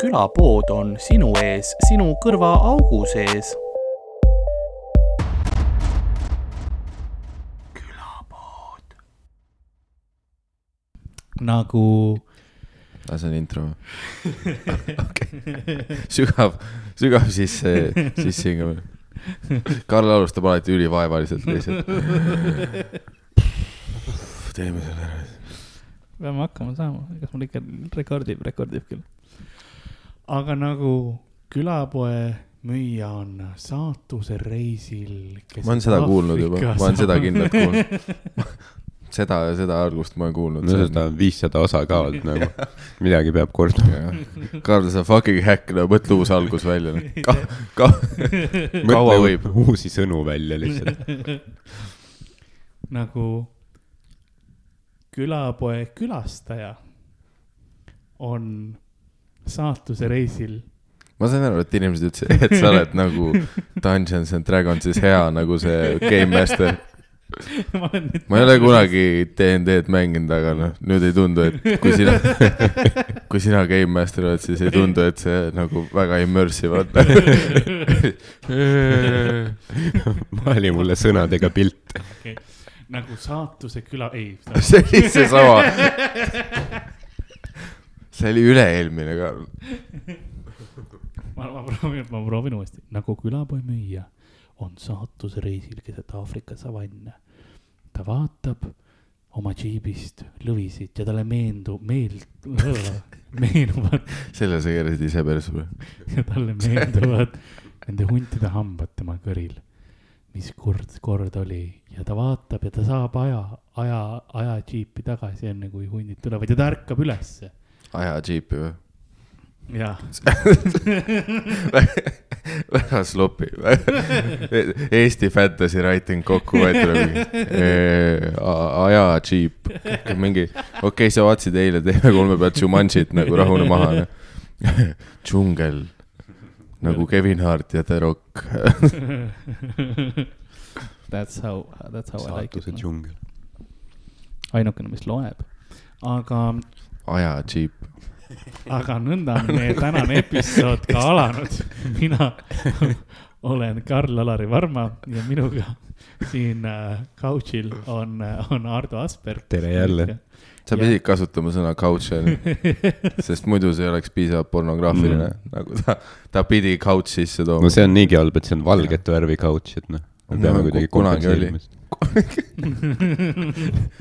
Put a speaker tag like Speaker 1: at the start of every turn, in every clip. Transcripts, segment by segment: Speaker 1: külapood on sinu ees, sinu kõrvaaugu sees nagu
Speaker 2: aga Ah, see on intro okay. . sügav , sügav sisse , sisse hingamine . Karl alustab alati ülivaevaliselt lihtsalt . teeme selle ära .
Speaker 3: peame hakkama saama , kas mul ikka rekordib , rekordib küll . aga nagu külapoe müüja on saatuse reisil .
Speaker 2: ma olen
Speaker 4: Oh,
Speaker 2: seda kuulnud juba , ma olen seda kindlalt kuulnud . seda , seda algust ma olen kuulnud .
Speaker 4: no seda on viissada osa ka olnud nagu , midagi peab kordama .
Speaker 2: Karl , sa fucking häkk , no mõtle uus algus välja . kaua võib ?
Speaker 4: uusi sõnu välja lihtsalt .
Speaker 3: nagu külapoe külastaja on saatuse reisil .
Speaker 2: ma sain aru , et inimesed ütlesid , et sa oled nagu Dungeons and Dragonsis hea nagu see game master .
Speaker 3: ma olen nüüd
Speaker 2: ma ei ole kunagi DnD-d mänginud , aga noh , nüüd ei tundu , et kui sina , kui sina Game Master oled , siis ei tundu , et see nagu väga immersive on .
Speaker 4: maali mulle sõnadega pilt .
Speaker 3: nagu saatuse küla , ei .
Speaker 2: see oli seesama , see oli üle-eelmine ka .
Speaker 3: ma , ma proovin , ma proovin uuesti , nagu külapoemüüja on saatusreisil keset Aafrika savanne . ta vaatab oma džiibist lõvisid ja talle meendu- , meel- , meenuvad
Speaker 2: selle sa keerasid ise persse või ?
Speaker 3: ja talle meenuvad nende huntide hambad tema kõril . mis kord , kord oli ja ta vaatab ja ta saab aja , aja , aja džiipi tagasi , enne kui hundid tulevad ja ta ärkab ülesse .
Speaker 2: aja džiipi või ?
Speaker 3: jah ,
Speaker 2: väga sloppy . E- Eesti fantasy writing kokkuvõetul mingi eh, a- aja džiip , mingi , okei okay, , sa vaatasid eile Teeme kolme pealt Jumanjit nagu rahune maha . džungel nagu Kevin Hart ja The Rock .
Speaker 3: that's how , that's how I like it
Speaker 4: saatuse
Speaker 3: noh.
Speaker 4: džungel .
Speaker 3: ainukene , mis loeb . aga ,
Speaker 2: aja džiip ,
Speaker 3: aga nõnda on meie tänane episood ka alanud . mina olen Karl-Alari Varma ja minuga siin äh, couch'il on , on Ardo Asper .
Speaker 4: Tere jälle. .
Speaker 2: sa
Speaker 3: Jah.
Speaker 2: pidid kasutama sõna couch , sest muidu see oleks piisavalt pornograafiline mm. , nagu ta , ta pidi couch sisse tooma
Speaker 4: no . see on niigi halb , et see on valget värvi couch , et noh , me
Speaker 2: No,
Speaker 4: peame
Speaker 2: ku-
Speaker 4: kuidagi
Speaker 2: kunagi oli.
Speaker 4: kompenseerima .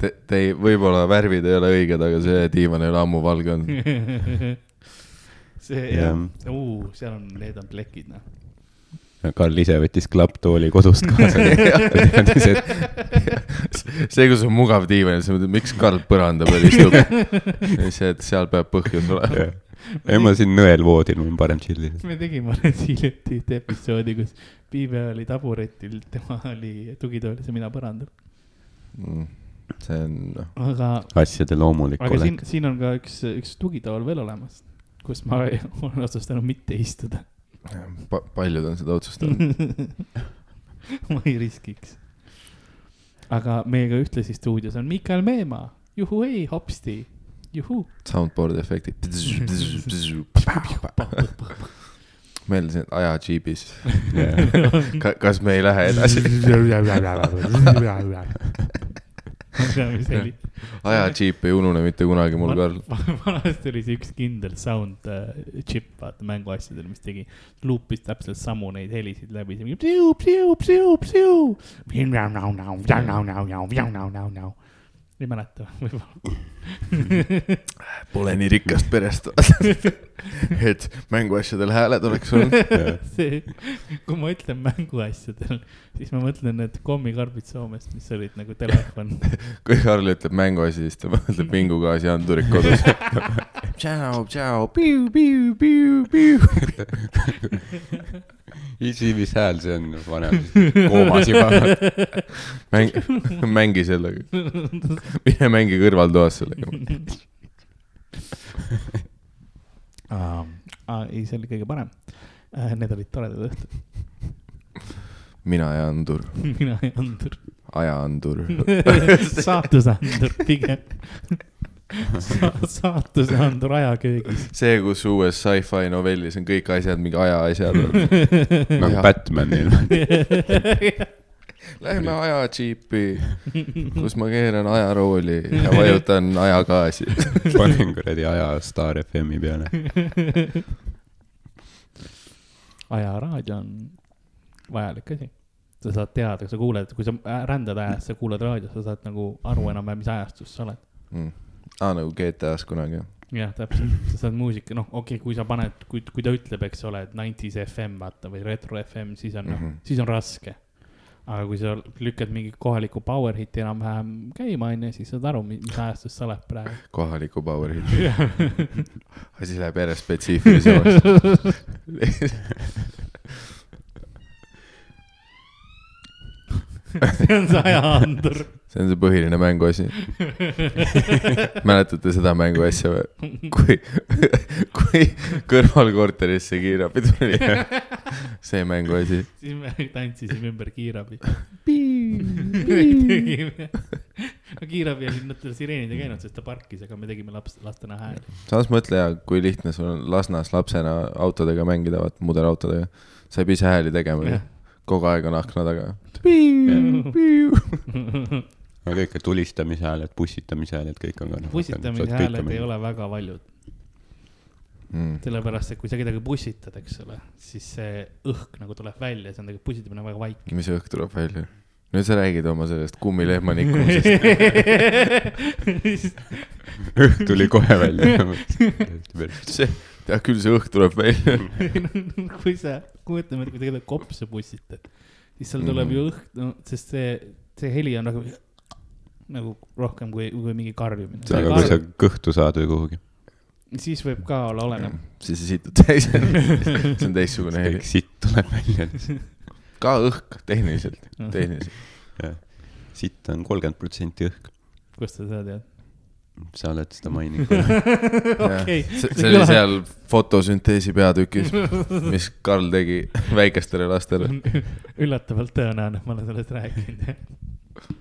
Speaker 2: Te , te ei , võib-olla värvid ei ole õiged , aga see diivan ei ole ammu valge olnud .
Speaker 3: see
Speaker 4: Jah.
Speaker 3: jah , seal on , need on plekid noh .
Speaker 4: Karl ise võttis klapptooli kodust kaasa . ta teadis , et
Speaker 2: see , kui sul on mugav diivan , siis mõtled , miks Karl põranda peal istub . see , et seal peab põhjus olema .
Speaker 4: jah. ei ma siin nõelvoodil , mul on parem tšillida .
Speaker 3: me tegime alles hiljuti ühte episoodi , kus Piibe oli taburetil , tema oli tugitoolis ja mina põrandal .
Speaker 2: Mm. see on , noh ,
Speaker 3: aga
Speaker 4: asjade loomulik
Speaker 3: aga siin
Speaker 4: olek .,
Speaker 3: siin on ka üks , üks tugitool veel olemas , kus ma ei- olen otsustanud mitte istuda .
Speaker 2: pa- , paljud on seda otsustanud .
Speaker 3: ma ei riskiks . aga meiega ühtlasi stuudios on Mikael Meemaa , juhuhei , hopsti , juhuu .
Speaker 2: Soundboard'i efektid . meeldisin , et aja džiibis . kas me ei lähe edasi ? aja džiip ei unune mitte kunagi mul , Karl .
Speaker 3: vanasti oli see üks kindel sound äh, chip , vaata mänguasjadel , mis tegi , luupis täpselt samu neid helisid läbi , see mingi psiu , psiu , psiu , psiu . ei mäleta , võib-olla .
Speaker 2: Pole nii rikast perest , et mänguasjadel hääled oleks olnud .
Speaker 3: see , kui ma ütlen mänguasjadel , siis ma mõtlen need kommikarbid Soomest , mis olid nagu telefon .
Speaker 2: kui Karl ütleb mänguasi , siis ta mõtleb vingugaasiandurid kodus . tšau , tšau , piu , piu , piu , piu .
Speaker 4: isi , mis hääl see on , vanem koomas juba .
Speaker 2: mäng , mängi sellega . mine mängi kõrvaltoas sellega .
Speaker 3: ei , see oli kõige parem . Need olid toredad õhtud ,
Speaker 2: mina ja andur ,
Speaker 3: mina ei andunud .
Speaker 2: ajaandur .
Speaker 3: saatuse andur pigem . Sa, saatuse and rajaköögis .
Speaker 2: see , kus uues sci-fi novellis on kõik asjad mingi aja asjad .
Speaker 4: nagu Batmanil .
Speaker 2: Lähme aja džiipi , kus ma keeran ajarooli ja vajutan ajagaasi .
Speaker 4: panen kuradi aja Star FM-i peale .
Speaker 3: ajaraadio on vajalik asi . sa saad teada , sa kuuled , kui sa äh, rändad ajas , sa kuulad raadios , sa saad nagu aru enam-vähem , mis ajastus sa oled .
Speaker 2: aa , nagu GTA-s kunagi .
Speaker 3: jah , täpselt , sa saad muusika , noh , okei okay, , kui sa paned , kui , kui ta ütleb , eks ole , et nineties FM vaata või retro FM , siis on noh mm
Speaker 2: Mhm.
Speaker 3: -hmm. , siis on raske . aga kui sa lükkad mingi kohaliku power hit'i enam-vähem käima , onju , siis saad aru , mis ajastus sa oled praegu .
Speaker 2: kohaliku power hit . asi läheb järjest spetsiifilisemaks .
Speaker 3: see on see ajaandur .
Speaker 2: see on see põhiline mänguasi . mäletate seda mänguasja või ? kui , kui kõrvalkorterisse kiirabi tuli . see mänguasi .
Speaker 3: siis me tantsisime ümber kiirabi . no kiirabi oli , nad ei sireenid ei käinud , sest ta parkis , aga me tegime laps , lastena hääli .
Speaker 2: samas mõtle , kui lihtne sul on Lasnas lapsena autodega mängida , vaat mudelautodega . sa ei pea ise hääli tegema
Speaker 3: Jah. .
Speaker 2: kogu aeg on akna taga .
Speaker 4: aga kõik need tulistamise hääled , pussitamise hääled , kõik on ka . noh,
Speaker 3: pussitamise hääled ei . ole väga paljud ,
Speaker 2: Hmm,
Speaker 3: sellepärast et kui sa kedagi pussitad , eks ole , siis see õhk nagu tuleb välja , see on tegelikult pussitamine on väga vaike .
Speaker 2: mis õhk tuleb välja ? nüüd sa räägid oma sellest kummilehma nikkumisest .
Speaker 4: õhk tuli kohe välja .
Speaker 2: see , jah küll see õhk tuleb välja .
Speaker 3: noh, kui sa , kujutame ette , kui sa kedagi kopsu pussitad , siis seal
Speaker 2: Mhm.
Speaker 3: tuleb ju õhk , no sest see , see heli on nagu , nagu rohkem kui , kui mingi karjumine .
Speaker 4: aga kui sa nagu kõhtu saad või kuhugi ,
Speaker 3: siis võib ka olla , oleneb .
Speaker 2: Hmm, siis sa situd täis . see on teistsugune heli
Speaker 4: kõik . sitt tuleb välja .
Speaker 2: ka õhk , tehniliselt , tehniliselt .
Speaker 4: sitt on kolmkümmend protsenti õhk ,
Speaker 3: kust sa seda tead ?
Speaker 4: sa oled seda maininud .
Speaker 3: okei ,
Speaker 2: see see oli seal fotosünteesi peatükis , mis Karl tegi väikestele lastele .
Speaker 3: üllatavalt tõenäoline , et ma olen sellest rääkinud .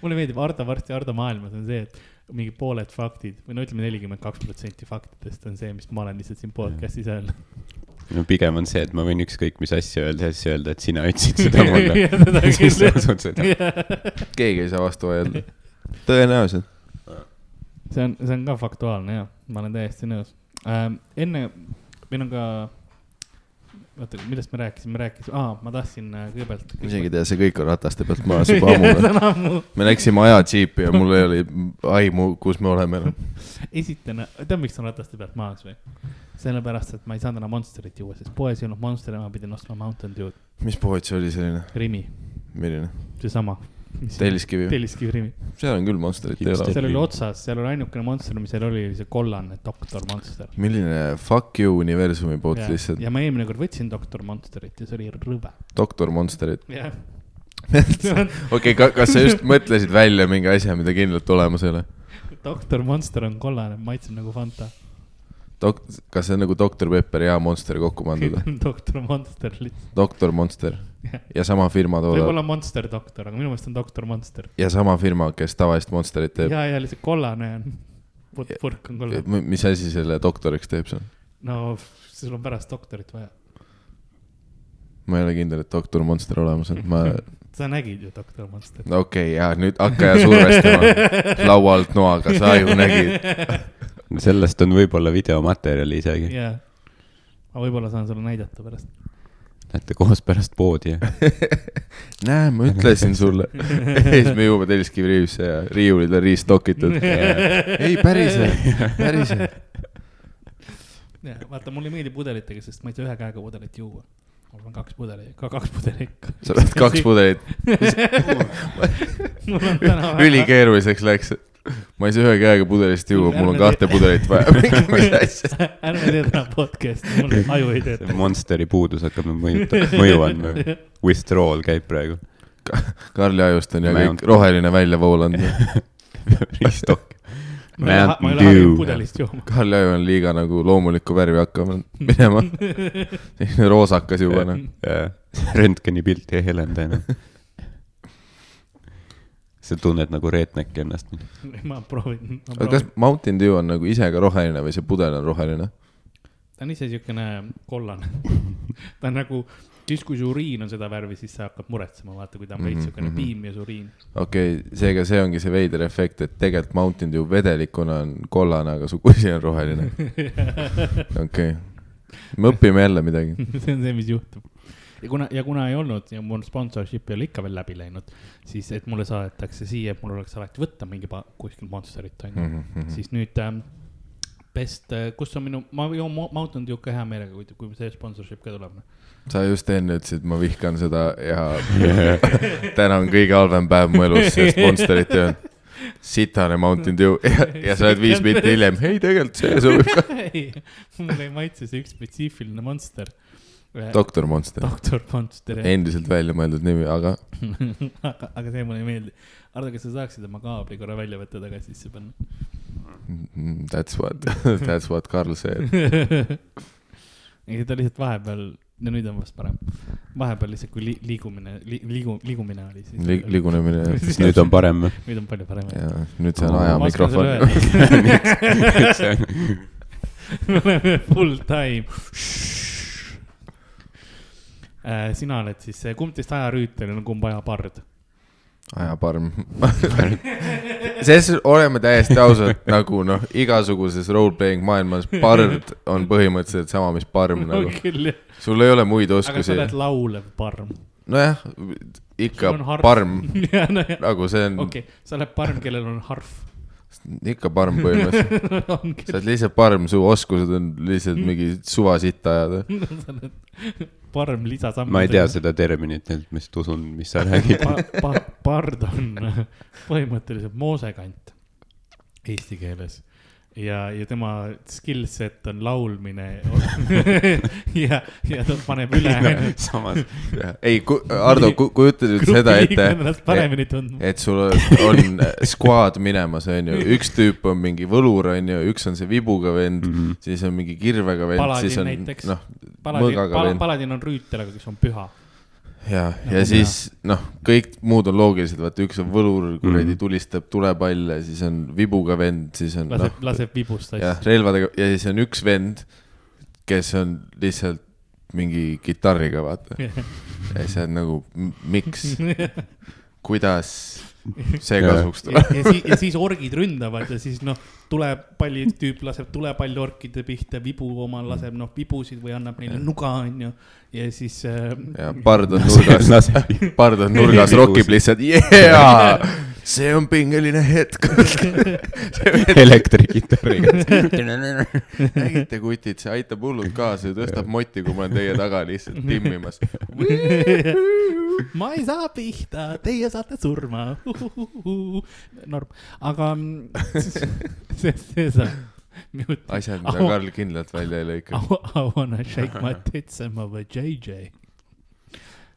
Speaker 3: mulle meeldib Ardo varsti Ardo maailmas on see , et mingi pooled faktid või no ütleme , nelikümmend kaks protsenti faktidest on see , mis ma olen lihtsalt siin podcast'is öelnud .
Speaker 4: no pigem on see , et ma võin ükskõik mis asja öelda , siis öelda , et sina ütlesid seda mulle .
Speaker 3: Ja seda
Speaker 4: siis nagu
Speaker 3: küll,
Speaker 4: sa
Speaker 3: jah.
Speaker 4: usud seda .
Speaker 2: keegi ei saa vastu vaielda . tõenäoliselt .
Speaker 3: see on , see on ka faktuaalne ja ma olen täiesti nõus ähm, . enne meil on ka , oota , millest me rääkisime , rääkisime , aa , ma tahtsin äh, kõigepealt .
Speaker 2: ma isegi ei tea , see kõik on rataste pealt maas juba ammu . me läksime aja džiipi ja mul ei ole aimu , kus me oleme enam .
Speaker 3: esitena , äh, tead , miks on rataste pealt maas või ? sellepärast , et ma ei saanud enam Monsterit juua , sest poes ei olnud Monsteri , ma pidin ostma Mountain Dew'd ,
Speaker 2: mis pood see oli selline ,
Speaker 3: Rimi ,
Speaker 2: milline ?
Speaker 3: seesama .
Speaker 2: Telliskivi ,
Speaker 3: telliskivi Rimi ,
Speaker 2: seal on küll Monsterit ei ole .
Speaker 3: seal oli otsas , seal oli ainukene Monster , mis seal oli , oli see kollane doktor Monster .
Speaker 2: milline fuck you universumi pood lihtsalt ,
Speaker 3: ja ma eelmine kord võtsin doktor Monsterit ja see oli rõve .
Speaker 2: doktor Monsterit .
Speaker 3: jah ,
Speaker 2: okei , kas sa just mõtlesid välja mingi asja , mida kindlalt olemas ei ole ?
Speaker 3: doktor Monster on kollane , maitseb nagu Fanta .
Speaker 2: Dok- , kas see on nagu Doktor Pepper ja Monster kokku pandud või ?
Speaker 3: doktor Monster lihtsalt ,
Speaker 2: Doktor Monster ja sama firma toodab
Speaker 3: võib-olla Monster doktor , aga minu meelest on doktor Monster .
Speaker 2: ja sama firma , kes tavalist Monsterit teeb .
Speaker 3: ja , ja lihtsalt kollane on , purk on kollane .
Speaker 2: mis asi selle doktoriks teeb seal ?
Speaker 3: no f- sul on pärast doktorit vaja ,
Speaker 2: ma ei ole kindel , et Doktor Monster olemas on , ma ,
Speaker 3: sa nägid ju doktor Monsterit .
Speaker 2: okei okay, , ja nüüd hakka ja survestama laua alt noaga , sa ju nägid .
Speaker 4: sellest on võib-olla videomaterjali isegi .
Speaker 3: jaa , ma võib-olla saan sulle näidata pärast .
Speaker 4: Lähete koos pärast poodi ja
Speaker 2: näe , ma ütlesin sulle . ja siis me jõuame Telliskivi riiulisse ja riiulid on restokitud . ei , päriselt , päriselt .
Speaker 3: jaa , vaata mulle ei meeldi pudelitega , sest ma ei saa ühe käega pudelit juua . mul on kaks pudelit , ka kaks pudelit .
Speaker 2: sa oled kaks pudelit
Speaker 3: mul on täna vaja .
Speaker 2: ülikeeruliseks läks . ma ei saa ühe käega pudelist juua , mul on kahte pudelit vaja . mis asja ?
Speaker 3: ärme tee täna podcast'i , mul aju ei
Speaker 4: see
Speaker 3: tööta .
Speaker 4: Monsteri puudus hakkab nüüd mõjutama , mõju andma . Withdrawal käib praegu .
Speaker 2: Karli ajust on ja kõik roheline välja voolanud .
Speaker 4: Restock .
Speaker 3: ma ei lähe- ma ei lähe harjunud pudelist jooma .
Speaker 2: Karli aju on liiga nagu loomulikku värvi hakkama minema . selline roosakas juba noh .
Speaker 4: röntgeni pilti ei helenda enam . sa tunned nagu reetnäkki ennast .
Speaker 3: ma proovin .
Speaker 2: aga kas Mountain Dew on nagu ise ka roheline või see pudel on roheline ?
Speaker 3: ta on ise siukene kollane . ta on nagu , siis kui su uriin on seda värvi , siis sa hakkad muretsema , vaata , kui ta on
Speaker 2: Mhm,
Speaker 3: veits siukene piim ja su uriin .
Speaker 2: okei okay, , seega see ongi see veider efekt , et tegelikult Mountain Dew vedelikuna on kollane , aga su kusi on roheline . okei okay. , me õpime jälle midagi .
Speaker 3: see on see , mis juhtub . ja kuna , ja kuna ei olnud ja mul sponsorship ei ole ikka veel läbi läinud , siis et mulle saadetakse siia , et mul oleks alati võtta mingi pa- kuskil Monsterit
Speaker 2: Mhm,
Speaker 3: onju mm , -hmm. siis nüüd ähm, best , kus on minu , ma joon Mo- Mountain Dew ka hea meelega , kui , kui see sponsorship ka tuleb . noh.
Speaker 2: sa just enne ütlesid , ma vihkan seda ja täna on kõige halvem päev mu elus , sest Monsterit ei olnud . sitane Mountain Dew ja, ja sa oled viis minutit hiljem , ei tegelikult see sobib ka .
Speaker 3: ei , mulle ei maitse see üks spetsiifiline Monster .
Speaker 2: doktor Monster ,
Speaker 3: doktor Monster ,
Speaker 2: endiselt välja mõeldud nimi , aga
Speaker 3: aga , aga see mulle ei meeldi . Ardo , kas sa saaksid oma kaabli korra välja võtta , tagasi sisse panna ?
Speaker 2: mm, that's what , that's what Karl said .
Speaker 3: ei , ta lihtsalt vahepeal , no nüüd on vast parem , vahepeal lihtsalt , kui li- liigumine li, , liigu , liigumine oli , siis
Speaker 2: Liig- , liigunemine .
Speaker 4: siis nüüd on parem .
Speaker 3: nüüd on palju parem .
Speaker 2: ja nüüd see on aja
Speaker 3: Ma oskan
Speaker 2: mikrofon .
Speaker 3: sulle öelda. me oleme full time . Äh, sina oled siis , kumb teist ajarüütel on , kumb ajapard ?
Speaker 2: ajaparm . sest oleme täiesti ausad , nagu noh , igasuguses role-playing maailmas pard on põhimõtteliselt sama , mis parm
Speaker 3: no
Speaker 2: nagu .
Speaker 3: küll jah ,
Speaker 2: sul ei ole muid
Speaker 3: aga sa
Speaker 2: oskusi .
Speaker 3: oled laulev parm .
Speaker 2: nojah , ikka
Speaker 3: Sul on harp.
Speaker 2: parm ,
Speaker 3: jah , nojah ,
Speaker 2: nagu see on okay.
Speaker 3: okei , sa oled parm , kellel on harf .
Speaker 2: ikka parm põhimõtteliselt .
Speaker 3: on Mm.
Speaker 2: sa oled lihtsalt parm , su oskused on lihtsalt mingi suva sitta ajada .
Speaker 3: küll , sa oled parm lisasamm .
Speaker 4: ma ei tea seda terminit , et ma lihtsalt usun , mis sa räägid .
Speaker 3: pa, . Pa, pard on põhimõtteliselt moosekant eesti keeles ja , ja tema skill set on laulmine ja , ja ta paneb üle
Speaker 4: No, . samas ,
Speaker 2: ei , Ardo , kujuta nüüd seda ette ,
Speaker 3: ennast paremini tundma .
Speaker 2: et sul on skuaad minemas , onju , üks tüüp on mingi võlur , onju , üks on see vibuga vend mm , -hmm. siis on mingi kirvega vend ,
Speaker 3: Paladin
Speaker 2: siis on
Speaker 3: näiteks.
Speaker 2: noh ,
Speaker 3: paladin
Speaker 2: mõõgaga
Speaker 3: pal, ,
Speaker 2: vend.
Speaker 3: paladin on rüütel , aga kes on püha .
Speaker 2: ja ,
Speaker 3: Nagu
Speaker 2: ja
Speaker 3: mina.
Speaker 2: siis noh , kõik muud on loogilised , vaata üks on võlur , kuradi tulistab tulepalle , siis on vibuga vend , siis on
Speaker 3: laseb
Speaker 2: noh ,
Speaker 3: no, , laseb vibust
Speaker 2: jah ,
Speaker 3: asju .
Speaker 2: relvadega ja siis on üks vend , kes on lihtsalt mingi kitarriga , vaata . ja siis on nagu , miks , kuidas see
Speaker 4: Jah.
Speaker 2: kasuks
Speaker 3: ja,
Speaker 2: tuleb .
Speaker 3: ja, si ja siis orgid ründavad ja siis noh , tulepalli tüüp laseb tulepalli orkide pihta , vibu oma laseb noh vibusid või annab neile nuga , onju . ja siis äh, .
Speaker 2: ja pard on nurgas , pard on nurgas , rokib lihtsalt , jaa , see on pingeline hetk .
Speaker 4: elektrikitarriga .
Speaker 2: nägite , kutid , see aitab hullult kaasa ja tõstab moti , kui ma olen teie taga lihtsalt timmimas .
Speaker 3: ma ei saa pihta , teie saate surma . norm , aga mm, see , see saab mute .
Speaker 2: asjad , mida Karl kindlalt välja ei lõika .
Speaker 3: I wanna shake my tits and my vajayjay .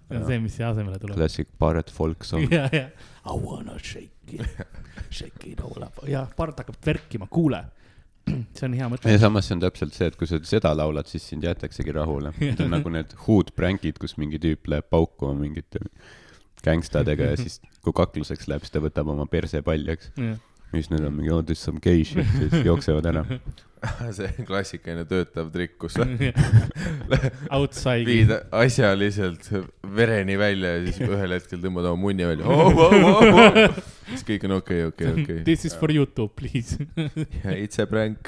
Speaker 3: see on see , mis siia asemele tuleb .
Speaker 4: klassik Barrett Folk song .
Speaker 3: ja , ja I wanna shake it , shake it all up ja part hakkab verkima , kuule , see on hea
Speaker 4: ja
Speaker 3: mõte .
Speaker 4: samas see on täpselt see , et kui sa seda laulad , siis sind jäetaksegi rahule . Need on nagu need huud pränkid , kus mingi tüüp läheb paukuma mingite gängstadega ja siis , kui kakluseks läheb , siis ta võtab oma perse paljaks . ja siis nad on mingi oh this some gay shit ja siis jooksevad ära .
Speaker 2: see on klassikaline töötav trikk , kus sa
Speaker 3: Outside
Speaker 2: viid asja lihtsalt vereni välja ja siis ühel hetkel tõmbad oma munni välja oh, . Oh, oh, oh. siis kõik on okei , okei , okei .
Speaker 3: This is for YouTube , please
Speaker 2: It's a prank .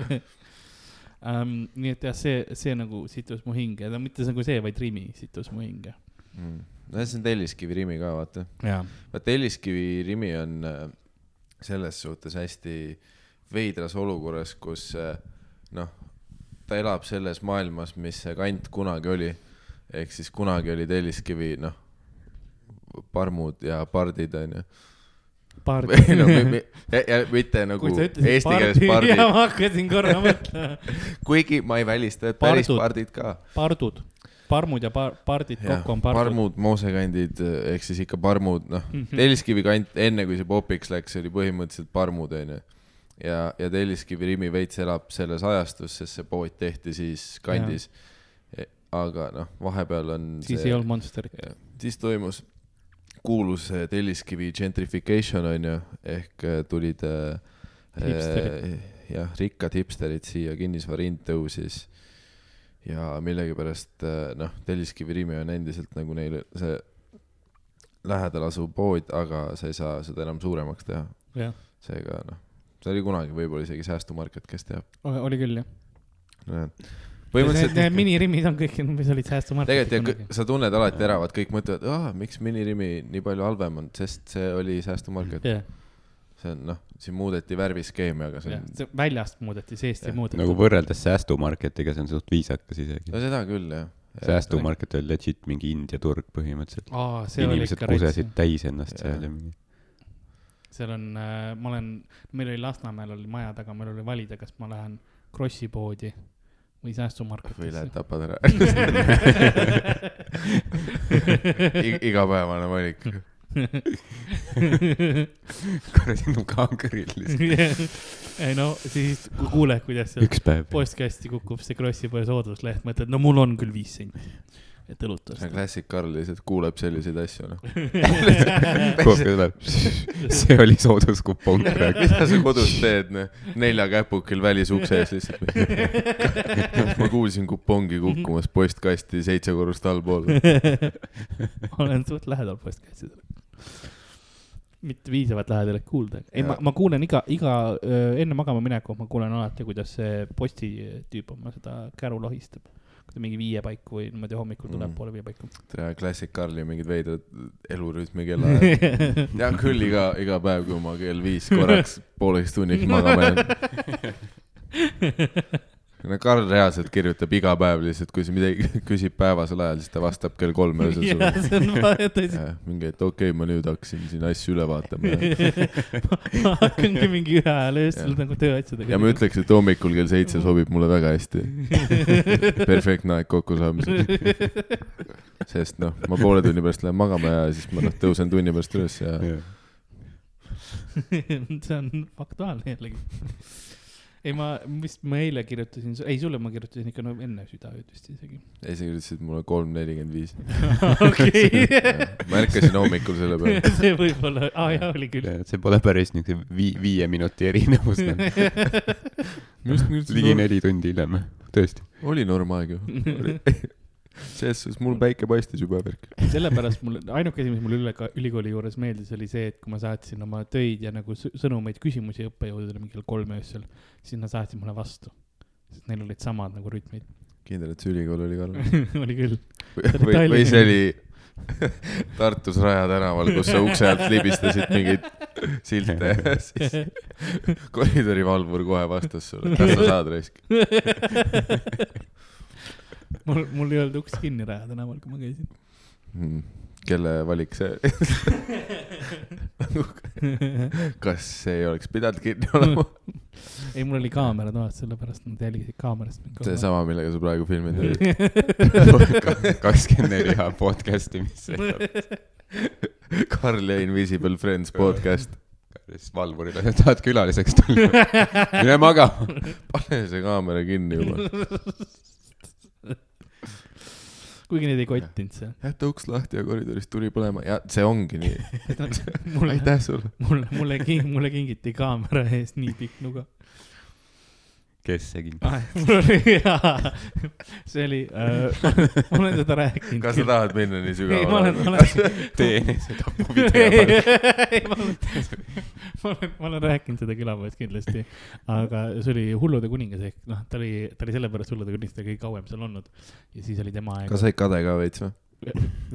Speaker 3: um, . nii et jah , see , see nagu situs mu hinge , no mitte nagu see , vaid Rimi situs mu hinge .
Speaker 2: Mm. nojah , see on Telliskivi Rimi ka , vaata .
Speaker 3: jaa .
Speaker 2: vaat Telliskivi Rimi on äh, selles suhtes hästi veidras olukorras , kus äh, noh , ta elab selles maailmas , mis see kant kunagi oli . ehk siis kunagi oli Telliskivi , noh , parmud ja pardid , onju .
Speaker 3: paar
Speaker 2: või no mi, , mi, ja- ja mitte nagu
Speaker 3: kui sa ütlesid
Speaker 2: eesti keeles
Speaker 3: ja
Speaker 2: pardid ,
Speaker 3: ma hakkasin korra mõtlema .
Speaker 2: kuigi ma ei välista , et päris
Speaker 3: Pardud.
Speaker 2: pardid ka .
Speaker 3: pardud , parmud ja par- , pardid kokku on pardud .
Speaker 2: parmud , moosekandid , ehk siis ikka parmud , noh mm
Speaker 3: Mhm.
Speaker 2: -hmm. , Telliskivi kant , enne kui see popiks läks , oli põhimõtteliselt parmud , onju . ja , ja Telliskivi Rimi veits elab selles ajastus , sest see pood tehti siis kandis . aga noh , vahepeal on
Speaker 3: siis
Speaker 2: see
Speaker 3: ei olnud Monsterit .
Speaker 2: jah , siis toimus kuulus eh, Telliskivi gentrification on ju , ehk eh, tulid eh,
Speaker 3: Hipsterid.
Speaker 2: eh, jah , rikkad hipsterid siia , kinnisvara hind tõusis ja millegipärast eh, noh , Telliskivi Rimi on endiselt nagu neil see lähedal asuv pood , aga sa ei saa seda enam suuremaks teha ,
Speaker 3: jah ,
Speaker 2: seega noh , see oli kunagi võib-olla isegi säästumarket , kes teab .
Speaker 3: oli küll jah .
Speaker 2: põhimõtteliselt
Speaker 3: minirimmid on kõik , mis olid säästumarketid
Speaker 2: tegelikult ja sa tunned alati ära , vaat kõik mõtlevad , aa , miks minirimi nii palju halvem on , sest see oli säästumarket .
Speaker 3: jah ,
Speaker 2: see on noh , siin muudeti värviskeemi , aga see
Speaker 3: jah
Speaker 2: on ,,
Speaker 3: see väljast muudeti , seest ei
Speaker 2: Jah.
Speaker 3: muudetud
Speaker 4: nagu . võrreldes säästumarketiga , see on suht viisakas isegi .
Speaker 2: no seda küll jah .
Speaker 4: säästumarket oli legit mingi India turg põhimõtteliselt .
Speaker 3: aa , see oli
Speaker 4: inimesed
Speaker 3: ikka rets
Speaker 4: kusesid . täis ennast
Speaker 2: Jaa.
Speaker 4: seal ja mingi .
Speaker 3: seal on , ma olen , meil oli Lasnamäel oli maja taga , meil oli valida , kas ma lähen Krossi poodi või säästumarketisse .
Speaker 2: või lähed tapad ära I .
Speaker 3: lähed .
Speaker 2: igapäevane valik .
Speaker 4: kuradi nukaangrill lihtsalt .
Speaker 3: ei no siis ku- kuule , kuidas seal
Speaker 4: üks päev .
Speaker 3: postkasti kukub see Krossi poe soodusleht , mõtled , no mul on küll viis senti , et õlut
Speaker 2: see on
Speaker 3: osta .
Speaker 2: klassik Karl lihtsalt kuuleb selliseid asju noh .
Speaker 4: kohe tuleb , see oli sooduskupong praegu .
Speaker 2: mida sa kodus teed noh , nelja käpukil välisukse ees lihtsalt . ma kuulsin kupongi kukkumas postkasti seitse korrust allpool .
Speaker 3: olen suht lähedal postkastidele . mitte piisavalt lähedal , et kuulda . ei , ma
Speaker 2: Jaa. ,
Speaker 3: ma kuulen iga , iga , enne magama minekut ma kuulen alati , kuidas see postitüüp oma seda käru lohistab . kui ta mingi viie paiku või niimoodi hommikul tuleb
Speaker 2: Mm.
Speaker 3: mm. poole viie paiku .
Speaker 2: tea , klassik Karli mingid veidrad elurütmi kellaajad . tean küll iga , iga päev , kui ma kell viis korraks pooleks tunniks magama jään . no Karl reaalselt kirjutab iga päev lihtsalt , kui sa midagi küsib päevasel ajal , siis ta vastab kell kolm öösel
Speaker 3: ja
Speaker 2: sulle .
Speaker 3: see on vaja tõsi .
Speaker 2: mingi , et okei okay, , ma nüüd hakkasin siin asju üle vaatama ja ,
Speaker 3: ma ma hakkangi mingi ühe ajal öösel
Speaker 2: Jah.
Speaker 3: nagu tööasjadega .
Speaker 2: ja ma ütleks , et hommikul kell seitse sobib mulle väga hästi . perfektne aeg kokkusaamiseks , sest noh , ma poole tunni pärast lähen magama ja siis ma noh , tõusen tunni pärast üles ja
Speaker 3: see on faktuaalne jällegi . ei , ma vist , ma eile kirjutasin , ei sulle ma kirjutasin ikka no enne südaööd vist isegi .
Speaker 2: ja siis kirjutasid mulle kolm nelikümmend viis .
Speaker 3: okei ,
Speaker 2: ma ärkasin hommikul selle peale .
Speaker 3: see võib olla , aa jaa , oli küll .
Speaker 4: see pole päris niisugune vii- , viie minuti erinevus .
Speaker 2: just , just
Speaker 4: ligi neli tundi hiljem , tõesti .
Speaker 2: oli norm aeg ju . selles suhtes mul päike paistis juba värk .
Speaker 3: sellepärast mul , ainuke asi , mis mulle üle , ülikooli juures meeldis , oli see , et kui ma saatsin oma töid ja nagu sõ- sõnumeid , küsimusi õppejõududele mingi kell kolm öösel , siis nad saatsid mulle vastu . sest neil olid samad nagu rütmid .
Speaker 2: kindel , et see ülikool oli karm .
Speaker 3: oli küll .
Speaker 2: või , või see oli Tartus Raja tänaval , kus sa ukse alt libistasid mingeid silte ja siis koridori valvur kohe vastas sulle , kas sa saad raisk .
Speaker 3: mul , mul ei olnud uks kinni Raja tänaval , kui ma käisin .
Speaker 2: Hmm. kelle valik see ? kas see ei oleks pidanud kinni olema ?
Speaker 3: ei , mul oli kaamera toas , sellepärast nad jälgisid kaamerast mind kogu
Speaker 2: seesama , millega sa praegu filmid olid .
Speaker 4: kakskümmend neli ja podcast'i , mis see on .
Speaker 2: Karl ja Invisible Friends podcast .
Speaker 4: siis valvurile , tahad külaliseks tulla ? mine magama .
Speaker 2: pane see kaamera kinni juba .
Speaker 3: kuigi neid ei kottinud see .
Speaker 2: jäta uks lahti ja koridoris tuli põlema ja see ongi nii .
Speaker 3: mulle ,
Speaker 2: aitäh sulle .
Speaker 3: mulle , mulle king- , mulle kingiti kaamera ees nii pikk nuga .
Speaker 4: kes see kinni ?
Speaker 3: mul oli , see oli äh, , ma olen seda rääkinud .
Speaker 2: kas sa tahad minna nii
Speaker 3: ei , ma olen , ma
Speaker 2: sügavale ?
Speaker 3: olen .
Speaker 4: tee enesetapu video .
Speaker 3: ei , ma olen , ma olen , ma olen rääkinud seda külapoes kindlasti , aga see oli Hullude kuningas ehk noh , ta oli , ta oli sellepärast Hullude kuningas , ta oli kõige kauem seal olnud ja siis oli tema aeg
Speaker 2: kas , said kade ka veits või ?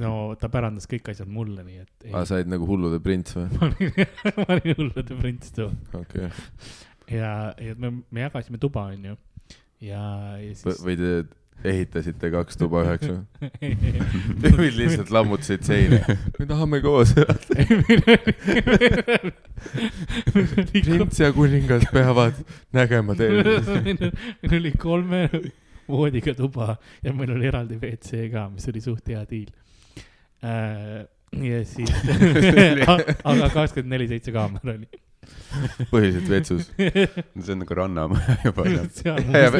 Speaker 3: no ta pärandas kõik asjad mulle , nii et
Speaker 2: aa ,
Speaker 3: ei,
Speaker 2: said nagu hullude prints või ?
Speaker 3: ma olin , ma olin Hullude prints too
Speaker 2: okei .
Speaker 3: ja , ja me , me jagasime tuba , onju . ja , ja siis .
Speaker 2: või te ehitasite kaks tuba üheks või ? või lihtsalt lammutasid seina ? me tahame koos . prints ja kuningas peavad nägema teid .
Speaker 3: meil oli kolme voodiga tuba ja meil oli eraldi WC ka , mis oli suht hea diil . Äh, ja siis , aga kakskümmend neli seitse kaamera oli .
Speaker 2: põhiliselt vetsus .
Speaker 4: see on nagu rannamaja juba .
Speaker 2: ja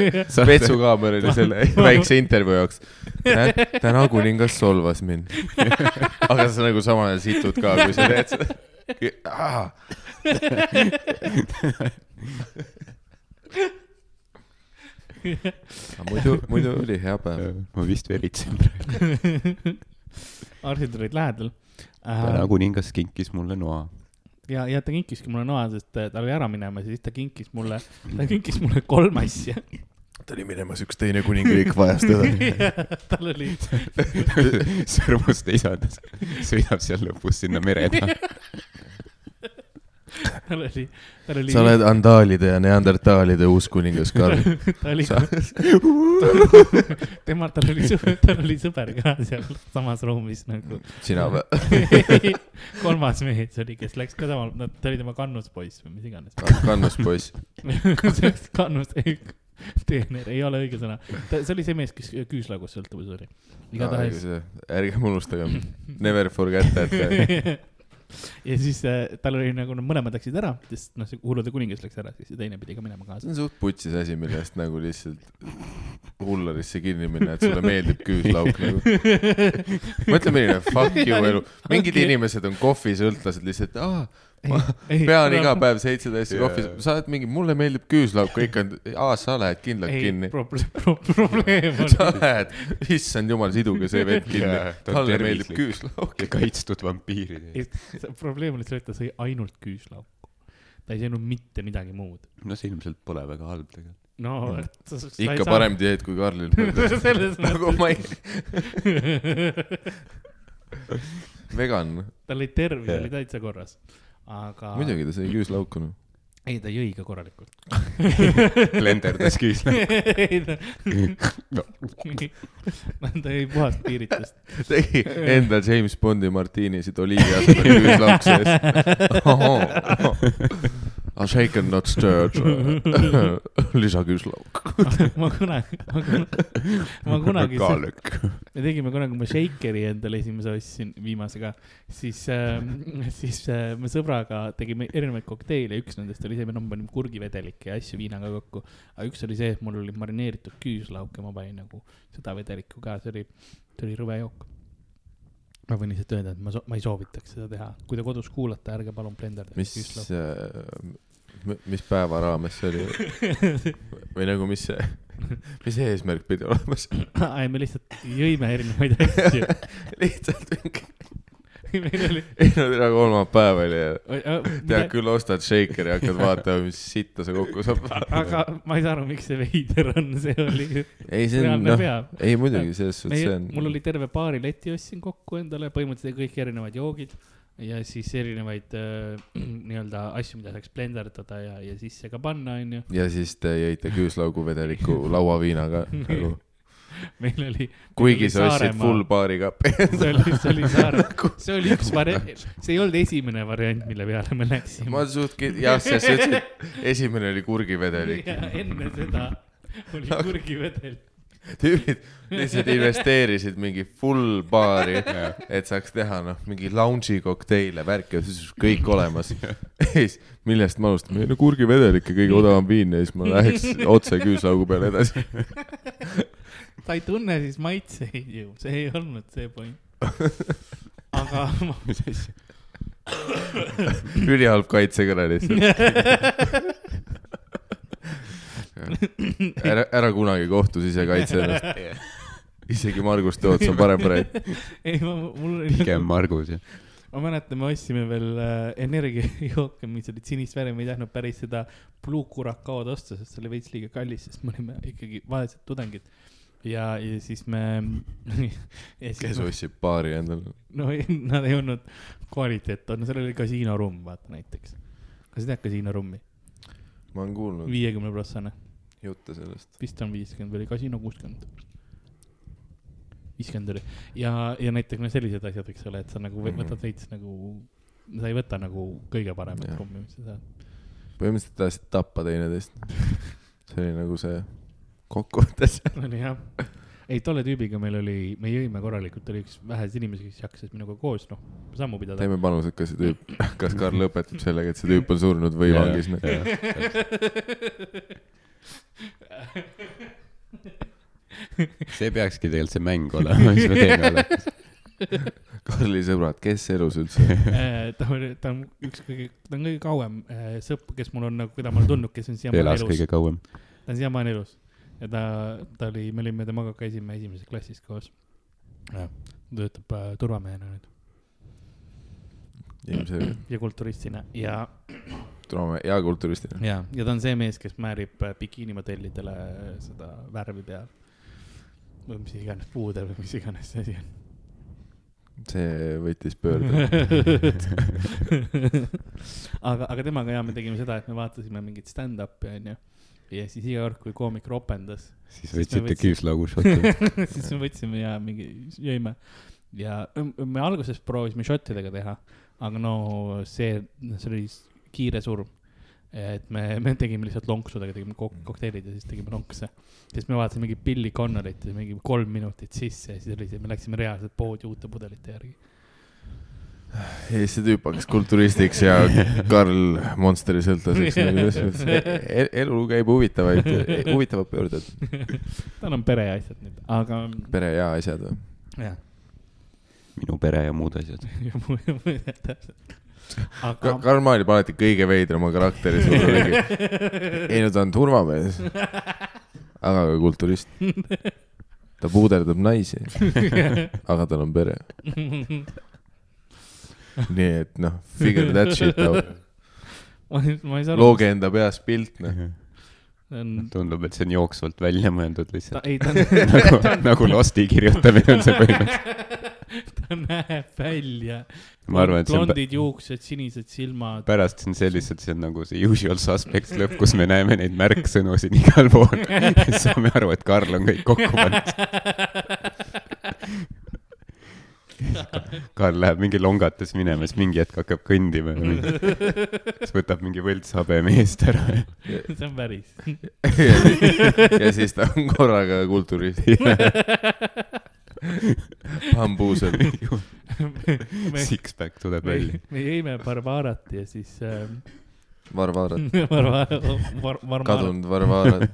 Speaker 2: vetsu kaamera oli selle väikse intervjuu jaoks . täna kuningas solvas mind . aga sa nagu samal ajal situd ka , kui sa teed seda . muidu , muidu oli hea päev .
Speaker 4: ma vist veritsen praegu .
Speaker 3: arstid olid lähedal Äh,
Speaker 4: täna . kuningas kinkis mulle noa .
Speaker 3: ja , ja ta kinkiski mulle noa , sest äh, ta oli ära minemas ja siis ta kinkis mulle , ta kinkis mulle kolm asja .
Speaker 2: ta oli minemas , üks teine kuningriik vajas teda .
Speaker 3: tal oli ,
Speaker 4: sõrmus teisades , sõidab seal lõpus sinna mere taha .
Speaker 3: tal oli , tal oli .
Speaker 2: sa oled andaalide ja neandertaalide uus kuningas , Karl .
Speaker 3: ta oli
Speaker 2: Sa- ,
Speaker 3: tema , tal oli sõber , tal oli sõber ka seal samas ruumis nagu .
Speaker 2: sina või ?
Speaker 3: kolmas mees oli , kes läks ka samal , no ta oli tema kannuspoiss või mis iganes .
Speaker 2: kannus poiss .
Speaker 3: sellest kannust , teener ei ole õige sõna . ta , see oli see mees , kes küüslaugust sõltuvuses oli . igatahes .
Speaker 2: ärgem unustagem , never forget that .
Speaker 3: ja siis äh, tal oli nagu , no mõlemad läksid ära , sest noh , see hullude kuningas läks ära , siis see teine pidi ka minema
Speaker 2: see
Speaker 3: kaasa .
Speaker 2: on suht putsis asi , millest nagu lihtsalt hullarisse kinni minna , et sulle meeldib küüslauk nagu . mõtle , milline fuck you elu , mingid inimesed on kohvisõltlased lihtsalt , aa , ma pean iga päev seitseteist
Speaker 4: Jaa.
Speaker 2: kohvis , sa oled mingi , mulle meeldib küüslauk , kõik on , aa , sa lähed kindlalt
Speaker 3: ei
Speaker 2: kinni ,
Speaker 3: pro, , pro, probleem on
Speaker 2: sa lähed , issand jumal , siduge see vett kinni , talle meeldib küüslauk .
Speaker 4: ja kaitstud vampiirid .
Speaker 3: See probleem oli see , et ta sõi ainult küüslauku . ta ei söönud mitte midagi muud .
Speaker 4: no see ilmselt pole väga halb tegelikult .
Speaker 3: no
Speaker 2: Mm.
Speaker 3: sa, sa
Speaker 2: ikka . parem dieet kui Karlil .
Speaker 3: selles
Speaker 2: nagu ma ei ,
Speaker 3: mõttes ,
Speaker 2: vegan ,
Speaker 3: tal oli tervis
Speaker 4: Jaa.
Speaker 3: oli täitsa korras , aga .
Speaker 2: muidugi ta sõi küüslauku noh .
Speaker 3: ei , ta jõi ka korralikult .
Speaker 4: blenderdas küüsla .
Speaker 3: ei , ta , ta jõi puhast piiritest .
Speaker 2: tegi endal James Bondi martiinisid oliivi asemel küüslauk sees . A shaken not stirred , uh, lisaküüslauk .
Speaker 3: ma kunagi , ma kunagi , ma kunagi ,
Speaker 4: kaaluk .
Speaker 3: me tegime kunagi , kui ma Shakeri endale esimese ostsin , viimase ka , siis äh, , siis äh, me sõbraga tegime erinevaid kokteile , üks nendest oli see , me noh, me panime kurgivedelikke ja asju viinaga kokku . aga üks oli see , et mul oli marineeritud küüslauk ja ma panin nagu seda vedelikku ka , see oli , see oli rõve jook . ma võin lihtsalt öelda , et ma , ma ei soovitaks seda teha , kui te kodus kuulate , ärge palun blenderdage
Speaker 2: mis , mis päeva raames see oli või nagu , mis see , mis see eesmärk pidi olema seal ?
Speaker 3: ei , me lihtsalt jõime erinevaid asju .
Speaker 2: lihtsalt mingi ,
Speaker 3: meil oli ,
Speaker 2: ei no täna kolmapäev päev oli ja tead
Speaker 3: tead
Speaker 2: küll , ostad shaker'i , hakkad vaatama , mis sitta see kokku saab .
Speaker 3: aga ma ei saa aru , miks see veider on , see oli
Speaker 2: ei , see on
Speaker 3: reaalne
Speaker 2: noh ,
Speaker 3: pea .
Speaker 2: ei muidugi , selles suhtes
Speaker 3: meie
Speaker 2: see on ,
Speaker 3: mul oli terve paari leti ostsin kokku endale , põhimõtteliselt kõik erinevad joogid ja siis erinevaid äh, nii-öelda asju , mida saaks blenderdada ja , ja sisse ka panna , onju .
Speaker 2: ja siis te jõite küüslauguvedeliku lauaviinaga nagu ,
Speaker 3: meil oli ,
Speaker 2: kuigi sa
Speaker 3: Saaremaa.
Speaker 2: ostsid full baari ka .
Speaker 3: see oli , see oli saar ,
Speaker 2: Nagu-
Speaker 3: see oli üks variant , see ei olnud esimene variant , mille peale me läksime
Speaker 2: ma . suht kind- , jah , sest sa ütlesid , et esimene oli Nagu- kurgivedelik .
Speaker 3: ja enne seda oli kurgivedel .
Speaker 2: tüübid lihtsalt investeerisid mingi full baari , et saaks teha noh , mingi lounge'i kokteile , värki , kõik olemas . ja siis , millest me alustame , ei no kurgivedelik ja kõige odavam viin ja siis ma läheks otse küüslaugu peale edasi .
Speaker 3: sa ei tunne siis maitseid ju , see ei olnud see point . aga ma
Speaker 4: mis asja ?
Speaker 2: ülihalb kaitsekõne lihtsalt . ära , ära kunagi kohtu sisekaitse ennast . isegi Margus Toots on parem praegu .
Speaker 3: ei , ma , mul
Speaker 4: pigem
Speaker 3: oli ,
Speaker 4: Margus jah .
Speaker 3: ma mäletan , me ostsime veel äh, energiajooke , mis olid sinist värvi , me ei tahtnud päris seda Blue Curacao'd osta , sest see oli veits liiga kallis , sest me olime ikkagi vaesed tudengid . ja , ja siis me ja siis
Speaker 2: kes
Speaker 3: me-
Speaker 2: ostsib baari endale ?
Speaker 3: no ei, nad ei olnud kvaliteet , no seal oli kasiinorumm , vaata näiteks . kas sa tead kasiinorummi ?
Speaker 2: ma olen kuulnud
Speaker 3: viiekümne prossane ,
Speaker 2: jutte sellest .
Speaker 3: vist on viiskümmend või oli kasiino kuuskümmend ? viiskümmend oli ja , ja näiteks no sellised asjad , eks ole , et sa nagu võ-
Speaker 2: Mhm.
Speaker 3: võtad veits nagu , sa ei võta nagu kõige paremat
Speaker 2: Jah.
Speaker 3: rummi , mis sa saad .
Speaker 2: põhimõtteliselt tahtsid tappa teineteist . see oli nagu see kokkuvõttes .
Speaker 3: oli jah , ei , tolle tüübiga meil oli , me jõime korralikult , oli üks väheseid inimesi , kes jaksasid minuga koos , noh , sammu pidada .
Speaker 2: teeme panused , kas see tüüp , kas Karl lõpetab sellega , et see tüüp on surnud või
Speaker 4: Jaa,
Speaker 2: vangis . noh?
Speaker 4: see peakski tegelikult see mäng olema , mis me teeme olemas .
Speaker 2: Karli sõbrad , kes elus üldse ?
Speaker 3: Äh, ta on , ta on üks kõige , ta on kõige kauem eh, sõpp , kes mul on nagu , keda ma olen tundnud , kes on siiamaani
Speaker 4: elas
Speaker 3: elus
Speaker 4: kõige . kauem .
Speaker 3: ta on siiamaani elus ja ta , ta oli , me olime temaga ka esime esimeses klassis koos . ta töötab äh, turvamehena nüüd
Speaker 2: ilmselgelt ,
Speaker 3: ja kulturistina ja ,
Speaker 2: tuleme hea kulturistina .
Speaker 3: ja , ja ta on see mees , kes määrib äh, bikiinimodellidele seda värvi peal . või mis iganes , puude või mis iganes see asi on .
Speaker 2: see võttis pöörde .
Speaker 3: aga , aga temaga ja me tegime seda , et me vaatasime mingit stand-up'i onju . ja siis iga kord , kui koomik ropendas ,
Speaker 4: siis
Speaker 3: me
Speaker 4: võtsite
Speaker 3: võtsime-
Speaker 4: küüslaugu šotti .
Speaker 3: siis me võtsime ja mingi jõime . ja õ- me alguses proovisime šottidega teha , aga no see , see oli s- kiire surm . et me , me tegime lihtsalt lonksudega , tegime kok- kokteilid ja siis tegime lonkse . siis me vaatasime mingit Billy Connorit ja mingi kolm minutit sisse ja siis oli see , me läksime reaalselt poodi uute pudelite järgi .
Speaker 2: ja siis see tüüp hakkas kulturistiks ja Karl Monsteri sõltlaseks nagu selles mõttes . elu käib huvitavaid , huvitavad pöörded .
Speaker 3: tal on pereasjad nüüd , aga
Speaker 2: pere ja asjad või ?
Speaker 3: jah ,
Speaker 4: minu pere ja muud asjad .
Speaker 3: ja mu , ja mu , täpselt . aga
Speaker 2: Ka- , Karl Maarjab alati kõige veidrama karakteri sulle . ei no ta on turvamees , aga ka kulturist . ta puuderdab naisi , aga tal on pere . nii et noh , figure that shit out .
Speaker 3: ma ei , ma ei saa aru ,
Speaker 2: looge enda peas pilt , noh .
Speaker 3: see on ,
Speaker 4: tundub , et see on jooksvalt välja mõeldud
Speaker 3: ta
Speaker 4: lihtsalt .
Speaker 3: ei , ta on ,
Speaker 4: nagu , nagu Losti kirjutamine on see põhimõtteliselt .
Speaker 3: ta näeb välja .
Speaker 4: ma arvan , et see on pä-
Speaker 3: blondid juuksed , sinised silmad .
Speaker 4: pärast see on see lihtsalt , see on nagu see usual suspects lõpp , kus me näeme neid märksõnu siin igal pool . siis saame aru , et Karl on kõik kokku pannud . Karl läheb mingi longates minema , siis mingi hetk hakkab kõndima ja mingi- siis võtab mingi võltshabeme eest ära .
Speaker 3: see on päris .
Speaker 2: ja siis ta on korraga kulturist . bambuusel .
Speaker 3: me ,
Speaker 4: Six-pack tuleb
Speaker 3: me,
Speaker 4: välja .
Speaker 3: me jõime Barbarat ja siis ähm,
Speaker 2: Varvarad ,
Speaker 3: Varva- Var- , Varmar ,
Speaker 2: kadunud Varvarad ,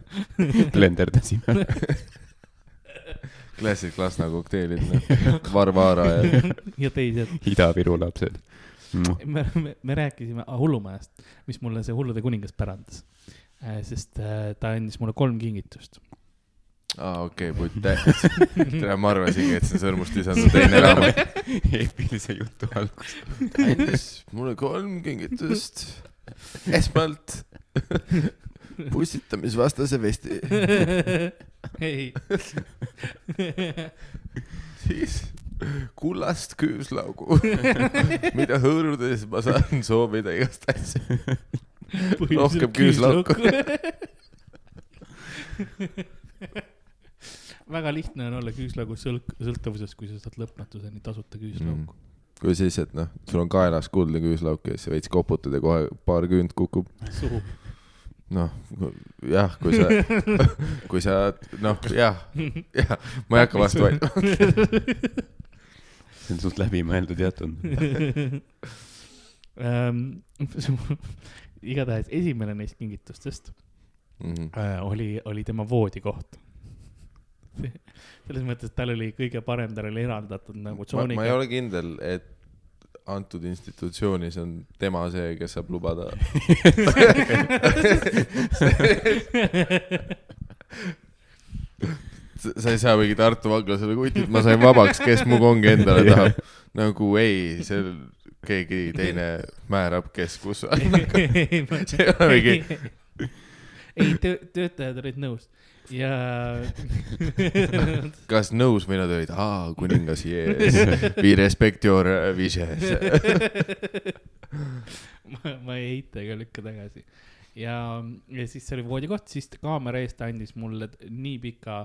Speaker 4: blenderdasime ära .
Speaker 2: klassik Lasna kokteilid , noh . Varvara ja
Speaker 3: ja teised .
Speaker 4: Ida-Viru lapsed .
Speaker 3: me , me, me rääkisime ah, hullumajast , mis mulle see hullude kuningas pärandas . sest äh, ta andis mulle kolm kingitust .
Speaker 2: aa , okei , putt tähtis . tere , ma arvasingi , et see on Sõrmust lisandus teine raamat .
Speaker 4: eepilise jutu algus .
Speaker 2: andis mulle kolm kingitust . esmalt pussitamisvastase vesti ,
Speaker 3: ei ,
Speaker 2: siis kullast küüslaugu , mida hõõrudes ma saan soovida igast asja . Rohkem küüslauku. .
Speaker 3: väga lihtne on olla küüslaugu sõlk- , sõltuvuses , kui sa saad lõpmatuseni tasuta küüslauku .
Speaker 2: kui siis , et noh , sul on kaelas kuldne küüslauk ja siis sa veits koputad ja kohe paar küünt kukub .
Speaker 3: suhu .
Speaker 2: noh , jah , kui sa , kui sa , noh , jah , jah , ma ei hakka vastu vaidlema .
Speaker 4: see on suht läbimõeldud ja tundub .
Speaker 3: Ehm, igatahes esimene neist kingitustest
Speaker 2: Mhm.
Speaker 3: äh, oli , oli tema voodikoht . selles mõttes , et tal oli kõige parem , tal oli eraldatud
Speaker 2: ma,
Speaker 3: nagu
Speaker 2: ma ei
Speaker 3: tsooniga .
Speaker 2: ole kindel , et antud institutsioonis on tema see , kes saab lubada . sa ei saa mingi Tartu vangla selle kutit , ma sain vabaks , kes mu kongi endale tahab . nagu ei , seal keegi teine määrab , kes kus on . see ei ole mingi ,
Speaker 3: ei , töötajad olid nõus ja
Speaker 2: kas nõus või nad olid , aa , kuningas jees , vi respectior vises .
Speaker 3: ma , ma ei eita ega lükka tagasi . ja , ja siis see oli voodikoht , siis ta kaamera eest andis mulle t- nii pika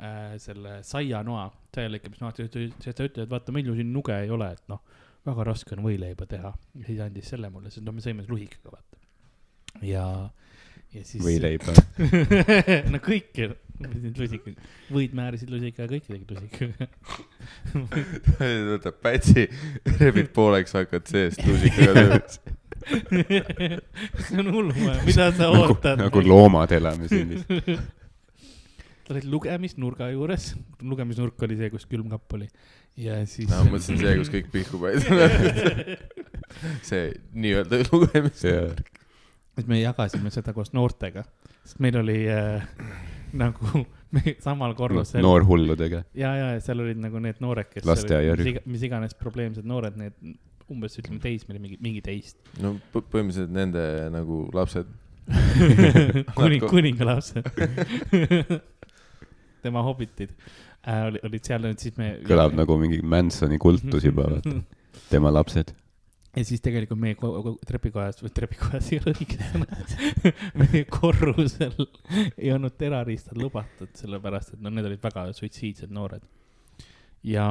Speaker 3: äh, selle saianoa , saialõikamisnoa , siis ta ütles , et vaata , meil ju siin nuge ei ole , et noh , väga raske noh, on võileiba teha . ja siis andis selle mulle , siis no me sõime luhikaga , vaata . ja , ja siis .
Speaker 4: või . leiba .
Speaker 3: no kõike , lusikaga , võid määrisid lusikaga , kõike tegid lusikaga .
Speaker 2: võtad pätsi , rebid pooleks , hakkad seest lusikaga lööma .
Speaker 3: see on hullumaja , mida sa
Speaker 4: nagu ,
Speaker 3: ootad ?
Speaker 4: nagu . loomad elame siin vist .
Speaker 3: sa olid lugemisnurga juures , lugemisnurk oli see , kus külmkapp oli ja siis .
Speaker 2: ma mõtlesin see , kus kõik pihku paistab . see nii-öelda lugemise .
Speaker 4: ja
Speaker 3: et me jagasime seda koos noortega , sest meil oli äh, nagu me samal korrusel no, .
Speaker 4: noorhulludega .
Speaker 3: ja , ja ja seal olid nagu need noored , kes .
Speaker 4: Lasteaiarühm.
Speaker 3: mis iganes probleemsed noored , need umbes ütleme teismeli , mingi , mingi teist .
Speaker 2: no põ- põhimõtteliselt nende nagu lapsed .
Speaker 3: kuning ,
Speaker 2: Narko-
Speaker 3: kuningalapsed . tema hobitid äh, oli, olid seal , siis me .
Speaker 4: kõlab . nagu mingi Mansoni kultus juba , vaata . tema lapsed .
Speaker 3: ja siis tegelikult meie ko- ko- trepikojas või trepikojas ei ole õige sõna , meie korrusel ei olnud teraristad lubatud , sellepärast et no need olid väga suitsiidsed noored . ja ,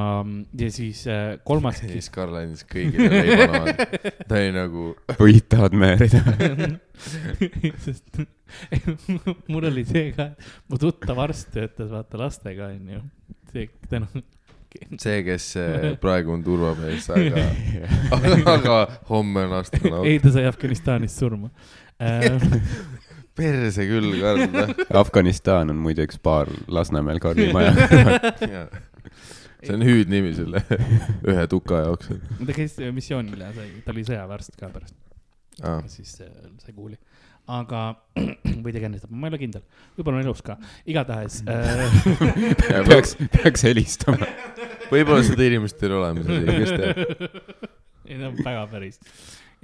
Speaker 3: ja siis äh, kolmas
Speaker 2: ja , siis Karl andis kõigile leiba naha . ta oli nagu ,
Speaker 4: võitavad määrida .
Speaker 3: sest mul oli see ka , mu tuttav arst töötas vaata lastega onju , see tänu ,
Speaker 2: see , kes eh, praegu on turvamees , aga , aga homme on astronaut
Speaker 3: ei . ta sai Afganistanis surma äh, .
Speaker 2: perse küll , Karl . noh.
Speaker 4: Afganistan on muide üks baar Lasnamäel Karli maja kõrval .
Speaker 2: see on hüüdnimi selle ühe tuka jaoks .
Speaker 3: ta käis missioonil ja sai , ta oli sõjaväearst ka pärast .
Speaker 2: Ah.
Speaker 3: ja siis äh, sai kuuli . aga , või ta kändistab , ma ei ole kindel , võib-olla on elus ka , igatahes äh, .
Speaker 4: peaks , peaks helistama .
Speaker 2: võib-olla seda inimest ei ole olemas , kes teab .
Speaker 3: ei ta on väga päris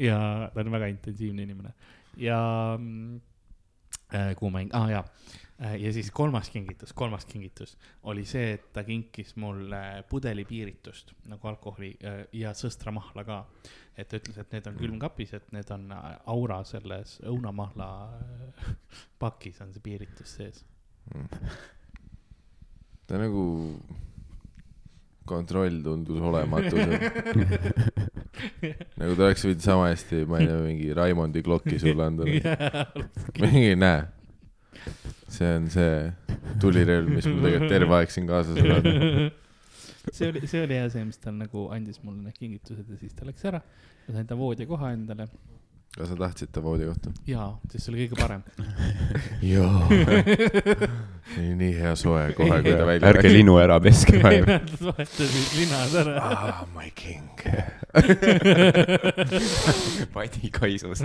Speaker 3: ja ta on väga intensiivne inimene ja mm, äh, kuhu ma , aa ah, jaa Äh, ja siis kolmas kingitus , kolmas kingitus oli see , et ta kinkis mulle pudeli piiritust nagu alkoholi äh, ja sõstramahla ka . et ta ütles , et need on külmkapis , et need on äh, aura selles õunamahla äh, pakis on see piiritus sees .
Speaker 2: ta nagu , kontroll tundus olematu . nagu ta oleks võinud sama hästi , ma ei tea , mingi Raimondi klokki sulle anda . mingi , näe . see on see tulirelv , mis mul tegelikult terve aeg siin kaasas on olnud .
Speaker 3: see oli , see oli hea see , mis tal nagu andis mulle need kingitused ja siis ta läks ära . ma sain ta voodikoha endale
Speaker 2: kas sa tahtsid ta voodi kohta ?
Speaker 3: jaa , sest see oli kõige parem .
Speaker 2: jaa . nii hea soe kohe , kui ta välja
Speaker 4: ärge linu ära peske vahepeal .
Speaker 3: Nad vahetasid linad ära .
Speaker 2: Ah, my king .
Speaker 4: padi kaisus .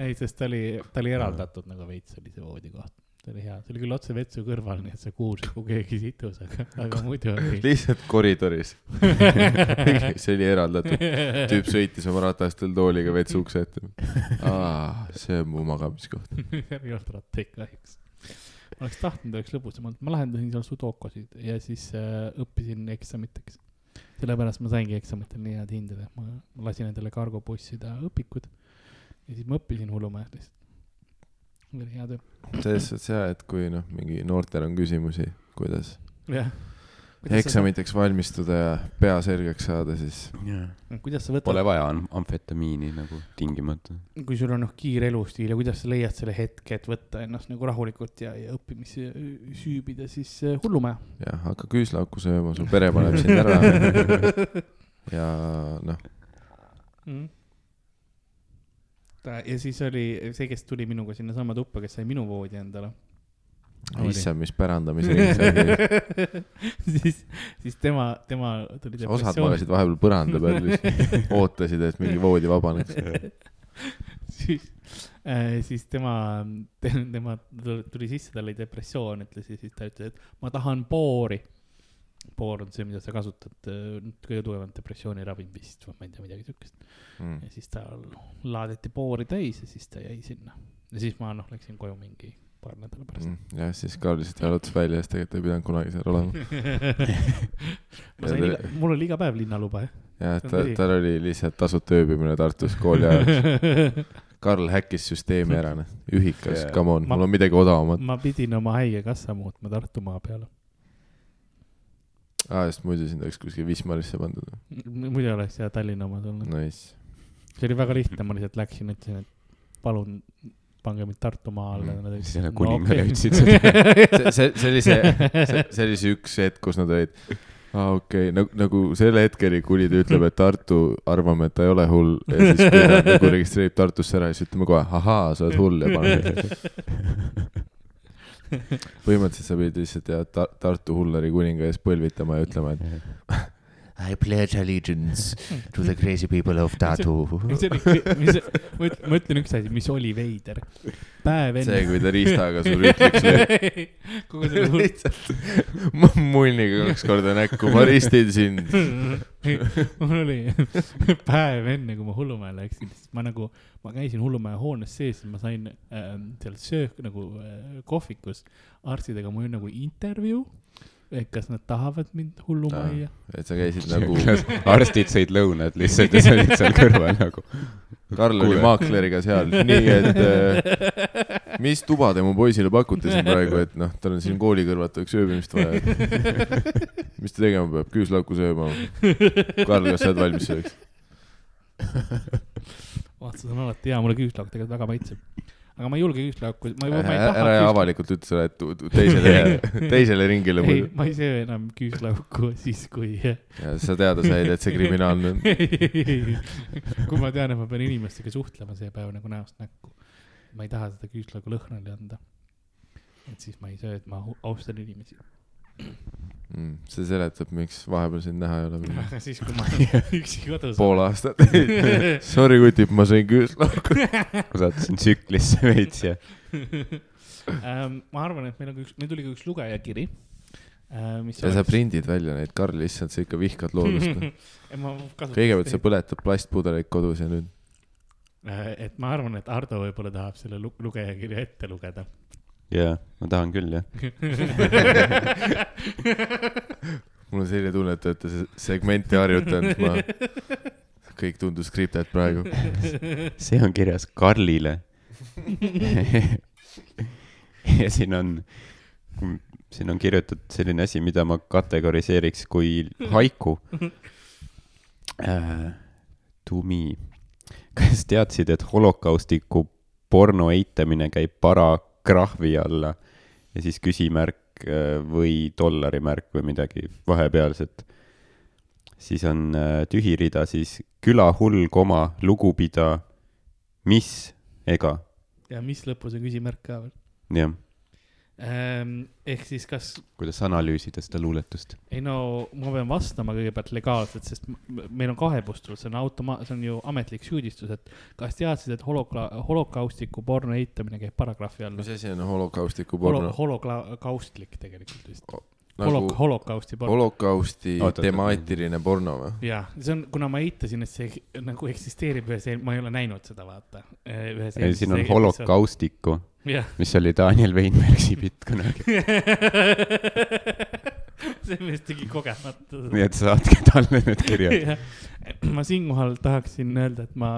Speaker 3: ei , sest ta oli , ta oli eraldatud nagu veits oli see voodikoht . see oli hea , see oli küll otse vetsu kõrval , nii et sa kuulsid , kui keegi situs , aga , aga muidu oli .
Speaker 2: lihtsalt koridoris . see oli eraldatud . tüüp sõitis oma ratastel tooliga vetsu ukse ette . see on mu magamiskoht .
Speaker 3: ei olnud rattaid kahjuks . ma oleks tahtnud , oleks lõbusamalt , ma lahendasin seal sudokosid ja siis äh, õppisin eksamiteks . sellepärast ma saingi eksamitel nii head hinded , et ma ma lasin endale kargo bussida õpikud ja siis ma õppisin hullumajas lihtsalt . see oli hea töö .
Speaker 2: selles suhtes hea , et kui noh , mingi noortel on küsimusi , kuidas
Speaker 3: jah .
Speaker 2: eksamiteks valmistuda ja pea selgeks saada , siis
Speaker 3: kuidas sa võtad
Speaker 4: Pole , vaja am- amfetamiini nagu tingimata .
Speaker 3: kui sul on noh kiire elustiil ja kuidas sa leiad selle hetke , et võtta ennast nagu rahulikult ja , ja õppimisse öö, süübida siis äh, hullumaja .
Speaker 2: jah , hakka küüslauku sööma , su pere paneb sind ära . ja noh ,
Speaker 3: mm. . ta ja siis oli see , kes tuli minuga sinnasamma tuppa , kes sai minu voodi endale .
Speaker 2: issand , mis pärandamise ring see oli .
Speaker 3: siis , siis tema , tema
Speaker 2: osad
Speaker 3: tuli depressiooni ,
Speaker 2: magasid vahepeal põranda peal , lihtsalt ootasid , et mingi voodi vabaneks .
Speaker 3: siis äh, , siis tema , tema tu- tuli sisse , tal oli depressioon , ütles ja siis ta ütles , et ma tahan boori . boor on see , mida sa kasutad , kõige tugevam depressiooniravim vist või ma ei tea , midagi siukest .
Speaker 2: Mm.
Speaker 3: ja siis ta laaditi boori täis ja siis ta jäi sinna . ja siis ma noh , läksin koju mingi paar nädalat pärast .
Speaker 2: Mm, jah , siis Karl lihtsalt jalutas välja , sest tegelikult ta ei pidanud kunagi seal olema .
Speaker 3: ma sain iga , mul oli iga päev linnaluba , jah .
Speaker 2: jah ,
Speaker 3: See on
Speaker 2: ta
Speaker 3: tõsi. ,
Speaker 2: tal oli lihtsalt tasuta ööbimine Tartus kooli ajal . Karl häkkis süsteemi ära , noh , ühikas
Speaker 4: Jaa.
Speaker 2: yeah. , come on ,
Speaker 3: Ma-
Speaker 2: mul on midagi odavamat .
Speaker 3: ma pidin oma haigekassa muutma Tartumaa peale .
Speaker 2: aa , sest muidu sind oleks kuskile Wismarisse pandud .
Speaker 3: muidu oleks jah Tallinna omad olnud .
Speaker 2: Nice .
Speaker 3: see oli väga lihtne , ma lihtsalt läksin , ütlesin , et palun pange mind Tartumaa alla
Speaker 4: Mm,
Speaker 3: näiteks .
Speaker 4: siis jälle kuningale ütlesid seda.
Speaker 2: see , see , see oli see , see oli see üks hetk , kus nad olid , aa okei okay. , nagu , nagu selle hetkeni , kuni ta ütleb , et Tartu , arvame , et ta ei ole hull ja siis kui ta nagu registreerib Tartusse ära , siis ütleme kohe , ahaa , sa oled hull ja paneme . põhimõtteliselt sa pidid lihtsalt jah , Tartu hulleri kuninga ees põlvitama ja ütlema , et
Speaker 5: I pledge allegiance to the crazy people of Tartu.
Speaker 3: mis oli , mis , ma ütlen , ma ütlen üks asi , mis oli veider . päev
Speaker 2: see ,
Speaker 3: enne .
Speaker 2: kui ta riistaga sul ütles veel .
Speaker 3: kogu see hull
Speaker 2: lihtsalt ma munniga kaks korda näkku , ma ristin sind .
Speaker 3: Ei, mul oli päev enne , kui ma hullumäe läksin , siis ma nagu , ma käisin hullumäe hoones sees , ma sain ähm, seal söök nagu äh, kohvikus arstidega , mul oli nagu intervjuu , et kas nad tahavad mind hullumajja .
Speaker 2: et sa käisid nagu ,
Speaker 4: arstid sõid lõunad lihtsalt ja sa olid seal kõrval nagu .
Speaker 2: Karl oli
Speaker 4: Kuule.
Speaker 2: Ah. maakleriga seal , nii et äh, mis tuba te mu poisile pakute siin praegu , et noh , tal on siin kooli kõrvalt oleks ööbimist vaja . mis ta tegema peab , küüslauku sööma ? Karl , kas sa oled valmis selleks ?
Speaker 3: vaata , see on alati hea , mulle küüslauk tegelikult väga maitseb . aga ma ei julge küüslauku , ma ei , ma ei
Speaker 2: ära ja
Speaker 3: taha .
Speaker 2: avalikult ütle seda , et tu- tu- teisele , teisele ringile
Speaker 3: ei
Speaker 2: muidu .,
Speaker 3: ma ei söö enam küüslauku siis , kui äh,
Speaker 2: sa teada said , et see kriminaalne on .
Speaker 3: kui ma tean , et ma pean inimestega suhtlema see päev nagu näost näkku , ma ei taha seda küüslaugu lõhnale anda . et siis ma ei söö , et ma au- austan inimesi .
Speaker 2: Mm, see seletab , miks vahepeal sind näha ei ole .
Speaker 3: aga siis , kui ma üksi kodus
Speaker 2: pool aastat . Sorry , kutib , ma sõin küüslauku .
Speaker 4: ma sattusin tsüklisse veits ja
Speaker 3: olen . Ähm, ma arvan , et meil on ka üks , meil tuli ka üks lugejakiri , mis
Speaker 2: ja sa prindid välja neid , Karl , issand , sa ikka vihkad loodust . kõigepealt
Speaker 3: kõigepealt
Speaker 2: sa põletad plastpudeleid kodus ja nüüd
Speaker 3: Äh, et ma arvan , et Ardo võib-olla tahab selle lu- lugejakirja ette lugeda .
Speaker 4: jaa , ma tahan küll jah .
Speaker 2: mul on selline tunne , et te olete se- segmenti harjutanud , ma , kõik tundus skriptet praegu .
Speaker 4: see on kirjas Karlile . ja siin on , siin on kirjutatud selline asi , mida ma kategoriseeriks kui haiku äh, . tumi . kas teadsid , et holokaustiku porno eitamine käib parakrahvi alla ja siis küsimärk äh, või dollarimärk või midagi vahepealset ? siis on äh, tühi rida , siis küla hull koma lugupida , mis ega ,
Speaker 3: ja mis lõpus on küsimärk ka veel .
Speaker 4: jah ,
Speaker 3: ehk siis , kas
Speaker 4: kuidas analüüsida seda luuletust ?
Speaker 3: ei no ma pean vastama kõigepealt legaalselt , sest m- m- meil on kaebustus , see on automa- , see on ju ametlik süüdistus , et kas teadsid , et holoka- , holokaustiku porno eitamine käib paragrahvi alla
Speaker 2: mis ? asi on holokaustiku
Speaker 3: Holo- ,
Speaker 2: porno ?
Speaker 3: holokaustlik tegelikult vist
Speaker 2: O- .
Speaker 3: Holo-
Speaker 2: nagu ,
Speaker 3: holokausti porno .
Speaker 2: holokausti
Speaker 4: Oot, oot, oot.
Speaker 2: temaatiline porno või ?
Speaker 3: jaa , see on , kuna ma eitasin , et see nagu eksisteerib ühes , ma ei ole näinud seda , vaata .
Speaker 4: ei , siin on . holokaustiku ,
Speaker 3: jah ,
Speaker 4: mis oli Daniel Weinbergi bitt kunagi .
Speaker 3: see mees tegi kogemata seda .
Speaker 4: nii et saatke talle need kirjad .
Speaker 3: Jah. ma siinkohal tahaksin öelda , et ma ,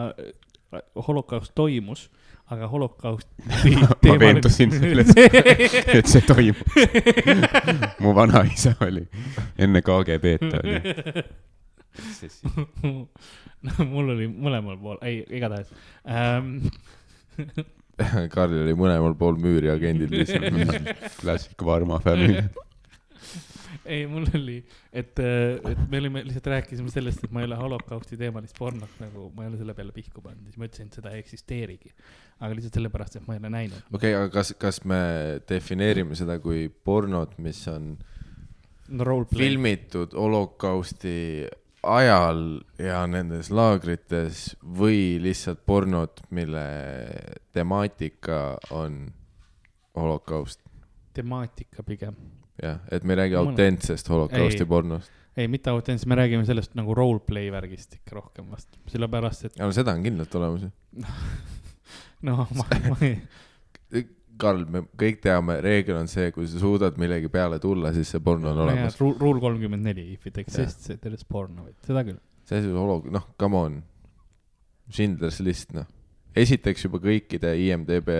Speaker 3: holokaust toimus , aga holokaust .
Speaker 4: ma veendusin selles , et see toimub . mu vanaisa oli , enne KGB-d ta oli .
Speaker 3: no mul oli mõlemal pool , ei , igatahes ähm, .
Speaker 2: Karl oli mõlemal pool müüri agendid lihtsalt .
Speaker 4: klassik Varma family .
Speaker 3: ei , mul oli , et , et me olime , lihtsalt rääkisime sellest , et ma ei ole holokausti teemalist pornot nagu , ma ei ole selle peale pihku pannud , siis ma ütlesin , et seda ei eksisteerigi . aga lihtsalt sellepärast , et ma ei ole näinud .
Speaker 2: okei , aga kas , kas me defineerime seda kui pornot , mis on
Speaker 3: no roleplay .
Speaker 2: filmitud holokausti ajal ja nendes laagrites või lihtsalt pornot , mille temaatika on holokaust ,
Speaker 3: temaatika pigem .
Speaker 2: jah , et me ei räägi
Speaker 3: Mõlemad.
Speaker 2: autentsest holokausti
Speaker 3: Ei.
Speaker 2: pornost .
Speaker 3: ei , mitte autentse , me räägime sellest nagu roleplay värgist ikka rohkem vast , sellepärast et
Speaker 2: ja no seda on kindlalt olemas ju .
Speaker 3: noh , ma , ma ei ,
Speaker 2: Karl , me kõik teame , reegel on see , kui sa suudad millegi peale tulla , siis see porno on
Speaker 3: ma ei
Speaker 2: olemas
Speaker 3: tea ,. rule kolmkümmend neli , if it exists , there is porn of it , seda küll .
Speaker 2: see asi on holo- , noh , come on . Schindler's List , noh . esiteks juba kõikide IMDB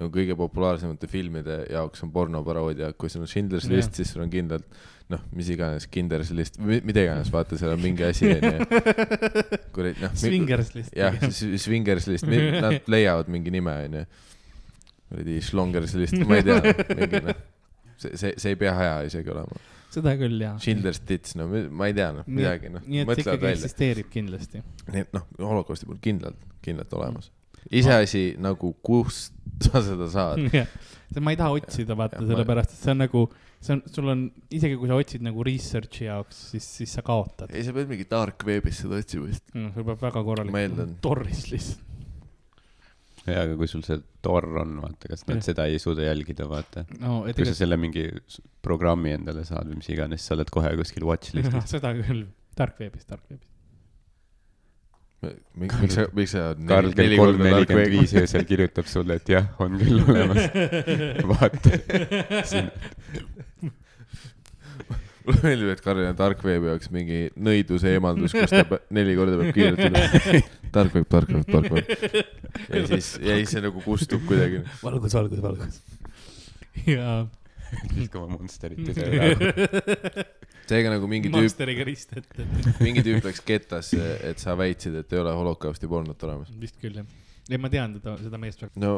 Speaker 2: nagu kõige populaarsemate filmide jaoks on pornoparoodia , kui sul on Schindler's
Speaker 3: Jah.
Speaker 2: List , siis sul on kindlalt noh , mis iganes , Kinder's List , mida iganes , vaata , seal on mingi asi , onju . kuradi , noh .
Speaker 3: Swingers lihtsalt .
Speaker 2: jah , Swingers List , nad leiavad mingi nime , onju . kuradi šlonger sellist , ma ei tea , mingi noh , see , see , see ei pea hea isegi olema .
Speaker 3: seda küll jah .
Speaker 2: Schindler's Tits , no mi- ma ei tea , noh ,
Speaker 3: Nii et-
Speaker 2: midagi , noh ,
Speaker 3: nii et see
Speaker 2: mõtlevad
Speaker 3: ikkagi
Speaker 2: välja .
Speaker 3: eksisteerib kindlasti .
Speaker 2: nii et noh , holokausti puhul kindlalt , kindlalt olemas . iseasi nagu , kust sa seda
Speaker 3: Hmm.
Speaker 2: saad .
Speaker 3: see ma ei taha otsida , vaata
Speaker 2: Jah, , ma-
Speaker 3: sellepärast et see on nagu , see on , sul on , isegi kui sa otsid nagu research'i jaoks , siis , siis sa kaotad .
Speaker 2: ei , sa pead mingi dark web'is seda otsima vist .
Speaker 3: sul peab väga
Speaker 2: Ma
Speaker 3: korralik
Speaker 2: eeldan.
Speaker 3: torris lihtsalt .
Speaker 4: jaa , aga kui sul see tor on , vaata , kas nad seda ei suuda jälgida , vaata .
Speaker 3: no , et
Speaker 4: kui sa
Speaker 3: ega
Speaker 4: selle mingi s- programmi endale saad või mis iganes , sa oled kohe kuskil watchlist'is .
Speaker 3: seda küll , tarkveebis , tarkveebis .
Speaker 2: miks sa , miks sa .
Speaker 4: Karl kell kolm nelikümmend viis . öösel kirjutab sulle , et jah , on küll olemas . vaata ,
Speaker 2: mulle meeldib , et Karl on tark veebi jaoks mingi nõiduse eemaldus , kus ta pe- neli korda peab kirjutama . tark veeb , tark veeb , tark veeb . ja siis , ja siis see nagu kustub kuidagi .
Speaker 5: valgus , valgus , valgus .
Speaker 3: jaa .
Speaker 4: viskame Monsterit ja selle ära .
Speaker 2: seega nagu mingi tüüp ,
Speaker 3: Monsteriga rist ette ,
Speaker 2: mingi tüüp läks kettasse , et sa väitsid , et ei ole holokausti polnud olemas .
Speaker 3: vist küll jah . ei , ma tean teda , seda meest väga .
Speaker 2: no ,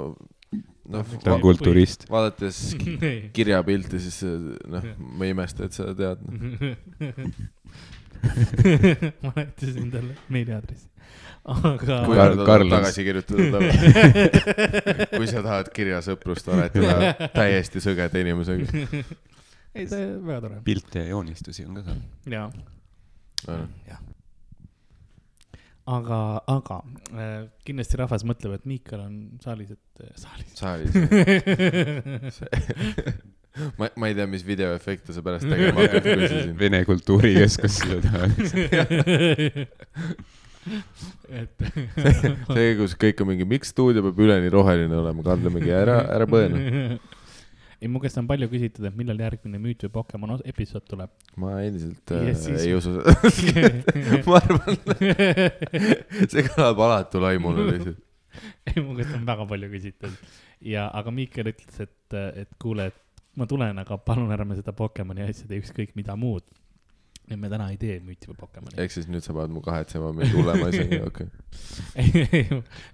Speaker 2: noh ,
Speaker 4: ta on kulturist .
Speaker 2: vaadates
Speaker 3: ei .
Speaker 2: kirjapilti , siis äh, noh , ma ei imesta , et sa tead . noh.
Speaker 3: ma näitasin talle meiliaadressi , aga .
Speaker 4: Kui- Karl- Karl on-
Speaker 2: tagasi kirjutada , kui sa tahad kirjasõprust aretada täiesti sõgeda inimesega .
Speaker 3: ei , see on väga tore .
Speaker 4: pilte ja joonistusi on ka seal .
Speaker 3: jaa , aga , aga äh, kindlasti rahvas mõtleb , et Miikal on saalis , et äh, saalis .
Speaker 2: saalis . ma , ma ei tea , mis videoefekte sa pärast tegema hakkad , kui sa siin .
Speaker 4: Vene kultuurikeskus seda tahab .
Speaker 3: et
Speaker 2: see , kus kõik on mingi , miks stuudio peab üleni roheline olema , Karl on mingi ära , ära põene .
Speaker 3: ei , mu käest on palju küsitud , et millal järgmine müüt või Pokemon os- episood tuleb .
Speaker 2: ma endiselt
Speaker 3: Ja
Speaker 2: äh,
Speaker 3: siis-
Speaker 2: ei usu seda . ma arvan , see kõlab alatu laimule lihtsalt .
Speaker 3: ei , mu käest on väga palju küsitud ja , aga Miikel ütles , et , et kuule , et ma tulen , aga palun ärme seda Pokemoni asja tee , ükskõik mida muud . et me täna ei tee müüti või Pokemoni .
Speaker 2: ehk siis nüüd sa paned mu kahetsema mingi hullema asjaga , okei .
Speaker 3: ei , ei ,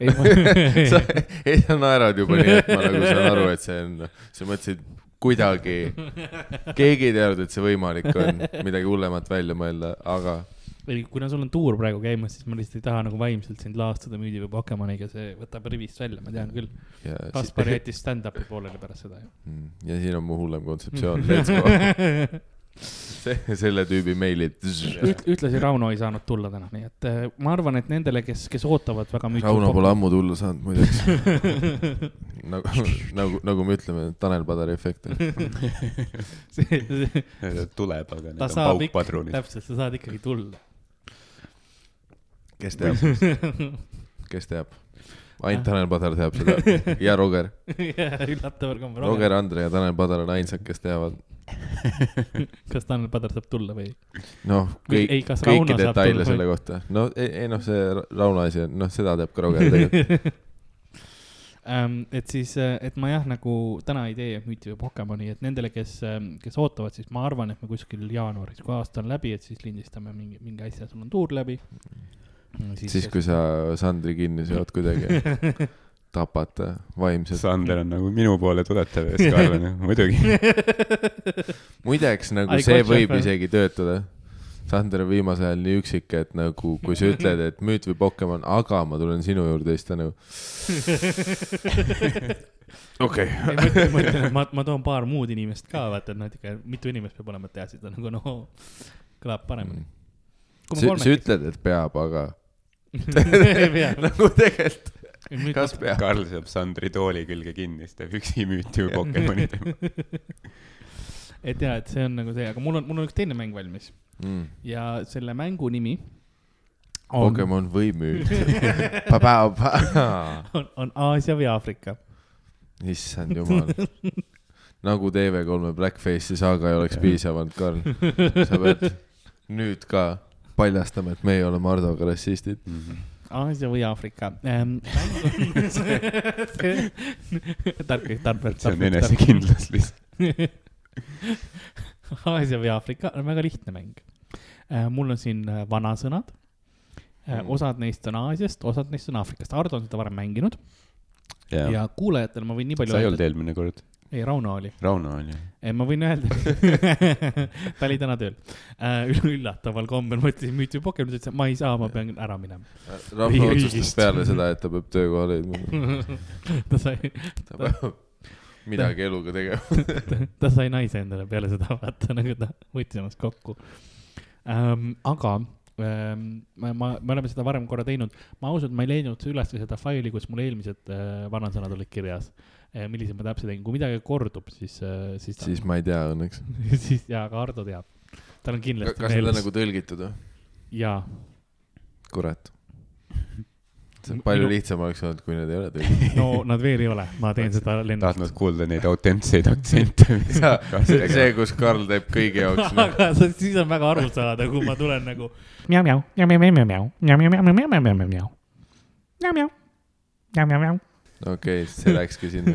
Speaker 3: ei ,
Speaker 2: sa
Speaker 3: ma ,
Speaker 2: ei sa naerad juba nii , et ma nagu saan aru , et see on , sa mõtlesid kuidagi , keegi ei teadnud , et see võimalik on midagi hullemat välja mõelda , aga
Speaker 3: ei , kuna sul on tuur praegu käimas , siis ma lihtsalt ei taha nagu vaimselt sind laastada müüdi või Pokemoniga , see võtab rivist välja , ma tean küll .
Speaker 2: ja, si
Speaker 3: Kaspar jättis stand-up'i pooleli pärast seda ju .
Speaker 2: Mm, ja siin on mu hullem kontseptsioon , let's go . selle tüübi meilid .
Speaker 3: Üt- , ühtlasi Rauno ei saanud tulla täna , nii et äh, ma arvan , et nendele , kes , kes ootavad väga müüti .
Speaker 2: Rauno pole ammu tulla saanud muideks . nagu , nagu , nagu me ütleme , Tanel Padari efekt .
Speaker 3: ammu .
Speaker 4: tuleb , aga need
Speaker 3: ta
Speaker 4: on
Speaker 3: saab ikkagi ,
Speaker 4: paukpadrunid .
Speaker 3: täpselt , sa saad ikkagi tulla .
Speaker 2: kes teab , kes teab ?
Speaker 3: Ah.
Speaker 2: ainult Tanel Padar teab seda ja Roger .
Speaker 3: üllataval kombel .
Speaker 2: Roger , Andre ja Tanel Padar on ainsad , kes teavad .
Speaker 3: kas Tanel Padar saab tulla või ?
Speaker 2: noh , kõik
Speaker 3: ei , kas
Speaker 2: kõiki
Speaker 3: Rauno saab
Speaker 2: detaile
Speaker 3: tulla
Speaker 2: selle
Speaker 3: või ?
Speaker 2: kohta . no ei , ei noh , see Ra- Rauno asi on , noh , seda teab ka Roger tegelikult .
Speaker 3: Ähm, et siis , et ma jah , nagu täna ei tee müüti või Pokemoni , et nendele , kes , kes ootavad , siis ma arvan , et me kuskil jaanuaris , kui aasta on läbi , et siis lindistame mingi , mingi asja , sul on tuur läbi . Mm,
Speaker 2: siis , kui sa Sandri kinni seod kuidagi , tapad ta vaimselt .
Speaker 4: Sander on nagu minu poole tuletav ja siis Karl on , muidugi .
Speaker 2: muideks nagu
Speaker 3: Ai,
Speaker 2: see
Speaker 3: Kotšev
Speaker 2: võib
Speaker 3: või?
Speaker 2: isegi töötada . Sander on viimasel ajal nii üksik , et nagu , kui sa ütled , et müüt või Pokemon , aga ma tulen sinu juurde , siis ta nagu . okei .
Speaker 3: ei , ma ütlen , ma ütlen , et ma , ma toon paar muud inimest ka , vaata , et noh , et ikka mitu inimest peab olema , et teha seda nagu noh , kõlab paremini .
Speaker 2: Mm. sa , sa ütled , et peab , aga
Speaker 3: ei pea ,
Speaker 2: nagu tegelikult ,
Speaker 3: nüüd
Speaker 2: kas peab ?
Speaker 4: Karl saab Sandri tooli külge kinni , siis teeb üksi müüti või Pokemoni teema .
Speaker 3: et jaa , et see on nagu see , aga mul on , mul on üks teine mäng valmis
Speaker 2: mm,
Speaker 3: ja selle mängu nimi on ,
Speaker 2: Pokemon või müüt .
Speaker 3: on , on Aasia või Aafrika .
Speaker 2: issand jumal . nagu TV3-e Blackface'i saaga ei oleks piisav olnud , Karl . sa pead nüüd ka paljastama , et meie oleme Hardoga rassistid .
Speaker 4: Mhm.
Speaker 3: Aasia või Aafrika ähm, . tark , tark ,
Speaker 4: see on
Speaker 3: tark ,
Speaker 4: enesekindlus lihtsalt .
Speaker 3: tark . Aasia või Aafrika on väga lihtne mäng äh, . mul on siin äh, vanasõnad Ehm, äh, , osad neist on Aasiast , osad neist on Aafrikast , Ardo on seda varem mänginud
Speaker 4: jaa ja, ,
Speaker 3: ja kuulajatele ma võin nii palju
Speaker 4: sa ei olnud eelmine kord ,
Speaker 3: ei Rauno oli ,
Speaker 4: Rauno oli .
Speaker 3: ma võin öelda , ta oli täna tööl äh, . üllataval kombel ma ütlesin müüti Pokemoni , ta ütles , et ma ei saa , ma pean ära minema . Või
Speaker 2: rahva otsustas
Speaker 3: riigist.
Speaker 2: peale seda , et ta peab töökoha leidma ,
Speaker 3: ta sai ,
Speaker 2: ta peab midagi eluga tegema .
Speaker 3: ta sai naise endale peale seda , vaata nagu ta võttis ennast kokku ähm, . aga ähm, ma, ma , me oleme seda varem korra teinud , ma ausalt , ma ei leidnud üles ka seda faili , kus mul eelmised äh, vanasõnad olid kirjas äh, . millised ma täpselt tegin , kui midagi kordub , siis äh, , siis .
Speaker 2: siis ma ei tea õnneks .
Speaker 3: siis jaa , aga Ardo teab , tal on kindlasti
Speaker 2: kas need on nagu tõlgitud või ?
Speaker 3: jaa ,
Speaker 2: kurat . see
Speaker 3: Minu-
Speaker 2: palju lihtsam oleks olnud , kui need ei ole tõlgitud .
Speaker 3: no nad veel ei ole , ma teen seda lennu- .
Speaker 4: tahtnud kuulda neid autentseid aktsente , mis
Speaker 2: see , see , kus Karl teeb kõigi jaoks , noh ,
Speaker 3: aga see- siis on väga arusaadav , kui ma tulen nagu
Speaker 6: Meow meow meow meow meow meow meow meow meow meow meow meow meow meow meow meow meow meow meow meow.
Speaker 2: okei okay, , see läkski sinna ,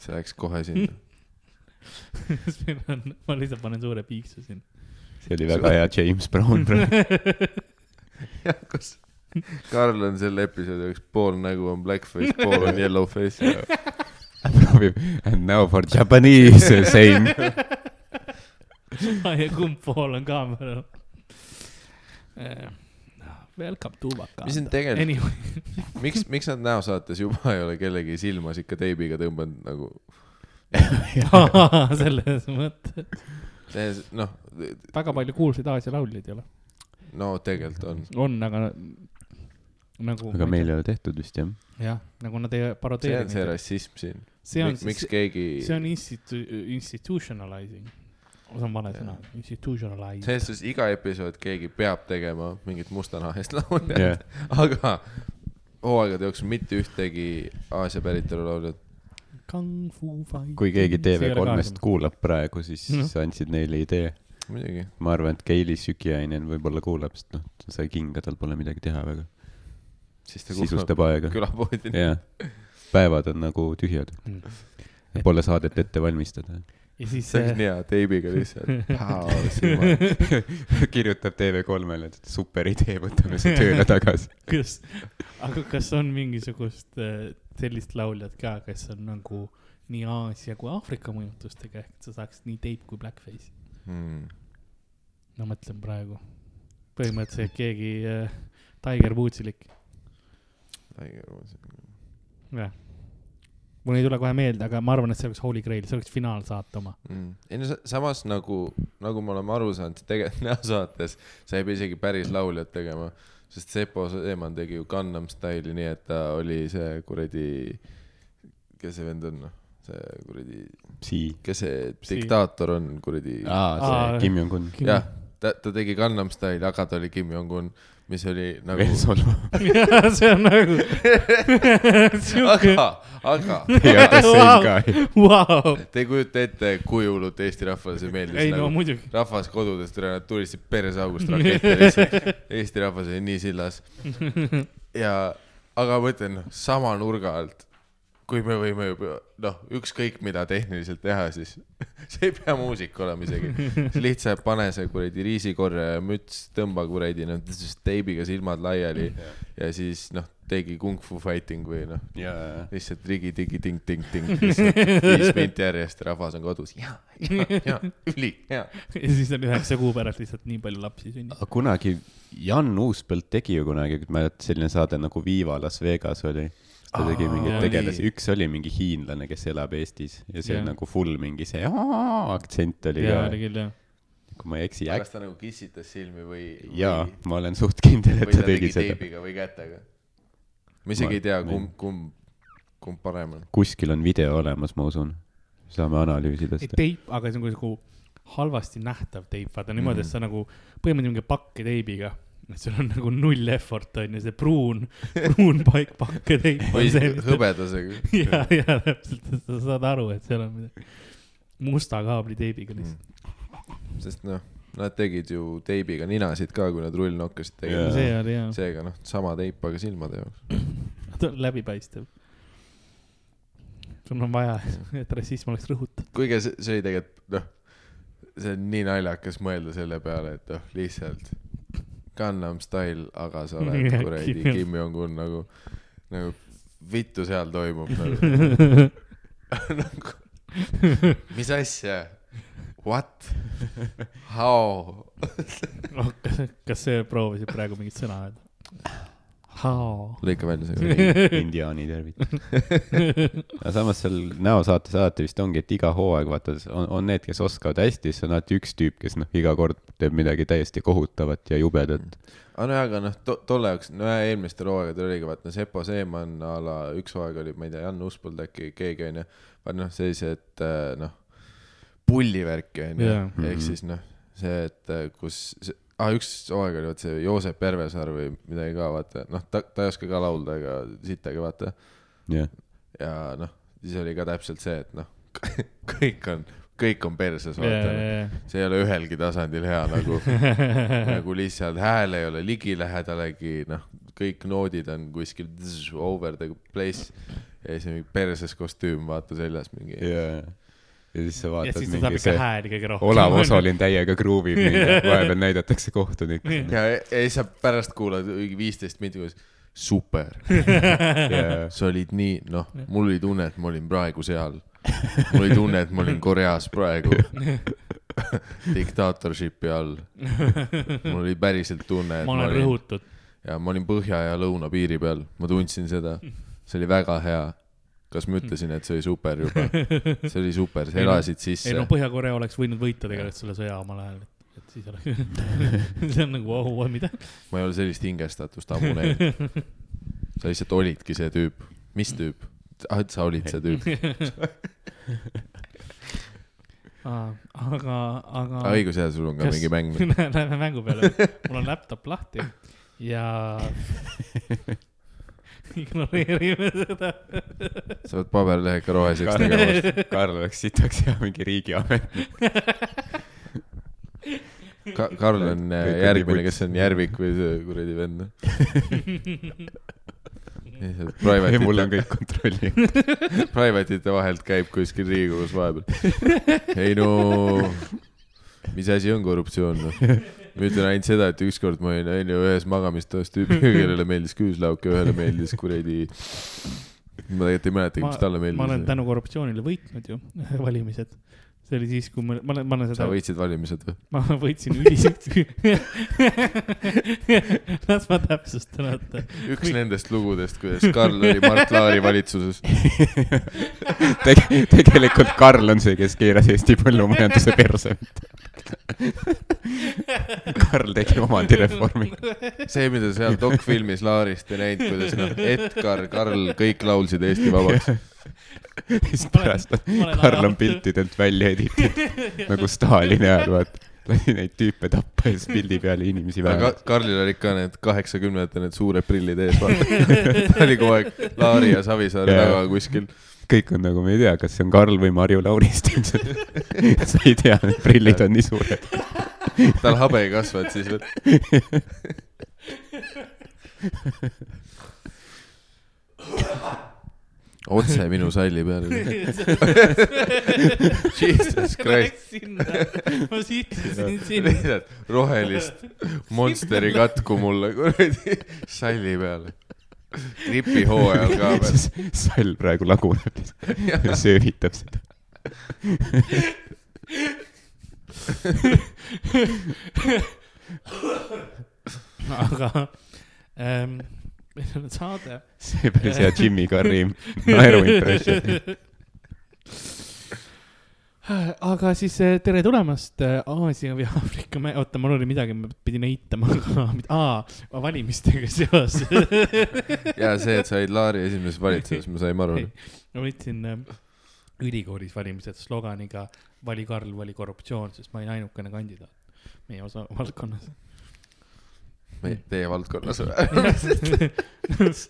Speaker 2: see läks kohe sinna .
Speaker 3: siis meil on , ma lihtsalt panen suure piiksu sinna .
Speaker 4: see oli väga hea James Brown .
Speaker 2: kus Karl on selle episoodi jaoks pool nägu on blackface , pool on yellowface .
Speaker 4: proovib and now for japanese saying .
Speaker 3: ja kumb pool on kaamera ? Eh, Welcome to Vakanda .
Speaker 2: mis on tegelikult ,
Speaker 3: Anyway ,
Speaker 2: miks , miks nad näosaates juba ei ole kellegi silmas ikka teibiga tõmbanud nagu ,
Speaker 3: selles mõttes .
Speaker 2: noh ,
Speaker 3: väga palju kuulsaid Aasia lauljaid ei ole .
Speaker 2: no tegelikult on .
Speaker 3: on , aga nagu .
Speaker 4: aga meil . ei ole tehtud vist jah .
Speaker 3: jah , nagu nad ei
Speaker 2: see on see
Speaker 3: parodeeri .
Speaker 2: rassism siin .
Speaker 3: see
Speaker 2: miks keegi ,
Speaker 3: see on institu- , institutionalizing . see on vale sõna , institutionalizing .
Speaker 2: selles suhtes iga episood keegi peab tegema mingit mustanahest lauljat
Speaker 4: jah ,
Speaker 2: aga hooaegade jooksul mitte ühtegi Aasia päritolu lauljat .
Speaker 3: Kung Fu Fight .
Speaker 4: kui keegi TV3-st . kuulab praegu , siis no.
Speaker 3: Noh.
Speaker 4: sa andsid neile idee .
Speaker 2: muidugi ,
Speaker 4: ma arvan , et Keili Sükiainen võib-olla kuulab , sest noh , ta sai kinga , tal pole midagi teha väga .
Speaker 2: siis ta kuulab
Speaker 4: sisustab aega .
Speaker 2: külapoodi .
Speaker 4: jah , päevad on nagu tühjad
Speaker 3: Mm. .
Speaker 4: Pole saadet ette valmistada .
Speaker 3: ja siis
Speaker 2: see
Speaker 3: äh,
Speaker 2: oleks
Speaker 3: see ,
Speaker 2: nii hea , teibiga lihtsalt .
Speaker 4: kirjutab TV3-le , et super idee , võtame see tööle tagasi .
Speaker 3: kas , aga kas on mingisugust äh, sellist lauljat ka , kes on nagu nii Aasia kui Aafrika mõjutustega , ehk et sa saaksid nii teip kui blackface ?
Speaker 2: Hmm.
Speaker 3: no mõtlen praegu . põhimõtteliselt keegi äh, Tiger Woodsilik , jah . mul ei tule kohe meelde , aga ma arvan , et see oleks Holy Grail , see oleks finaalsaate oma .
Speaker 2: Mm. ei no sa- samas nagu , nagu me oleme aru saanud , tegelikult näosaates sa ei pea isegi päris lauljat tegema , sest Sepo Seeman tegi ju Gangnam Style'i nii , et ta oli see kuradi , kes see vend on , see kuradi ,
Speaker 4: Psi .
Speaker 2: kes see
Speaker 3: Psi.
Speaker 2: diktaator on , kuradi .
Speaker 3: Ah,
Speaker 4: aa ,
Speaker 3: Aa.
Speaker 4: see Kim Jong-un .
Speaker 2: jah , ta , ta tegi Gangnam Style'i , aga ta oli Kim Jong-un , mis oli nagu
Speaker 4: veel solvav .
Speaker 3: see on nagu ,
Speaker 2: aga , aga
Speaker 4: ja the same
Speaker 3: Wow.
Speaker 4: guy .
Speaker 3: vau ,
Speaker 2: te ei kujuta ette , kui hullult Eesti rahvale see meeldis
Speaker 3: ei no
Speaker 2: nagu .
Speaker 3: muidugi .
Speaker 2: rahvas kodudest üle , nad tulistasid persaugust rakette lihtsalt . Eesti rahvas oli nii sillas . ja , aga ma ütlen , sama nurga alt , kui me võime juba , noh , ükskõik mida tehniliselt teha , siis see ei pea muusik olema isegi . lihtsalt pane see kuradi riisikorja ja müts , tõmba kuradi , noh , teibiga silmad laiali ja siis , noh , tegi kung-fu fighting või noh ,
Speaker 4: jaa ,
Speaker 2: lihtsalt rigi-digi-ting-ting-ting , viis minti järjest , rahvas on kodus . ja , ja , ja , üli , ja .
Speaker 3: ja siis on üheksa kuu pärast lihtsalt nii palju lapsi sünnib .
Speaker 4: aga kunagi , Jan Uuspõld tegi ju kunagi , mäletad , selline saade nagu Viva Las Vegas oli . ta tegi mingeid
Speaker 2: oli.
Speaker 4: tegelasi , üks oli mingi hiinlane , kes elab Eestis ja see
Speaker 3: Jah.
Speaker 4: nagu full mingi see aa- aktsent oli
Speaker 3: jaa , oli
Speaker 4: ka ,
Speaker 3: küll jah .
Speaker 4: kui ma ei eksi ,
Speaker 2: kas ta nagu kissitas silmi või ?
Speaker 4: jaa , ma olen suht kindel , et
Speaker 2: või
Speaker 4: ta
Speaker 2: ta
Speaker 4: tegi
Speaker 2: tegi
Speaker 4: seda .
Speaker 2: teibiga või kätega ? ma
Speaker 4: Ma-
Speaker 2: isegi ei tea ,
Speaker 4: ma ei-
Speaker 2: kumb , kumb , kumb parem on .
Speaker 4: kuskil on video olemas , ma usun . saame analüüsida seda .
Speaker 3: teip , aga see on nagu halvasti nähtav teip , vaata niimoodi , et sa nagu põhimõtteliselt mingi pakke teibiga , et sul on nagu null effort on ju , see pruun , pruun paik pakke teip on
Speaker 2: või Mm.
Speaker 3: see .
Speaker 2: hõbedasega .
Speaker 3: ja , ja täpselt , sa saad aru , et seal on midagi musta kaabli teibiga lihtsalt .
Speaker 2: Mm, sest noh , nad tegid ju teibiga ninasid ka , kui nad rullnokkasid tegid
Speaker 4: Jaa.
Speaker 3: see oli hea ,
Speaker 2: seega noh , sama teip , aga silmade jaoks .
Speaker 3: ta on läbipaistev . sul on vaja , et rassism oleks rõhutatud .
Speaker 2: kuigi see , see oli tegelikult noh , see on nii naljakas mõelda selle peale , et noh , lihtsalt Gangnam Style , aga sa oled
Speaker 3: Jah,
Speaker 2: kuradi
Speaker 3: Kim-
Speaker 2: Kim Jong-un nagu , nagu vittu seal toimub nagu. nagu , mis asja ? What ? How ?
Speaker 3: oh, . kas , kas see proovisid praegu mingit sõna öelda ? How ?
Speaker 2: lõika välja see .
Speaker 4: indiaani tervitus . aga samas seal näosaates alati vist ongi , et iga hooaeg vaata , on , on need , kes oskavad hästi , siis on alati üks tüüp , kes noh , iga kord teeb midagi täiesti kohutavat ja jubedat .
Speaker 2: aga nojah , aga noh , tolle jaoks , nojah , eelmistel hooaegadel oligi , vaata Sepo Seeman a la üks hooaeg oli , ma ei tea , Jan Uspald äkki , keegi onju , vaat noh , sellised äh, noh , pullivärki onju
Speaker 3: Jaa.
Speaker 2: yeah. , ehk siis noh , see , et äh, kus , ah, üks hooaeg oli vot see Joosep Järvesaar või midagi ka vaata , noh , ta , ta ei oska ka laulda ega sittagi vaata
Speaker 4: jah ,
Speaker 2: ja noh , siis oli ka täpselt see , et noh , kõik on , kõik on perses vaata yeah, . Yeah
Speaker 3: jajah ,
Speaker 2: see ei ole ühelgi tasandil hea nagu , nagu lihtsalt hääl ei ole ligilähedalegi , noh , kõik noodid on kuskil dzz, over the place . ja siis on mingi perses kostüüm , vaata seljas mingi
Speaker 4: ja , ja siis sa
Speaker 3: ja
Speaker 4: vaatad
Speaker 3: siis ta saab
Speaker 4: mingi
Speaker 3: ikka
Speaker 4: see
Speaker 3: hääli kõige rohkem .
Speaker 4: olav osaline täiega kruuvib mingi , vahepeal näidatakse kohtunikku .
Speaker 2: ja , ja siis sa pärast kuulad mingi viisteist minti , kuidas super ,
Speaker 4: ja ,
Speaker 2: sa olid nii , noh , mul oli tunne , et ma olin praegu seal . mul oli tunne , et ma olin Koreas praegu diktaatorship'i all . mul oli päriselt tunne , et
Speaker 3: ma olen rõhutud .
Speaker 2: ja ma olin põhja ja lõuna piiri peal , ma tundsin seda , see oli väga hea . kas ma ütlesin , et see oli super juba ? see oli super , sa
Speaker 3: Ei no-
Speaker 2: elasid
Speaker 3: ei
Speaker 2: sisse
Speaker 3: no . Põhja-Korea oleks võinud võita tegelikult selle sõja omal ajal , et , et siis oleks , see on nagu oh, , oh, mida ?
Speaker 2: ma ei ole sellist hingestatust ammu näinud . sa lihtsalt olidki see tüüp . mis tüüp ? ah , et sa olid see tüüp .
Speaker 3: aga , aga
Speaker 2: aga . Ah, õigus jah , sul on ka
Speaker 3: Kas-
Speaker 2: mingi mäng .
Speaker 3: Läheme mängu peale , mul on laptop lahti ja ignoreerime seda .
Speaker 2: sa pead paberlehe ikka roheliseks tegema .
Speaker 4: Karl oleks sitaks hea mingi riigiamet .
Speaker 2: Ka- , Karl on äh,
Speaker 4: Kõik on
Speaker 2: järgmine ,
Speaker 4: nii
Speaker 2: kes on Järvik või see kuradi vend . noh. Private'ite
Speaker 4: mul on kõik kontrolli all .
Speaker 2: private'ite vahelt käib kuskil Riigikogus vahepeal . ei no , mis asi on korruptsioon noh ? ma ütlen ainult seda , et ükskord ma olin onju ühes magamistoas tüübiga , kellele meeldis küüslauk ja ühele meeldis kuradi . ma tegelikult ei mäletagi , mis talle
Speaker 3: ma olen
Speaker 2: meeldis .
Speaker 3: tänu korruptsioonile võitnud ju valimised . see oli siis , kui ma , ma olen , ma olen
Speaker 2: sa
Speaker 3: seda ,
Speaker 2: võitsid valimised või ?
Speaker 3: ma võitsin üliselt . las ma täpsustan , oota .
Speaker 2: üks nendest lugudest , kuidas Karl oli Mart Laari valitsuses .
Speaker 4: Teg- , tegelikult Karl on see , kes keeras Eesti põllumajanduse perse . Karl tegi omandireformi .
Speaker 2: see , mida seal dokfilmis Laarist ei näinud , kuidas noh , Edgar , Karl , kõik laulsid Eesti vabaks .
Speaker 4: siis pärast on , Karl on . piltidelt välja editinud , nagu Stalini ajal , vaata . lasi neid tüüpe tappa ja siis pildi peal inimesi
Speaker 2: aga
Speaker 4: väga .
Speaker 2: Ka- Karlil olid ka need kaheksakümnendate need suured prillid ees , vaata . ta oli kogu aeg Laari ja Savisaare
Speaker 4: Jaa.
Speaker 2: taga kuskil .
Speaker 4: kõik on nagu , ma ei tea , kas see on Karl või Marju Lauristin . sa ei tea , need prillid on nii suured .
Speaker 2: tal habe ei kasva , et siis . otse minu salli peale . Jesus Christ ,
Speaker 3: ma sihtisin sinna .
Speaker 2: lihtsalt rohelist Monsteri katku mulle kuradi salli peale . gripihooajal ka veel .
Speaker 4: sall praegu laguneb ja söövitab seda .
Speaker 3: aga ähm, meil on saade .
Speaker 4: see päris hea Jimmy Carri naeruimpression .
Speaker 3: aga siis eh, tere tulemast eh, Aasia või Aafrika mä- , oota , mul oli midagi , ma pidin eitama , aga , aa , valimistega seoses .
Speaker 2: ja see , et sa olid Laari esimeses valitsuses , me saime aru
Speaker 3: Ei. . ma võtsin ähm, ülikoolis valimised sloganiga vali Karl , vali korruptsioon , sest ma olin ainukene kandidaat meie osa valdkonnas .
Speaker 2: Teie valdkonnas või ?
Speaker 3: mis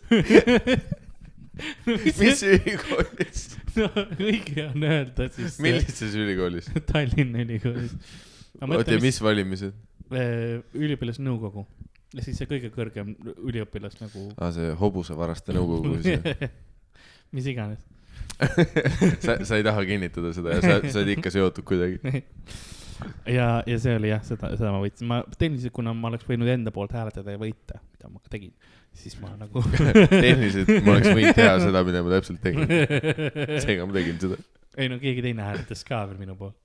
Speaker 2: mis ? ülikoolis ,
Speaker 3: no õige on öelda siis . eh,
Speaker 2: millises ülikoolis ?
Speaker 3: Tallinna Ülikoolis .
Speaker 2: oota , ja mis valimised ?
Speaker 3: äh, üliõpilasnõukogu , siis see kõige kõrgem üliõpilas nagu .
Speaker 2: aa , Ah, see hobusevaraste nõukogu siis jah ?
Speaker 3: mis iganes .
Speaker 2: sa , sa ei taha kinnitada seda ja sa , sa oled ikka seotud kuidagi .
Speaker 3: ja , ja see oli jah , seda , seda ma võitsin , ma tehniliselt , kuna ma oleks võinud enda poolt hääletada ja võita , mida ma ka tegin , siis ma nagu .
Speaker 2: tehniliselt ma oleks võinud teha seda , mida ma täpselt tegin . seega ma tegin seda .
Speaker 3: ei no keegi teine hääletas ka veel minu poolt ,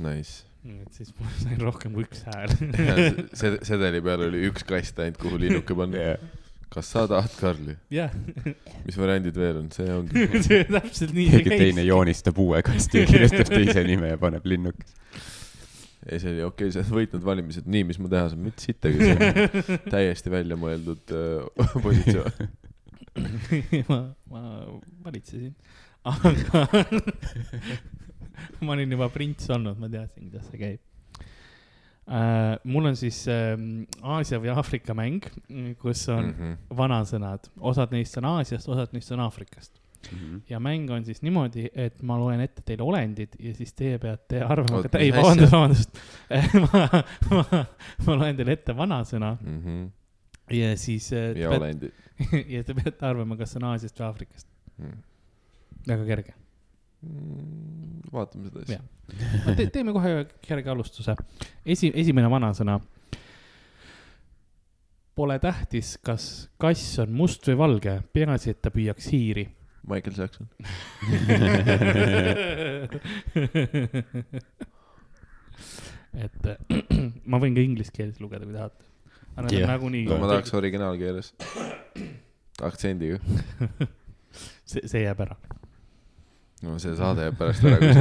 Speaker 2: Nice .
Speaker 3: nii et siis ma sain rohkem kui üks hääl .
Speaker 2: sed- , sedeli peal oli üks kast ainult , kuhu linnuke panna . kas sa tahad , Karli ?
Speaker 3: jah ,
Speaker 2: mis variandid veel on , see ongi .
Speaker 3: see täpselt nii see
Speaker 4: keegi
Speaker 3: käis
Speaker 4: teine . joonistab uue kasti ja kirjutab teise nime ja paneb linnukest .
Speaker 2: ei , see oli okei okay, , sa oled võitnud valimised , nii , mis ma teha saan , mitte sittagi , see on täiesti välja mõeldud äh, positsioon .
Speaker 3: ma , ma valitsesin , aga ma olin juba prints olnud , ma teadsin , kuidas see käib . Uh, mul on siis uh, Aasia või Aafrika mäng , kus on
Speaker 2: Mhm.
Speaker 3: vanasõnad , osad neist on Aasiast , osad neist on Aafrikast .
Speaker 2: Mhm.
Speaker 3: ja mäng on siis niimoodi , et ma loen ette teile olendid ja siis teie peate arvama
Speaker 2: Oot, , mis
Speaker 3: ei ,
Speaker 2: asja?
Speaker 3: vabandust , vabandust . ma , ma , ma loen teile ette vanasõna ja siis äh, te
Speaker 2: Mhm. ja
Speaker 3: peate-
Speaker 2: olendid .
Speaker 3: ja te peate arvama , kas see on Aasiast või Aafrikast .
Speaker 2: Mm.
Speaker 3: väga kerge .
Speaker 2: vaatame seda siis
Speaker 3: Jah. . Te, teeme kohe kerge alustuse . esi , esimene vanasõna . Pole tähtis , kas kass on must või valge , peaasi , et ta püüaks hiiri .
Speaker 2: Michael Jackson .
Speaker 3: et äh, ma võin ka inglise keeles lugeda , kui tahate . aga nad
Speaker 4: Jah.
Speaker 3: on nagunii
Speaker 2: no ma tahaks originaalkeeles . aktsendiga .
Speaker 3: see , see jääb ära .
Speaker 2: no see saade jääb pärast ära , kui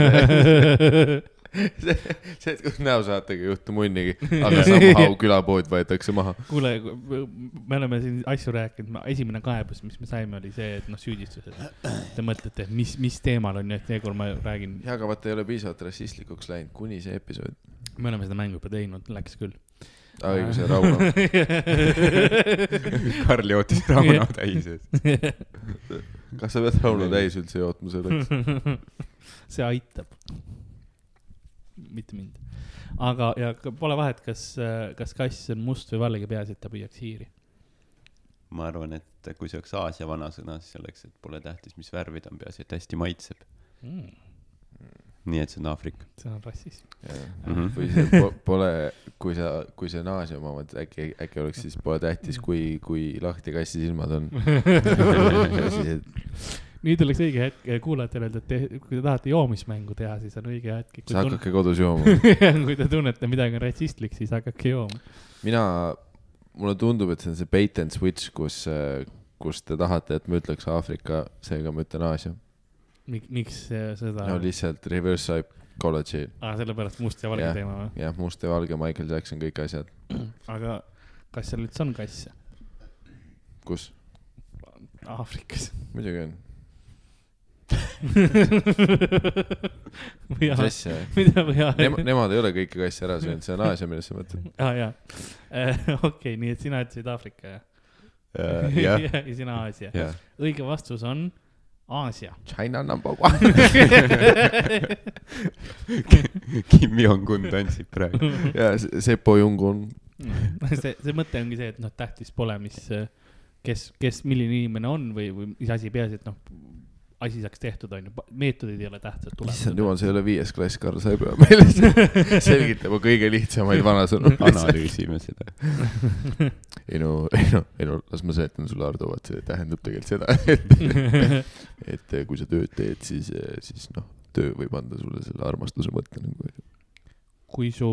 Speaker 2: see see , see , et kus näosaatega ei juhtu munnigi , aga somehow külapood võetakse maha .
Speaker 3: kuule , me oleme siin asju rääkinud , esimene kaebus , mis me saime , oli see , et noh , süüdistused . Te mõtlete , et mis , mis teemal on ju , et seekord ma räägin ,
Speaker 2: ja , aga vaata , ei ole piisavalt rassistlikuks läinud kuni see episood .
Speaker 3: me oleme seda mängu juba teinud , läks küll .
Speaker 2: aa , õige , see Rauno .
Speaker 4: Karl jootis Rauno täis .
Speaker 2: kas sa pead Rauno täis üldse jootma selleks ?
Speaker 3: see aitab . mitte mind . aga , ja ka- pole vahet , kas , kas kass on must või valge , peaasi , et ta püüaks hiiri .
Speaker 4: ma arvan , et kui see oleks Aasia vanasõna , siis oleks , et pole tähtis , mis värvi ta on , peaasi , et hästi maitseb . nii et see on Aafrika .
Speaker 3: Hmm, see on rassism .
Speaker 2: või see po- pole , kui sa , kui see on Aasia oma , et äkki , äkki oleks siis pole tähtis , kui , kui lahti kassi silmad on . siis , et
Speaker 3: nüüd oleks õige hetk eh, kuulajatele öelda , et te, kui te tahate joomismängu teha , siis on õige hetk .
Speaker 2: sa hakake kodus jooma .
Speaker 3: kui te tunnete midagi on rassistlik , siis hakake jooma .
Speaker 2: mina , mulle tundub , et see on see bait and switch , kus , kus te tahate , et ma ütleks Aafrika , seega ma ütlen Aasia .
Speaker 3: miks , miks äh, seda
Speaker 2: no
Speaker 3: no, ,
Speaker 2: lihtsalt reverse psychology ,
Speaker 3: ah, sellepärast must ja valge
Speaker 2: Jah.
Speaker 3: teema või ?
Speaker 2: jah , must ja valge , Michael Jackson , kõik asjad ,
Speaker 3: aga kas seal üldse on kasse ?
Speaker 2: kus
Speaker 3: Aafrikas .
Speaker 2: muidugi on .
Speaker 3: või
Speaker 2: mis
Speaker 3: Aasias ,
Speaker 2: asja ?
Speaker 3: mida või
Speaker 2: Nemad ,
Speaker 3: Aasias ,
Speaker 2: nemad ei ole kõiki kasse ära söönud , see on Aasia , millest sa mõtled .
Speaker 3: aa Ah, jaa . okei , nii et sina ütlesid Aafrika jah ?
Speaker 2: Eh,
Speaker 4: jah ,
Speaker 3: ja sina Aasia .
Speaker 4: jah .
Speaker 3: õige vastus on Aasia .
Speaker 2: China number one .
Speaker 4: Kim Jong-un tantsib praegu .
Speaker 2: ja se- Sepo Jung on ,
Speaker 3: see , see mõte ongi see , et noh , tähtis pole , mis , kes , kes , milline inimene on või , või mis asi peaasi , et noh , asi saaks tehtud , on ju , meetodid ei ole tähtsad .
Speaker 2: issand jumal , see ei ole viies klass , Karl , sa ei pea meile selgitama kõige lihtsamaid vanasõnu .
Speaker 4: analüüsime seda .
Speaker 2: ei no , ei no , ei no las ma seletan sulle , Ardo , vaat see tähendab tegelikult seda , et , et eh, kui sa tööd teed , siis , siis noh , töö võib anda sulle selle armastuse mõtte nagu .
Speaker 3: kui su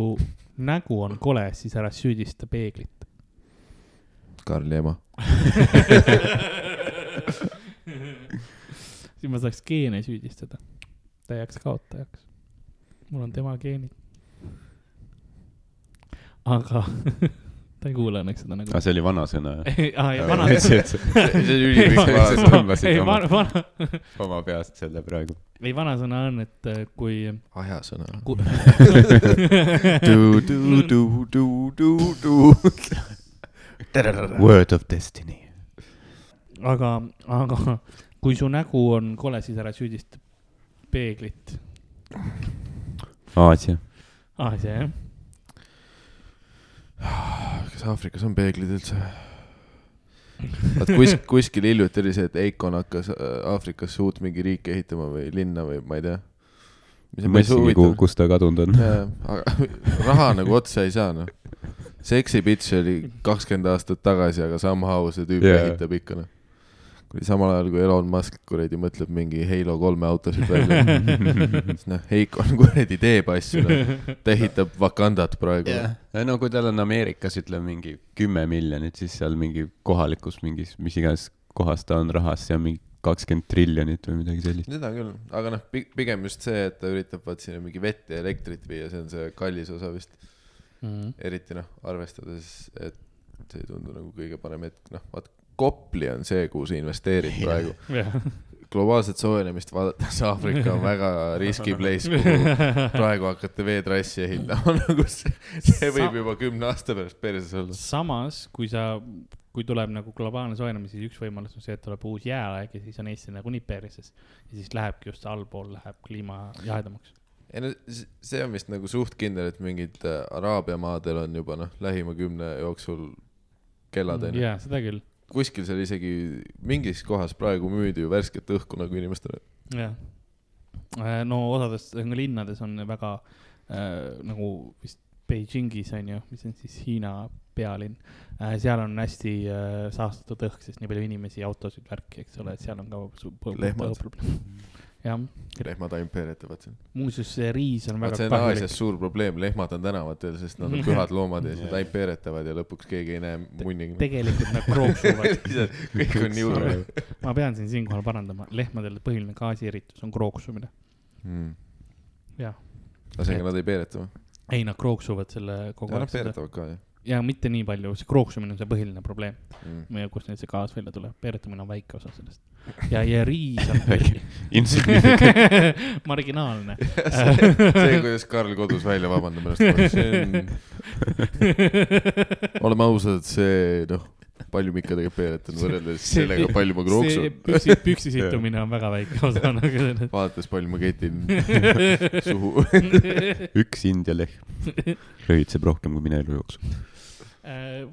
Speaker 3: nägu on kole , siis ära süüdista peeglit .
Speaker 2: Karli ema .
Speaker 3: siis ma saaks geene süüdistada täieks kaotajaks . mul on tema geenid . aga ta ei kuule õnneks seda nagu
Speaker 4: aga . Ah, see oli vanasõna , jah ?
Speaker 3: ei ,
Speaker 2: see on
Speaker 4: ülipikk tõmbasid oma-
Speaker 3: vana , vana ,
Speaker 4: oma peast selle praegu .
Speaker 3: ei vanasõna on , et äh, kui ,
Speaker 2: ajasõna .
Speaker 3: kui ,
Speaker 4: Word of destiny .
Speaker 3: aga , aga kui su nägu on kole , siis ära süüdista peeglit .
Speaker 4: Aasia .
Speaker 3: aa , see jah .
Speaker 2: kas Aafrikas on peeglid üldse ? vaat kus , kuskil hiljuti oli see , et Eikon hakkas äh, Aafrikasse uut mingi riiki ehitama või linna või ma ei tea .
Speaker 4: mõtlesingi , kuhu , kus ta kadunud on .
Speaker 2: aga raha nagu otsa ei saa , noh . Sexy Bitch oli kakskümmend aastat tagasi , aga somehow see tüüp
Speaker 4: Jaa.
Speaker 2: yeah. ehitab ikka , noh . kui samal ajal , kui Elon Musk kuradi mõtleb mingi Halo kolme autosid välja , siis noh , Heiko on kuradi teeb asju , noh . ta ehitab Wakandat praegu
Speaker 4: Nagu
Speaker 2: yeah. .
Speaker 4: no kui tal on Ameerikas , ütleme mingi kümme miljonit , siis seal mingi kohalikus mingis , mis iganes kohas ta on rahas , see on mingi kakskümmend triljonit või midagi sellist .
Speaker 2: seda küll , aga noh , pigem just see , et ta üritab vaat sinna mingi vett ja elektrit viia , see on see kallis osa vist . eriti noh , arvestades , et see ei tundu nagu kõige parem hetk , noh , vaat Kopli on see , kuhu sa investeerid praegu . globaalset soojenemist vaadates Aafrika on väga risky place , kuhu praegu hakata veetrassi ehitama , nagu see , see võib juba kümne aasta pärast perses olla .
Speaker 3: samas , kui sa , kui tuleb nagu globaalne soojenemine , siis üks võimalus on see , et tuleb uus jääaeg ja siis on Eesti nagunii perses . ja siis lähebki just allpool läheb kliima jahedamaks .
Speaker 2: ei no s- see on vist nagu suht kindel , et mingid äh, Araabia maadel on juba noh , lähima kümne jooksul kellad onju .
Speaker 3: Mm, jaa , seda küll .
Speaker 2: kuskil seal isegi mingis kohas praegu müüdi ju värsket õhku nagu inimestele .
Speaker 3: jah . no osades nagu linnades on väga äh, nagu vist Beijingis on ju , mis on siis Hiina pealinn äh, , seal on hästi äh, saastatud õhk , sest nii palju inimesi , autosid , värki , eks ole , et seal on ka su- põ-
Speaker 2: Lehmad.
Speaker 3: õhuprobleem . jah ,
Speaker 2: lehmad ainult peeretavad siin .
Speaker 3: muuseas see riis on
Speaker 2: vot
Speaker 3: väga
Speaker 2: see on Aasias . suur probleem , lehmad on tänavatel , sest nad on pühad loomad ja siis nad ainult peeretavad ja lõpuks keegi ei näe munnigi .
Speaker 3: tegelikult nad krooksuvad ,
Speaker 2: kõik on nii hull
Speaker 3: ma pean siin siinkohal parandama , lehmadel põhiline gaasieritus on krooksumine .
Speaker 2: mm. .
Speaker 3: jah ,
Speaker 2: ühesõnaga nad ei peereta või ?
Speaker 3: ei nad krooksuvad selle kogu
Speaker 2: Nad
Speaker 3: aeg seda
Speaker 2: peeretavad ka jah
Speaker 3: ja mitte nii palju , see krooksumine on see põhiline probleem .
Speaker 2: mm. .
Speaker 3: ma ei tea , kust neil see gaas välja tuleb , veeretamine on väike osa sellest . ja , ja riis
Speaker 4: Väike.
Speaker 3: on marginaalne .
Speaker 2: see , kuidas Karl kodus välja vabandab ennast , see on , oleme ausad , see noh , palju ma ikka tegelikult peeretan võrreldes
Speaker 3: See-
Speaker 2: sellega , palju ma
Speaker 3: see
Speaker 2: krooksun .
Speaker 3: püksi , püksi situmine on väga väike osa nagu sellest .
Speaker 2: vaadates palju ma ketin suhu .
Speaker 4: üks India lehm röövitseb rohkem kui mine elu jooksul .
Speaker 3: Äh,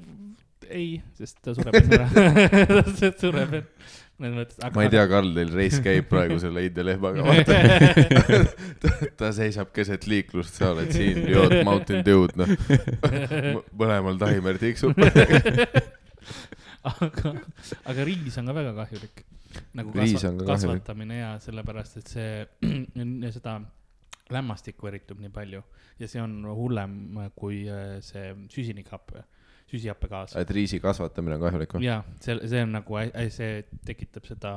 Speaker 3: ei , sest ta sureb enne ära . ta sureb enne .
Speaker 2: ma ei tea ,. Karl , teil reis käib praegu selle India lehmaga , vaata . ta seisab keset liiklust , sa oled siin , jood Mountain Dew'd , noh . mõlemal taimer tiksub .
Speaker 3: aga , aga riis on ka väga kahjulik . nagu
Speaker 2: Riis
Speaker 3: kasva-
Speaker 2: on ka kahjulik.
Speaker 3: kasvatamine ja sellepärast , et see seda lämmastikku eritub nii palju ja see on hullem kui äh, see süsinikhappe , süsihappegaas .
Speaker 2: et riisi kasvatamine on kahjulik või ?
Speaker 3: ja see , see on nagu , see tekitab seda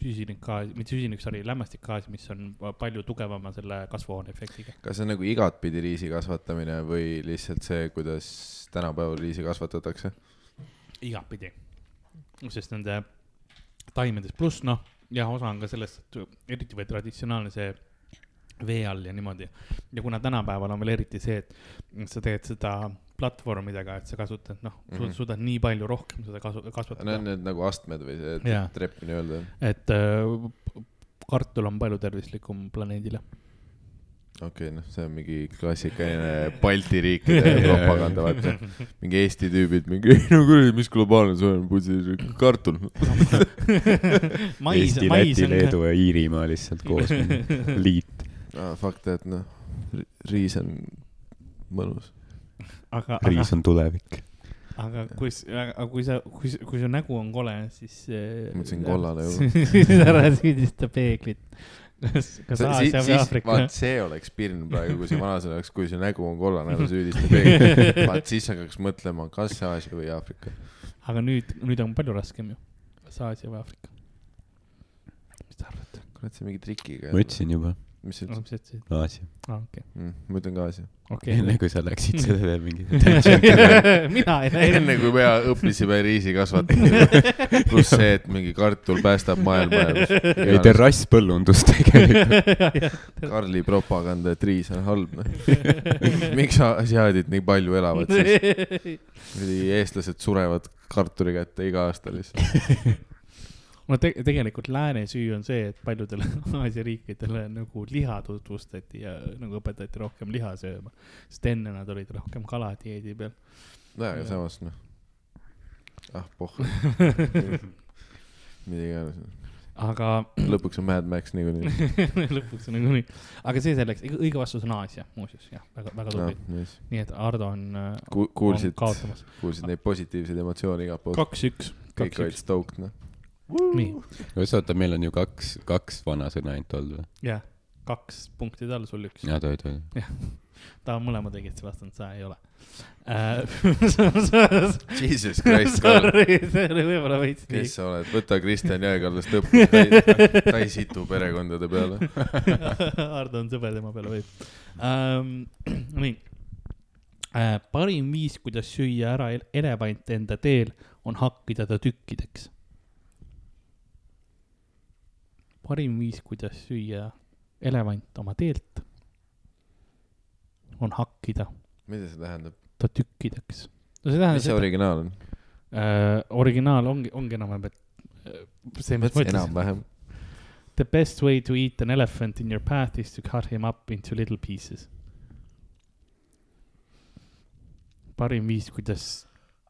Speaker 3: süsinikgaasi , mitte süsinik , sorry , lämmastikgaasi , mis on pa- palju tugevama selle kasvuhoone efektiga .
Speaker 2: kas see on nagu igatpidi riisi kasvatamine või lihtsalt see , kuidas tänapäeval riisi kasvatatakse ?
Speaker 3: igatpidi , sest nende taimedes , pluss noh , jah , osa on ka sellest , et eriti või traditsionaalne see vee all ja niimoodi . ja kuna tänapäeval on veel eriti see , et sa teed seda platvormidega , et sa kasutad , noh mm
Speaker 2: Mhm.
Speaker 3: -hmm. , suudad nii palju rohkem seda kasu- ,
Speaker 2: Need
Speaker 3: kasvatada
Speaker 2: on
Speaker 3: no, ,
Speaker 2: need nagu astmed või see
Speaker 3: Jaa.
Speaker 2: tre- trepp nii-öelda .
Speaker 3: et äh, kartul on palju tervislikum planeedile .
Speaker 2: okei okay, , noh , see on mingi klassikaline Balti riikide propaganda , vaata . mingi Eesti tüübid , mingi , ei no kuradi , mis globaalne soojem , putsi , kartul .
Speaker 3: mais ,
Speaker 4: Eesti ,
Speaker 3: mais
Speaker 4: Läti ,
Speaker 3: on ka ,
Speaker 4: Leedu ja Iirimaa lihtsalt koos , liit .
Speaker 2: ah, . fakt , et noh , riis on mõnus .
Speaker 3: aga , aga
Speaker 4: riis on tulevik .
Speaker 3: aga kui , aga kui sa , kui , kui su nägu on kole , siis .
Speaker 2: Ma mõtlesin kollane juba.
Speaker 3: juba . siis ära süüdista peeglit . kas , kas Aasia või Aafrika ?
Speaker 2: vaat see oleks pirn praegu , kui see vanasõna oleks , kui su nägu on kollane , ära süüdista peeglit . vaat siis hakkaks mõtlema , kas see Aasia või Aafrika .
Speaker 3: aga nüüd , nüüd on palju raskem ju . kas Aasia või Aafrika ? mis te arvate ?
Speaker 2: kurat , see on mingi trikiga .
Speaker 4: ma . ütlesin juba ,
Speaker 2: mis sa ütlesid
Speaker 3: mis sa ütlesid ?
Speaker 4: Aasia .
Speaker 3: aa , okei ,
Speaker 2: mm, ? ma ütlen ka Aasia .
Speaker 4: enne
Speaker 3: okei . Mm.
Speaker 4: kui sa läksid selle veel mingi .
Speaker 3: mina ei näinud .
Speaker 2: enne kui me õppisime riisi kasvatama , pluss see , et mingi kartul päästab maailma
Speaker 4: ei ,
Speaker 2: ja .
Speaker 4: terrasspõllundus tegelikult .
Speaker 2: Karli propaganda , et riis on halb , noh . miks asiaadid nii palju elavad siis ? Kuradi eestlased surevad kartuli kätte iga aasta lihtsalt .
Speaker 3: no te tegelikult lääne süü on see , et paljudele Aasia riikidele nagu liha tutvustati ja nagu õpetati rohkem liha sööma , sest enne nad olid rohkem kaladieedi peal .
Speaker 2: nojah , aga
Speaker 3: Jah.
Speaker 2: samas noh , ah pohh , mida iganes .
Speaker 3: aga
Speaker 2: lõpuks on Mad Max niikuinii .
Speaker 3: lõpuks on nagunii , aga see selleks , õige vastus on Aasia muuseas jah , väga , väga tubli no. . nii et Ardo on äh,
Speaker 2: Noh, Ku- , kuulsid
Speaker 3: on , kaotamas .
Speaker 2: kuulsid neid positiivseid emotsioone igalt poolt .
Speaker 3: kaks-üks ,
Speaker 2: kõik olid
Speaker 3: kaks-üks ,
Speaker 2: stoked , noh .
Speaker 3: nii ,
Speaker 4: kas oota , meil on ju kaks , kaks vanasõna ainult olnud või ?
Speaker 3: jah , kaks punkti tal , sul üks .
Speaker 4: jaa , tohib , tohib .
Speaker 3: ta on mõlemad õigesti vastanud , sa ei ole äh, .
Speaker 2: Jesus Christ , Karl ,
Speaker 3: Sorry , see oli võib-olla veits
Speaker 2: kes sa oled , võta Kristjan Jõekallast õppida , ta ei , ta ei situ perekondade peale .
Speaker 3: nii . Ardo on sõber tema peale võib ähm, . nii äh, , parim viis , kuidas süüa ära el- elevant enda teel , on hakkida ta tükkideks . parim viis , kuidas süüa elevant oma teelt , on hakkida
Speaker 2: mida see tähendab ?
Speaker 3: ta tükkideks . no see tähendab
Speaker 2: mis see
Speaker 3: seda ,
Speaker 2: originaal on ?
Speaker 3: äh, originaal ongi , ongi enam-vähem , et äh, see , mis ma ütlesin .
Speaker 2: enam-vähem .
Speaker 3: The best way to eat an elephant in your path is to cut him up into little pieces . parim viis , kuidas ,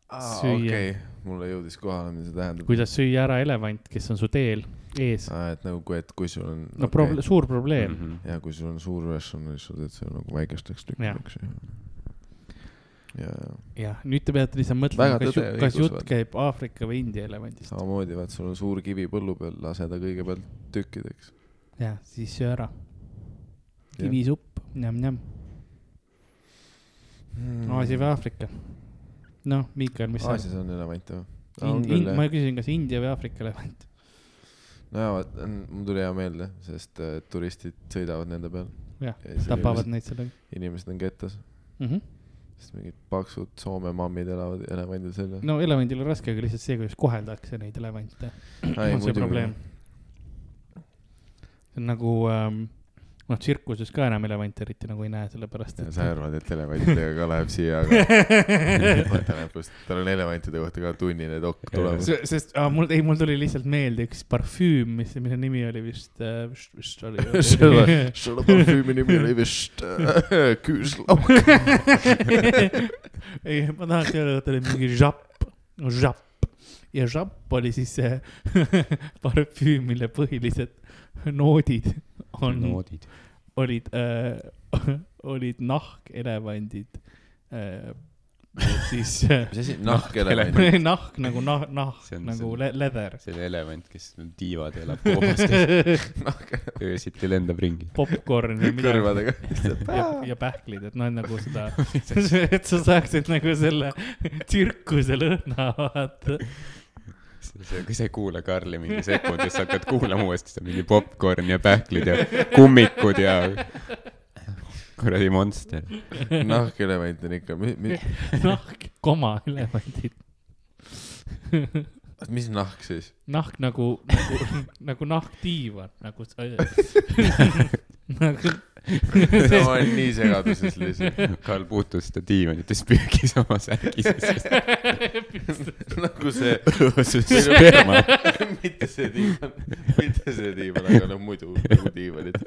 Speaker 3: Süüa.
Speaker 2: okei , mulle jõudis kohale , mida see tähendab .
Speaker 3: kuidas süüa ära elevant , kes on su teel ees .
Speaker 2: aa , et nagu , et kui sul on .
Speaker 3: no proble- , suur probleem .
Speaker 4: -hmm.
Speaker 2: ja kui sul on suur versioon , siis sa teed selle nagu väikesteks tükkideks . ja , ja
Speaker 3: jah , nüüd te peate lihtsalt
Speaker 2: Väga
Speaker 3: mõtlema , kas
Speaker 2: tõde
Speaker 3: ju-
Speaker 2: ja
Speaker 3: kas
Speaker 2: õigus,
Speaker 3: jutt
Speaker 2: vaata.
Speaker 3: käib Aafrika või India elevandist .
Speaker 2: samamoodi , vaat sul on suur kivi põllu peal , lase ta kõigepealt tükkideks .
Speaker 3: jah , siis söö ära . kivisupp , njam-njam . Aasia või Aafrika ? noh , Miikael , mis sa
Speaker 2: Mhm. Aasias on elevante või ?
Speaker 3: Ind- , Ind- , ma küsisin , kas India või Aafrika elevant .
Speaker 2: nojah , vaat , mul tuli hea meelde , sest äh, turistid sõidavad nende peal .
Speaker 3: jah , tapavad . neid sellega
Speaker 2: inimesed on kettas ,
Speaker 3: mm . -hmm.
Speaker 2: sest mingid paksud Soome mammid elavad elevandil seljas .
Speaker 3: no elevandil on raske , aga lihtsalt see , kuidas koheldakse neid elevante ,
Speaker 2: ei
Speaker 3: on see probleem .. see on nagu ähm, , noh , tsirkuses ka enam elevante eriti nagu ei näe , sellepärast et .
Speaker 2: sa arvad , et elevantidega ka läheb siia , aga võta näpust , tal on elevantide kohta ka tunnine dokk tulemas .
Speaker 3: Se- sest ah, mul , ei , mul tuli lihtsalt meelde üks parfüüm , mis , mille nimi oli vist äh, , vist oli
Speaker 2: selle , selle parfüümi nimi oli vist äh, küüslauk .
Speaker 3: ei , ma tahaks öelda , et oli mingi žapp , žapp ja žapp oli siis see parfüüm , mille põhilised noodid on no. ,
Speaker 4: noodid .
Speaker 3: olid äh, , olid nahk , elevandid äh, , siis äh,
Speaker 2: mis asi , nahkelevant ?
Speaker 3: nahk nagu nahk , nahk
Speaker 4: See on- see
Speaker 3: nagu
Speaker 4: on-
Speaker 3: le- leather ,
Speaker 4: see on elevant , kes tiivad ja elab koobastes . öösiti lendab ringi .
Speaker 3: popkorn või midagi
Speaker 2: kõrvadega .
Speaker 3: ja, ja pähklid , et noh , nagu seda , et sa saaksid nagu selle tsirkuse lõhna vaata .
Speaker 4: kui sa ei kuula Karli mingi sekund ja sa hakkad kuulama uuesti , siis on mingi popkorn ja pähklid ja kummikud ja kuradi monster .
Speaker 2: nahkelevant on ikka ,
Speaker 3: nahk , koma elevandid .
Speaker 2: mis nahk siis ?
Speaker 3: nahk nagu , nagu , nagu nahkdiivan , nagu sa nagu, .
Speaker 2: ma olen nii segaduses lihtsalt .
Speaker 4: Karl puutus seda diivanit ja siis pühkis oma särgi sisse .
Speaker 2: nagu see ,
Speaker 4: sperma .
Speaker 2: mitte see diivan , mitte see diivan , aga no muidu nagu diivanid .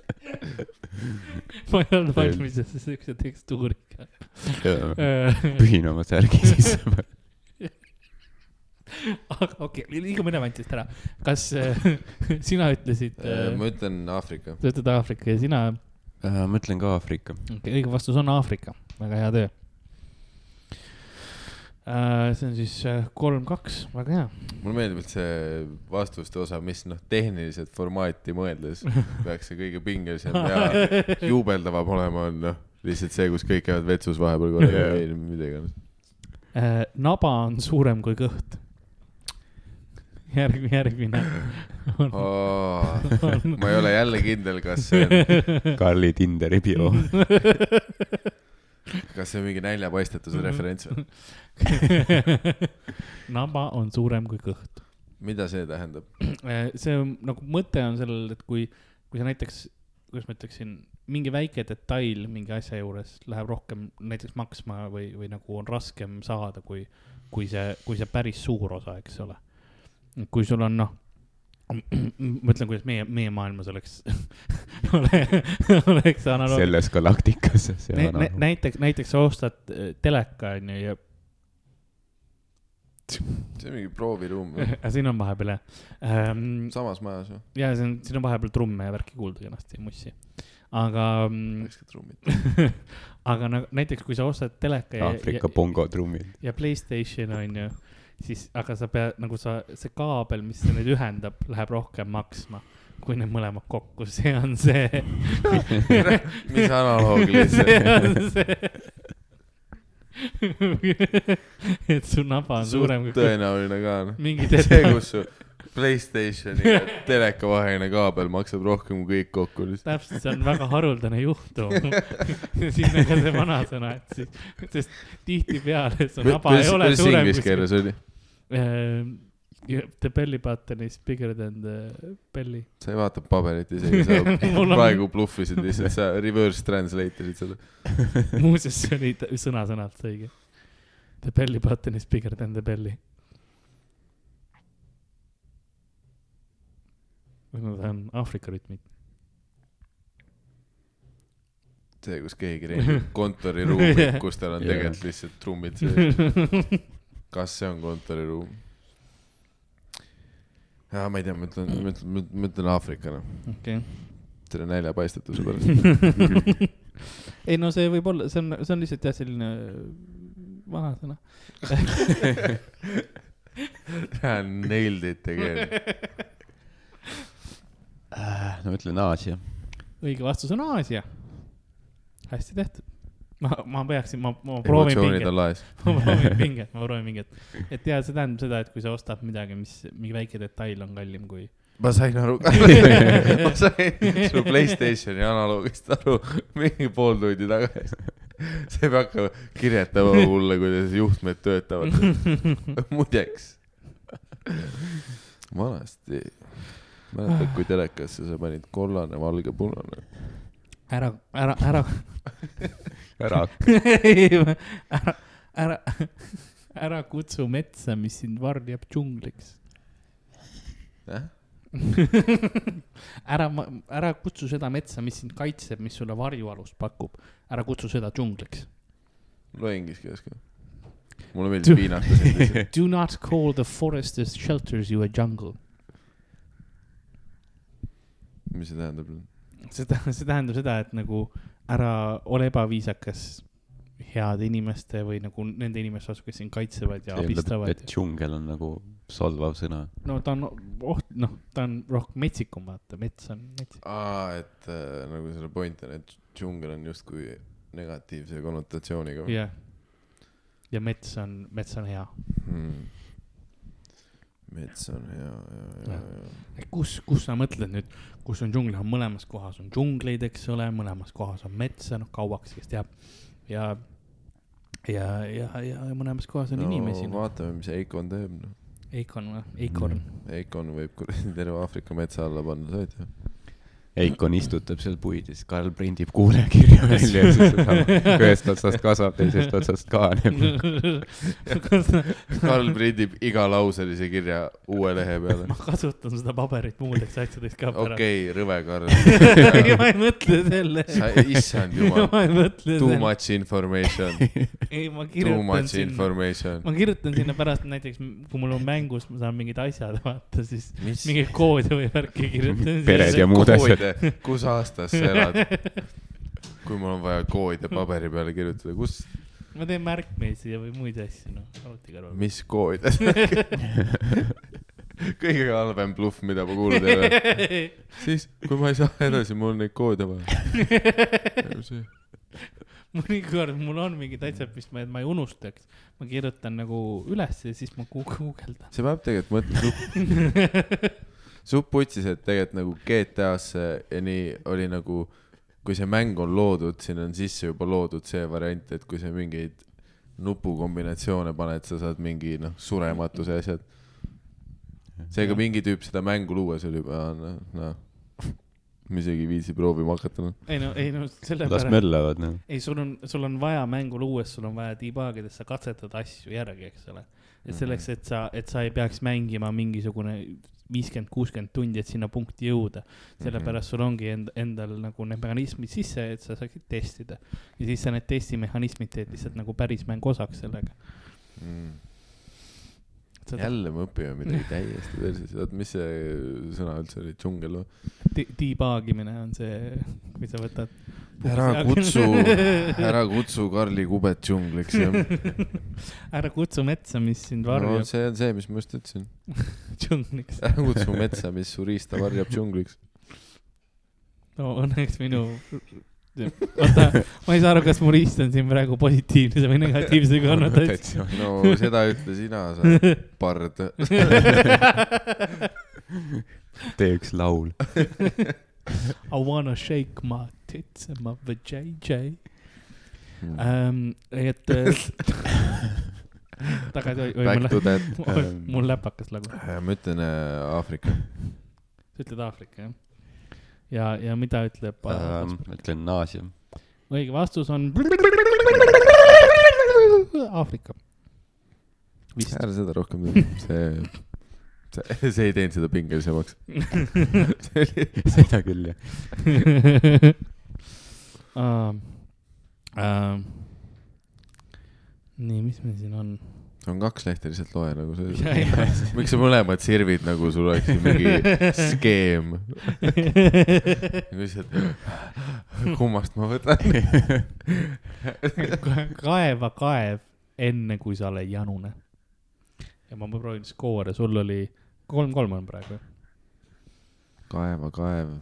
Speaker 3: ma ei olnud valmis , et see siukse tekstuuriga . Äh,
Speaker 4: pühin oma särgi sisse .
Speaker 3: aga ah, okei , liigume elevantidest ära . kas äh, sina ütlesid ,
Speaker 2: Äh, ma
Speaker 3: sa
Speaker 2: ütlen Aafrika .
Speaker 3: ütled Aafrika ja sina ,
Speaker 4: Äh, ma ütlen ka Aafrika .
Speaker 3: okei , õige vastus on Aafrika , väga hea töö . see on siis kolm-kaks , väga hea .
Speaker 2: mulle meeldib , et see vastuste osa , mis noh , tehniliselt formaati mõeldes peaks see kõige pingelisem ja juubeldavam olema , on noh , lihtsalt see , kus kõik käivad vetsus vahepeal korraga
Speaker 4: Jaa.
Speaker 2: või mida iganes .
Speaker 3: Äh, naba on suurem kui kõht . järgmine , järgmine on, on
Speaker 2: ma ei ole jälle kindel , kas see on ,
Speaker 4: Karli Tinderi bio .
Speaker 2: kas see on mingi näljapaistetuse referents või ?
Speaker 3: naba on suurem kui kõht .
Speaker 2: mida see tähendab ?
Speaker 3: see on nagu mõte on sellel , et kui , kui sa näiteks , kuidas ma ütleksin , mingi väike detail mingi asja juures läheb rohkem näiteks maksma või , või nagu on raskem saada , kui , kui see , kui see päris suur osa , eks ole . kui sul on noh , ma ütlen , kuidas meie , meie maailmas oleks , oleks analoog- .
Speaker 4: selles galaktikas . nagu
Speaker 3: Nä- nä- näiteks , näiteks sa ostad äh, teleka onju ja
Speaker 2: see on mingi prooviruum või?
Speaker 3: aga siin on vahepeal jah ähm, .
Speaker 2: samas majas või ?
Speaker 3: ja see on , siin on vahepeal trumme ja värki kuulda kenasti , mussi . aga , Mm.
Speaker 2: väiksed trummid .
Speaker 3: aga nagu näiteks , kui sa ostad teleka ja ,
Speaker 4: Aafrika
Speaker 3: ja,
Speaker 4: bongotrummid .
Speaker 3: ja Playstation on ju , siis , aga sa pead nagu sa , see kaabel , mis neid ühendab , läheb rohkem maksma kui need mõlemad kokku , see on see .
Speaker 2: mis analoog lihtsalt .
Speaker 3: et su naba on suurem
Speaker 2: suht
Speaker 3: kui
Speaker 2: tõenäoline ka noh .
Speaker 3: mingi
Speaker 2: see ,
Speaker 3: detail ,
Speaker 2: kus su Playstationi ja teleka vaheline kaabel maksab rohkem kui kõik kokku lihtsalt .
Speaker 3: täpselt , see on väga haruldane juhtum . sinna ka see vanasõna , et siis , sest tihtipeale su naba ei ole
Speaker 2: kuidas
Speaker 3: suurem
Speaker 2: inglise
Speaker 3: kui
Speaker 2: keeles oli ?
Speaker 3: see . The belly button is bigger than the belly .
Speaker 2: sa ei vaata paberit isegi , sa
Speaker 3: Mul on-
Speaker 2: praegu bluffisid lihtsalt , sa reverse translate isid seda .
Speaker 3: muuseas , see oli tä- sõna-sõnalt õige . The belly button is bigger than the belly . või no ta on Aafrika rütmid .
Speaker 2: see , kus keegi rengib kontoriruumi , kus tal on
Speaker 4: Jaa.
Speaker 2: tegelikult lihtsalt trummid sees . kas see on kontoriruum ? jaa , ma ei tea , ma ütlen , ma ütlen , ma ütlen Aafrikana ,
Speaker 3: okei .
Speaker 2: selle näljapaistatuse pärast .
Speaker 3: ei no see võib olla , see on , see on lihtsalt jah , selline äh, vanasõna .
Speaker 2: Nailed it again .
Speaker 4: Äh, no ütlen Aasia .
Speaker 3: õige vastus on Aasia . hästi tehtud . ma , ma peaksin , ma , ma proovin
Speaker 2: emotsioonid
Speaker 3: pinget ,
Speaker 2: on laes .
Speaker 3: ma proovin pinget , ma proovin pinget . et ja see tähendab seda , et kui sa ostad midagi , mis mingi väike detail on kallim kui .
Speaker 2: ma sain aru ka . ma sain su Playstationi analoogist aru mingi pool tundi tagasi . sa ei pea hakkama kirjetama mulle , kuidas juhtmed töötavad . muideks , vanasti , mäletad , kui telekasse sa panid kollane , valge , punane ?
Speaker 3: ära , ära , ära ,
Speaker 4: ära
Speaker 3: ära , ära , ära kutsu metsa , mis sind varjab džungliks .
Speaker 2: jah ,
Speaker 3: ära , ära kutsu seda metsa , mis sind kaitseb , mis sulle varjualust pakub . ära kutsu seda džungliks .
Speaker 2: loe inglise keeles ka . mulle meeldis piinata sind lihtsalt .
Speaker 3: Do not call the forest that shelters you a jungle .
Speaker 2: mis see tähendab ?
Speaker 3: see tähendab , see tähendab seda , et nagu ära ole ebaviisakas heade inimeste või nagu nende inimeste vastu , kes sind kaitsevad ja
Speaker 4: ütleb , et
Speaker 3: abistavad .
Speaker 4: džungel on nagu solvav sõna .
Speaker 3: no ta on oht , noh , ta on rohkem metsikum , vaata , mets on metsik .
Speaker 2: aa , et äh, nagu selle point on , et džungel on justkui negatiivse konnotatsiooniga .
Speaker 3: jah . ja mets on , mets on hea .
Speaker 2: hmm. . mets on hea , ja , ja ,
Speaker 3: Jah.
Speaker 2: ja .
Speaker 3: kus , kus sa mõtled nüüd , kus on džungli , on mõlemas kohas on džungleid , eks ole , mõlemas kohas on metsa , noh , kauaks , kes teab . ja , ja , ja , ja mõlemas kohas on no, inimesi , noh ,
Speaker 2: vaatame , mis Eikon teeb , noh .
Speaker 3: eikon , eikorn .
Speaker 2: Eikon võib kuradi terve Aafrika metsa alla panna , sa ei tea .
Speaker 4: Eikon istutab seal puid ja siis Karl prindib kuulajakirja välja ja siis saab- ühest otsast kasvab , teisest otsast kahaneb .
Speaker 3: kas sa ,
Speaker 2: Karl prindib igalauselise kirja uue lehe peale
Speaker 3: ma . kasutan seda paberit muudeks asjadeks ka
Speaker 2: okei , rõve Karl .
Speaker 3: okay. . ma ei mõtle selle .
Speaker 2: sa , issand jumal .
Speaker 3: ma ei mõtle
Speaker 2: Too
Speaker 3: selle ,
Speaker 2: much information ,
Speaker 3: ei ma
Speaker 2: too
Speaker 3: kirjutan
Speaker 2: much
Speaker 3: sinna ,
Speaker 2: information .
Speaker 3: ma kirjutan sinna pärast näiteks , kui mul on mängus , ma saan mingid asjad vaata , siis
Speaker 2: mis
Speaker 3: mingeid koode või värki kirjutan .
Speaker 4: Pered ja muud asjad .
Speaker 2: koode , kus aastas sa elad ? kui mul on vaja koode paberi peale kirjutada , kus ,
Speaker 3: ma teen märkmeid siia või muid asju , noh , arvuti kõrval .
Speaker 2: mis kood ? kõige halvem bluff , mida ma kuulnud ei ole . siis , kui ma ei saa edasi , mul on neid koode vaja .
Speaker 3: mõnikord mul on mingid asjad , mis ma , et ma ei unustaks , ma kirjutan nagu üles ja siis ma gu- guugeldan .
Speaker 2: see peab tegelikult mõtlema , supp putsis , et tegelikult nagu GTA-sse ja nii oli nagu , kui see mäng on loodud , siin on sisse juba loodud see variant , et kui sa mingeid nupukombinatsioone paned , sa saad mingi noh , surematuse asjad . seega mingi tüüp seda mängu luues oli juba noh no. , ma isegi ei viitsi proovima hakata noh .
Speaker 3: ei no , ei no
Speaker 4: las
Speaker 3: sellepärast ,
Speaker 4: möllavad , noh .
Speaker 3: ei sul on , sul on vaja mängu luues , sul on vaja debug ida , sa katsetad asju järgi , eks ole . et selleks , et sa , et sa ei peaks mängima mingisugune viiskümmend , kuuskümmend tundi , et sinna punkti jõuda . sellepärast sul ongi end- , endal nagu need mehhanismid sisse , et sa saaksid testida . ja siis sa need testimehhanismid teed lihtsalt nagu päris mängu osaks sellega . seda
Speaker 2: jälle me õpime midagi täiesti versus , oot , mis see sõna üldse oli , džungel või ?
Speaker 3: di- debuggimine on see , kui sa võtad .
Speaker 2: ära kutsu , ära kutsu Karli Kubet džungliks , jah .
Speaker 3: ära kutsu metsa , mis sind
Speaker 2: no
Speaker 3: varjab
Speaker 2: see on see , mis ma just ütlesin .
Speaker 3: džungliks .
Speaker 2: ära kutsu metsa , mis su riista varjab džungliks .
Speaker 3: no õnneks minu , oota , ma ei saa aru , kas mu riist on siin praegu positiivse või negatiivse konnotatsiooniga .
Speaker 2: no seda ütle sina , sa pard .
Speaker 4: tee üks laul .
Speaker 3: I wanna shake my tits and my vajayjay um, . et äh, tagasi , oi , oi , mul
Speaker 2: Back to that .
Speaker 3: läp- , mul läpakas lagu .
Speaker 2: ma ütlen äh, Aafrika .
Speaker 3: sa ütled Aafrika , jah ? ja , ja mida ütleb
Speaker 2: Ähm,
Speaker 3: um, ?
Speaker 4: Äh, ütlen Naasia .
Speaker 3: õige vastus on Aafrika . vist .
Speaker 2: ära seda rohkem tee , see , see , see ei teinud seda pingelisemaks .
Speaker 4: seda küll , jah .
Speaker 3: um, um, nii , mis meil siin on ?
Speaker 2: on kaks lehte , lihtsalt loe nagu
Speaker 3: Ja,
Speaker 2: see .
Speaker 3: ja.
Speaker 2: miks sa mõlemad sirvid nagu sul oleks siin mingi skeem ? lihtsalt , kummast ma võtan ?
Speaker 3: kaeva kaev enne , kui sa oled janune . ja ma proovin skoore , sul oli kolm-kolm on praegu jah?
Speaker 2: kaeva , kaev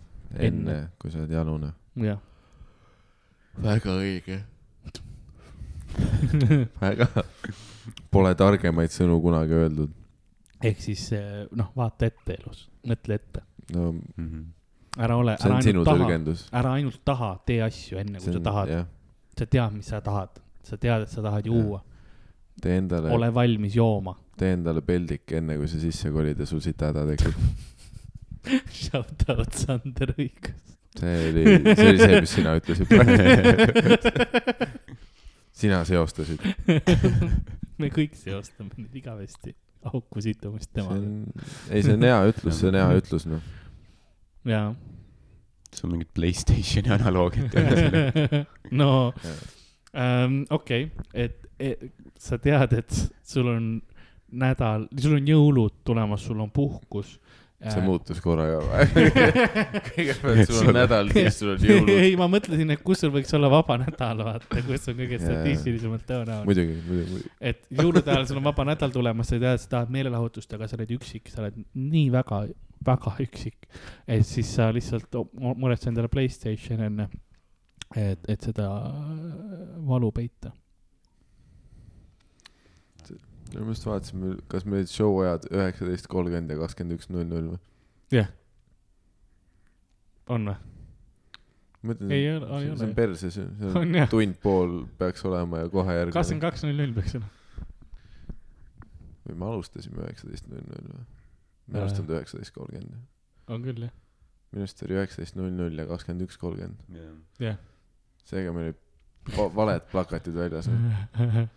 Speaker 2: enne , kui sa oled janune .
Speaker 3: jah ?
Speaker 2: väga õige . väga . Pole targemaid sõnu kunagi öeldud .
Speaker 3: ehk siis eh, noh , vaata ette elus , mõtle ette ,
Speaker 2: no Mhm.
Speaker 3: ära ole ,
Speaker 2: see
Speaker 3: ära
Speaker 2: on sinu
Speaker 3: ainult taha ,
Speaker 2: tõlgendus .
Speaker 3: ära ainult taha , tee asju enne , kui sa tahad , sa tead , mis sa tahad , sa tead , et sa tahad juua ,
Speaker 2: tee endale ,
Speaker 3: ole valmis jooma .
Speaker 2: tee endale peldik enne , kui sa sisse kolid ja sul sitahäda tekib .
Speaker 3: Shout out Sander Õigus .
Speaker 2: see oli , see oli see , mis sina ütlesid . sina seostasid .
Speaker 3: me kõik seostame nüüd igavesti auku situmist
Speaker 2: see on
Speaker 3: temaga on... ,
Speaker 2: ei , see on hea ütlus , see on hea ütlus , noh .
Speaker 3: jaa
Speaker 4: sul mingid Playstationi analoogid tead .
Speaker 3: no ähm, okei okay. , et, et sa tead , et sul on nädal , sul on jõulud tulemas , sul on puhkus . Äh.
Speaker 2: see muutus korraga või ? kõigepealt sul on nädal , siis sul on jõulud .
Speaker 3: ei , ma mõtlesin , et kus sul võiks olla vaba nädal , vaata , kus on kõige
Speaker 2: Jaa.
Speaker 3: statistilisemalt tõenäoline .
Speaker 2: muidugi , muidugi , muidugi .
Speaker 3: et jõulude ajal sul on vaba nädal tulemas , sa tead , sa tahad meelelahutust , aga sa oled üksik , sa oled nii väga , väga üksik . et siis sa lihtsalt o- mu- muretse endale Playstation enne , et , et seda valu peita .
Speaker 2: no me just vaatasime , kas meil olid show ajad üheksateist kolmkümmend ja kakskümmend üks null null või ?
Speaker 3: on või ?
Speaker 2: ma ütlen ,
Speaker 3: ei
Speaker 2: see
Speaker 3: ole , ei
Speaker 2: see
Speaker 3: ole
Speaker 2: on . perses ju , see on
Speaker 3: on jah ,
Speaker 2: tund-pool peaks olema ja kohe
Speaker 3: kakskümmend
Speaker 2: järgmine .
Speaker 3: kaks null null peaks olema .
Speaker 2: või me alustasime üheksateist null null või ?
Speaker 3: Äh.
Speaker 2: me ei alustanud üheksateist kolmkümmend .
Speaker 3: on küll jah .
Speaker 2: minu arust oli üheksateist null null ja kakskümmend üks kolmkümmend .
Speaker 3: jah .
Speaker 2: seega meil olid va- valed plakatid väljas .
Speaker 3: Mm.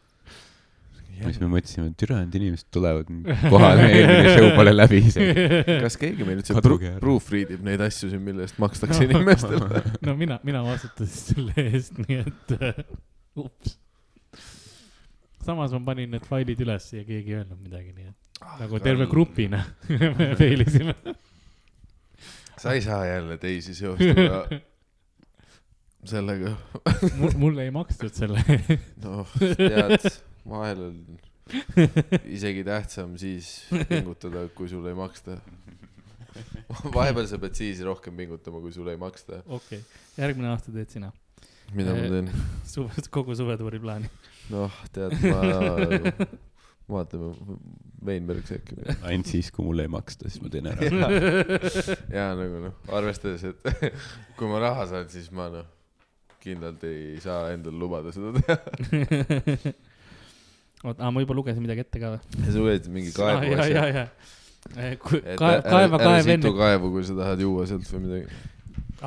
Speaker 4: ja siis me mõtlesime , et türa need inimesed tulevad kohale , eelmine show pole läbi isegi .
Speaker 2: kas keegi meil üldse
Speaker 4: Kaduge
Speaker 2: pru-
Speaker 4: ära.
Speaker 2: proofread ib neid asju siin , mille eest makstakse inimestele ?
Speaker 3: no mina , mina vastutasin selle eest , nii et äh, ups . samas ma panin need failid üles ja keegi ei öelnud midagi , nii et nagu terve grupina me failisime .
Speaker 2: sa ei saa jälle teisi seostada sellega ,
Speaker 3: mulle ei makstud selle eest .
Speaker 2: noh , tead , vahel on isegi tähtsam siis pingutada , kui sulle ei maksta . vahepeal sa pead siis rohkem pingutama , kui sulle ei maksta .
Speaker 3: okei okay. , järgmine aasta teed sina
Speaker 2: mida ma teen ?
Speaker 3: suve , kogu suvetuuri plaani .
Speaker 2: noh , tead , ma , vaatame , Veinberg sekki .
Speaker 4: ainult siis , kui mulle ei maksta , siis ma teen ära .
Speaker 2: ja nagu noh , arvestades , et kui ma raha saan , siis ma noh , kindlalt ei saa endale lubada seda teha .
Speaker 3: oota , ma juba lugesin midagi ette ka või ?
Speaker 2: ja sa võid mingi kaevu
Speaker 3: ja , ja
Speaker 2: asja ,.
Speaker 3: ja , ja .
Speaker 2: et äh,
Speaker 3: kaeva ,
Speaker 2: ära-
Speaker 3: Äh, kaeva ,
Speaker 2: ära
Speaker 3: kaev
Speaker 2: situ
Speaker 3: enne
Speaker 2: kaevu , kui sa tahad juua sealt või midagi .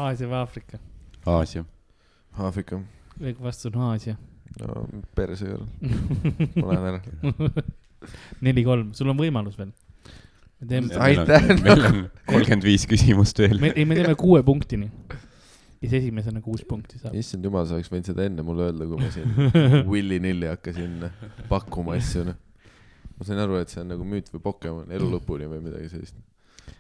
Speaker 3: Aasia või Aafrika .
Speaker 4: Aasia .
Speaker 2: Aafrika ,
Speaker 3: õige vastus on Aasia .
Speaker 2: no perse ka , ma lähen ära .
Speaker 3: neli-kolm , sul on võimalus veel . me teeme ,
Speaker 2: Aitäh!
Speaker 4: meil on kolmkümmend viis küsimust veel .
Speaker 3: me , ei , me teeme kuue punktini . ja siis esimesena kuus punkti saab .
Speaker 2: issand jumal , sa oleks võinud seda enne mulle öelda , kui ma siin willy-nilly hakkasin pakkuma asju , noh . ma sain aru , et see on nagu müüt või Pokemon elu lõpuni või midagi sellist .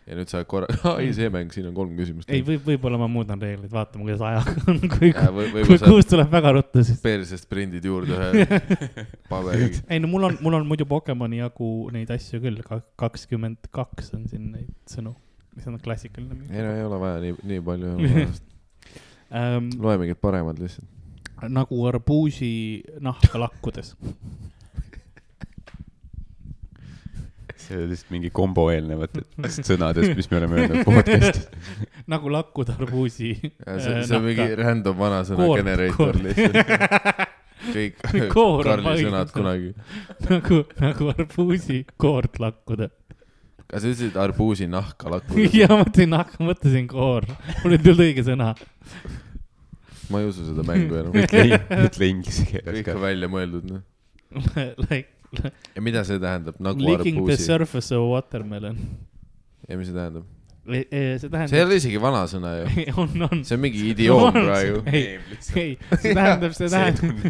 Speaker 2: ja nüüd sa korra , ai see mäng , siin on kolm küsimust . Äh,
Speaker 3: ei , võib , võib-olla ma muudan reegleid , vaatame , kuidas ajaga on , kui , kui
Speaker 2: võib-olla sa
Speaker 3: kuus tuleb väga ruttu , siis .
Speaker 2: persest prindid juurde ühe paberiga .
Speaker 3: ei no mul on , mul on muidu Pokemoni jagu neid asju küll , kakskümmend kaks on siin neid sõnu , mis on
Speaker 2: ei
Speaker 3: klassikaline .
Speaker 2: no ei ole vaja nii , nii palju ei ole vaja .
Speaker 3: Ähm,
Speaker 2: loe mingid paremad lihtsalt .
Speaker 3: nagu arbuusi nahka lakkudes .
Speaker 4: see oli lihtsalt mingi kombo eelnevatest sõnadest , mis me oleme öelnud podcast'is .
Speaker 3: nagu lakkuda arbuusi . äh,
Speaker 2: see , see on mingi random vanasõna
Speaker 3: Koor-
Speaker 2: generator
Speaker 3: koor-
Speaker 2: lihtsalt . kõik
Speaker 3: Koor on
Speaker 2: Karli
Speaker 3: valinud.
Speaker 2: sõnad kunagi .
Speaker 3: nagu , nagu arbuusi koort lakkuda .
Speaker 2: kas sa ütlesid arbuusi nahka
Speaker 3: ja
Speaker 2: lakkuda ?
Speaker 3: ma mõtlesin nahka , mõtlesin koor . mul ei tulnud õige sõna .
Speaker 2: ma ei usu seda mängu enam .
Speaker 4: ütle , ütle inglise keeles
Speaker 2: kõik on
Speaker 4: ka .
Speaker 2: välja mõeldud , noh .
Speaker 3: Like
Speaker 2: ja mida see tähendab , nagu
Speaker 3: licking the
Speaker 2: arbuusi ?
Speaker 3: surface of watermelon .
Speaker 2: ja mis see tähendab ?
Speaker 3: see
Speaker 2: see ei
Speaker 3: tähendab ,
Speaker 2: ole isegi vanasõna ju .
Speaker 3: on , on .
Speaker 2: see on mingi idioom praegu .
Speaker 3: ei , ei , see tähendab , see tähendab ,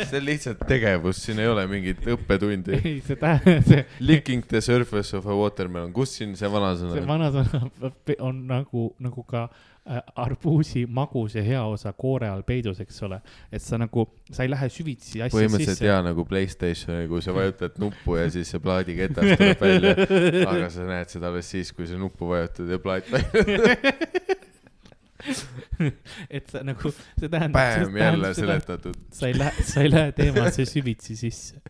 Speaker 2: see on lihtsalt tegevus , siin ei ole mingit õppetundi .
Speaker 3: ei , see tähendab , see ,
Speaker 2: Licking the surface of a watermelon , kus siin see vanasõna
Speaker 3: see
Speaker 2: on ?
Speaker 3: vanasõna pe- on nagu , nagu ka äh, arbuusi magus ja hea osa koore all peidus , eks ole . et sa nagu , sa ei lähe süvitsi asja
Speaker 2: põhimõtteliselt
Speaker 3: sisse .
Speaker 2: jaa , nagu Playstationi , kui sa vajutad nuppu ja siis see plaadiketas tuleb välja , aga sa näed seda alles siis , kui sa nuppu vajutad ja plaat
Speaker 3: et sa nagu , see tähendab .
Speaker 2: päev jälle . seletatud .
Speaker 3: sa ei lähe , sa ei lähe teemasse süvitsi sisse .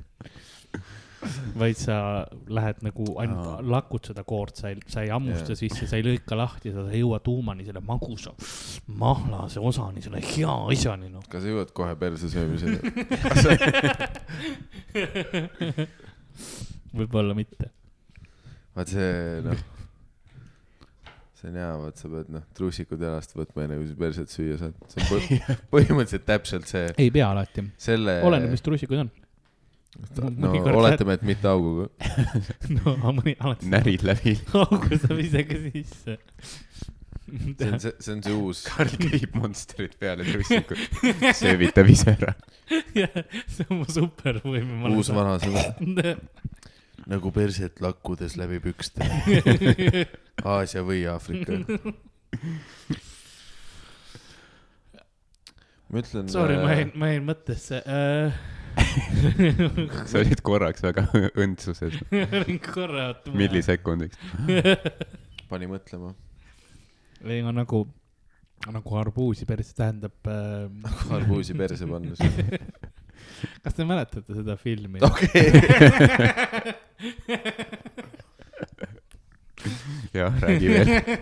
Speaker 3: vaid sa lähed nagu
Speaker 2: Aa.
Speaker 3: ainult lakud seda koort , sa ei , sa ei
Speaker 2: Jaa.
Speaker 3: hammusta yeah. sisse , sa ei lõika lahti , sa ei jõua tuumani selle magusa , mahlase osani , selle hea asjani , noh .
Speaker 2: kas sa jõuad kohe perse söömiseni ?
Speaker 3: võib-olla mitte .
Speaker 2: vaat see , noh , see on hea , vaat sa pead , noh , truusikud jalast võtma enne , kui sa perset süüa saad . see on põ- põhimõtteliselt täpselt see ,
Speaker 3: ei pea alati ,
Speaker 2: selle .
Speaker 3: oleneb , mis trussikud on .
Speaker 2: no oletame , et mitte auguga .
Speaker 3: no aga mõni alati
Speaker 4: närid läbi .
Speaker 3: augu saab ise ka sisse .
Speaker 2: see on see , see on see uus ,
Speaker 4: Karl käib monstrid peale trussikut , söövitab ise ära .
Speaker 3: see on mu supervõime .
Speaker 2: uus vanasõna .
Speaker 3: vana .
Speaker 2: nagu perset lakkudes läbi pükste . Aasia või Aafrika . ma ütlen . äh,
Speaker 3: Sorry , ma jäin , ma jäin mõttesse äh, .
Speaker 4: sa olid korraks väga õndsuses ,
Speaker 3: korra .
Speaker 4: millisekundiks .
Speaker 2: pani mõtlema .
Speaker 3: ei , ma nagu , nagu arbuusi päris tähendab äh, .
Speaker 2: arbuusi perse pannes .
Speaker 3: kas te mäletate seda filmi ?
Speaker 4: jah , räägi veel .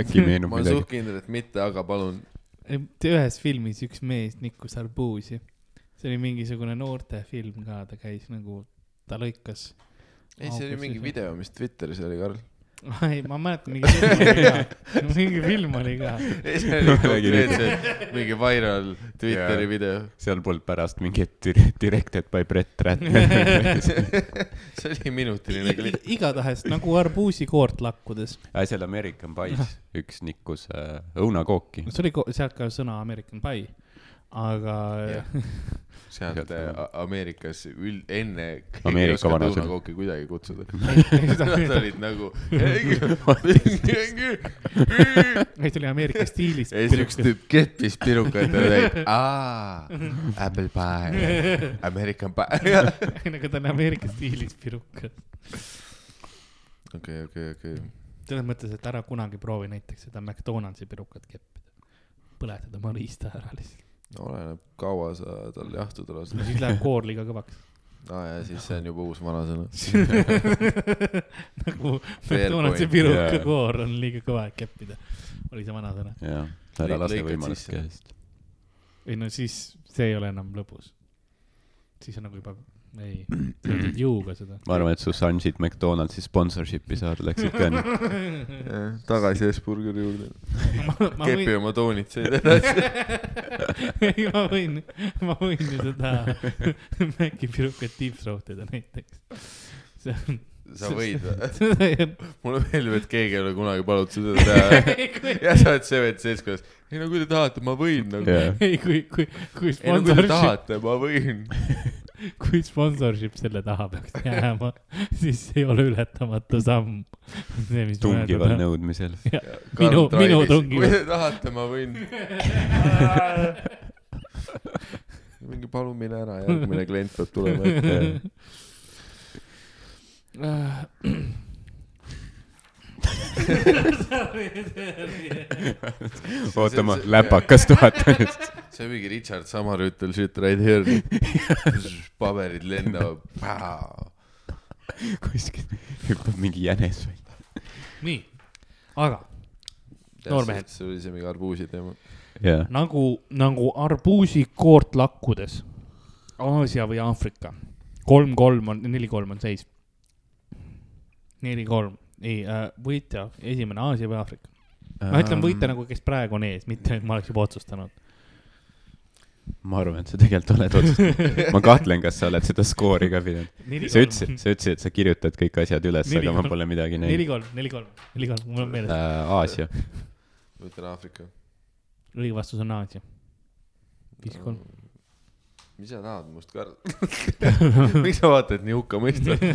Speaker 4: äkki meenub
Speaker 2: ma olen
Speaker 4: midagi
Speaker 2: suht . kindel , et mitte , aga palun .
Speaker 3: ühes filmis üks mees nikkus arbuusi . see oli mingisugune noortefilm ka , ta käis nagu , ta lõikas .
Speaker 2: ei , see oli mingi . video , mis Twitteris oli , Karl .
Speaker 3: ei , ma mäletan , mingi film oli ka , mingi film oli ka .
Speaker 2: ei , see oli
Speaker 4: Räägi nüüd.
Speaker 2: konkreetselt mingi viral Twitteri
Speaker 4: Jaa.
Speaker 2: video .
Speaker 4: seal polnud pärast mingit dir- directed by Brett Ratner .
Speaker 2: see oli minutiline klipp .
Speaker 3: igatahes nagu arbuusikoort lakkudes .
Speaker 4: aga seal American Pies üks nikkus äh, õunakooki .
Speaker 3: see oli ko- sealt ka sõna American Pie , aga
Speaker 2: sealt
Speaker 4: Sealt-
Speaker 2: äh, A- Ameerikas üld- , enne .
Speaker 4: Ameerika vanasõna.
Speaker 2: õunakooki kuidagi kutsuda .
Speaker 3: ei ,
Speaker 2: Nad olid nagu .
Speaker 3: see oli Ameerika stiilis .
Speaker 2: ja siis üks tüüp keppis pirukaid ja ta ütleb , aa , apple pie , American pie .
Speaker 3: nagu ta on Ameerika stiilis pirukas .
Speaker 2: okei , okei , okei .
Speaker 3: selles mõttes , et ära kunagi proovi näiteks seda McDonaldsi pirukat keppida . põletada marista ära lihtsalt ,
Speaker 2: no oleneb , kaua sa tal jahtuda lased .
Speaker 3: siis läheb koor liiga kõvaks .
Speaker 2: aa ja siis see on juba uus vanasõna .
Speaker 3: nagu
Speaker 2: Fair
Speaker 3: McDonaldsi
Speaker 2: point,
Speaker 3: piruka
Speaker 4: jaa.
Speaker 3: koor on liiga kõva , et keppida . oli see vanasõna .
Speaker 4: jah , ära lase
Speaker 2: Lõikad
Speaker 4: võimalust
Speaker 2: sisse.
Speaker 4: käest .
Speaker 3: ei no siis , see ei ole enam lõbus . siis on nagu juba , ei , sa teed jõuga seda .
Speaker 4: ma arvan , et su Sunshit McDonaldsi sponsorship'i sa läksid ka nüüd .
Speaker 2: tagasi Hesburgeri juurde .
Speaker 3: ma
Speaker 2: kepi
Speaker 3: võin ,
Speaker 2: oma toonitseid edasi .
Speaker 3: ei ma võin , ma võin ju seda Maci pirukat deepthroatida näiteks . see on ,
Speaker 2: sa võid ,
Speaker 3: seda ei olnud .
Speaker 2: mulle meeldib , et keegi ei ole kunagi palunud seda teha . ja sa oled see vend seltskonnas , ei no kui te tahate , ma võin nagu .
Speaker 4: jah ,
Speaker 3: ei , kui , kui , kui
Speaker 2: ei no kui te
Speaker 3: sponsorship ,
Speaker 2: tahate , ma võin .
Speaker 3: kui sponsorship selle taha peaks jääma , siis ei ole ületamatu samm . see , mis ma
Speaker 4: tungival
Speaker 3: öelda tahan.
Speaker 4: nõudmisel .
Speaker 3: minu- minu tungiv-
Speaker 2: kui te tahate , ma võin . mingi palun mine ära , järgmine klient peab tulema ette .
Speaker 4: oota , ma , läpakas tuhat .
Speaker 2: see on mingi Richard Samar ütleb shit right here . paberid lendavad .
Speaker 4: kuskil hüppab mingi jänes välja .
Speaker 3: nii , aga Noormehed.
Speaker 2: see oli see mingi arbuusi teema .
Speaker 4: jaa ,
Speaker 3: nagu , nagu arbuusikoort lakkudes , Aasia või Aafrika , kolm-kolm on , neli-kolm on seis . neli-kolm , ei äh, , võitja , esimene Aasia või Aafrika . ma ütlen võitja nagu , kes praegu on ees , mitte et ma oleks juba otsustanud .
Speaker 4: ma arvan , et sa tegelikult oled otsustanud . ma kahtlen , kas sa oled seda skoori ka pidanud . sa ütlesid , sa ütlesid , et sa kirjutad kõik asjad üles , aga ma pole midagi näinud .
Speaker 3: neli-kolm , neli-kolm , neli-kolm , mul on meeles .
Speaker 4: Aasia .
Speaker 2: ma ütlen Aafrika .
Speaker 3: õige vastus on Aasia . viis-kolm .
Speaker 4: Mm.
Speaker 2: Mm. mis sa tahad must ka ? miks sa vaatad nii hukkamõistvalt ?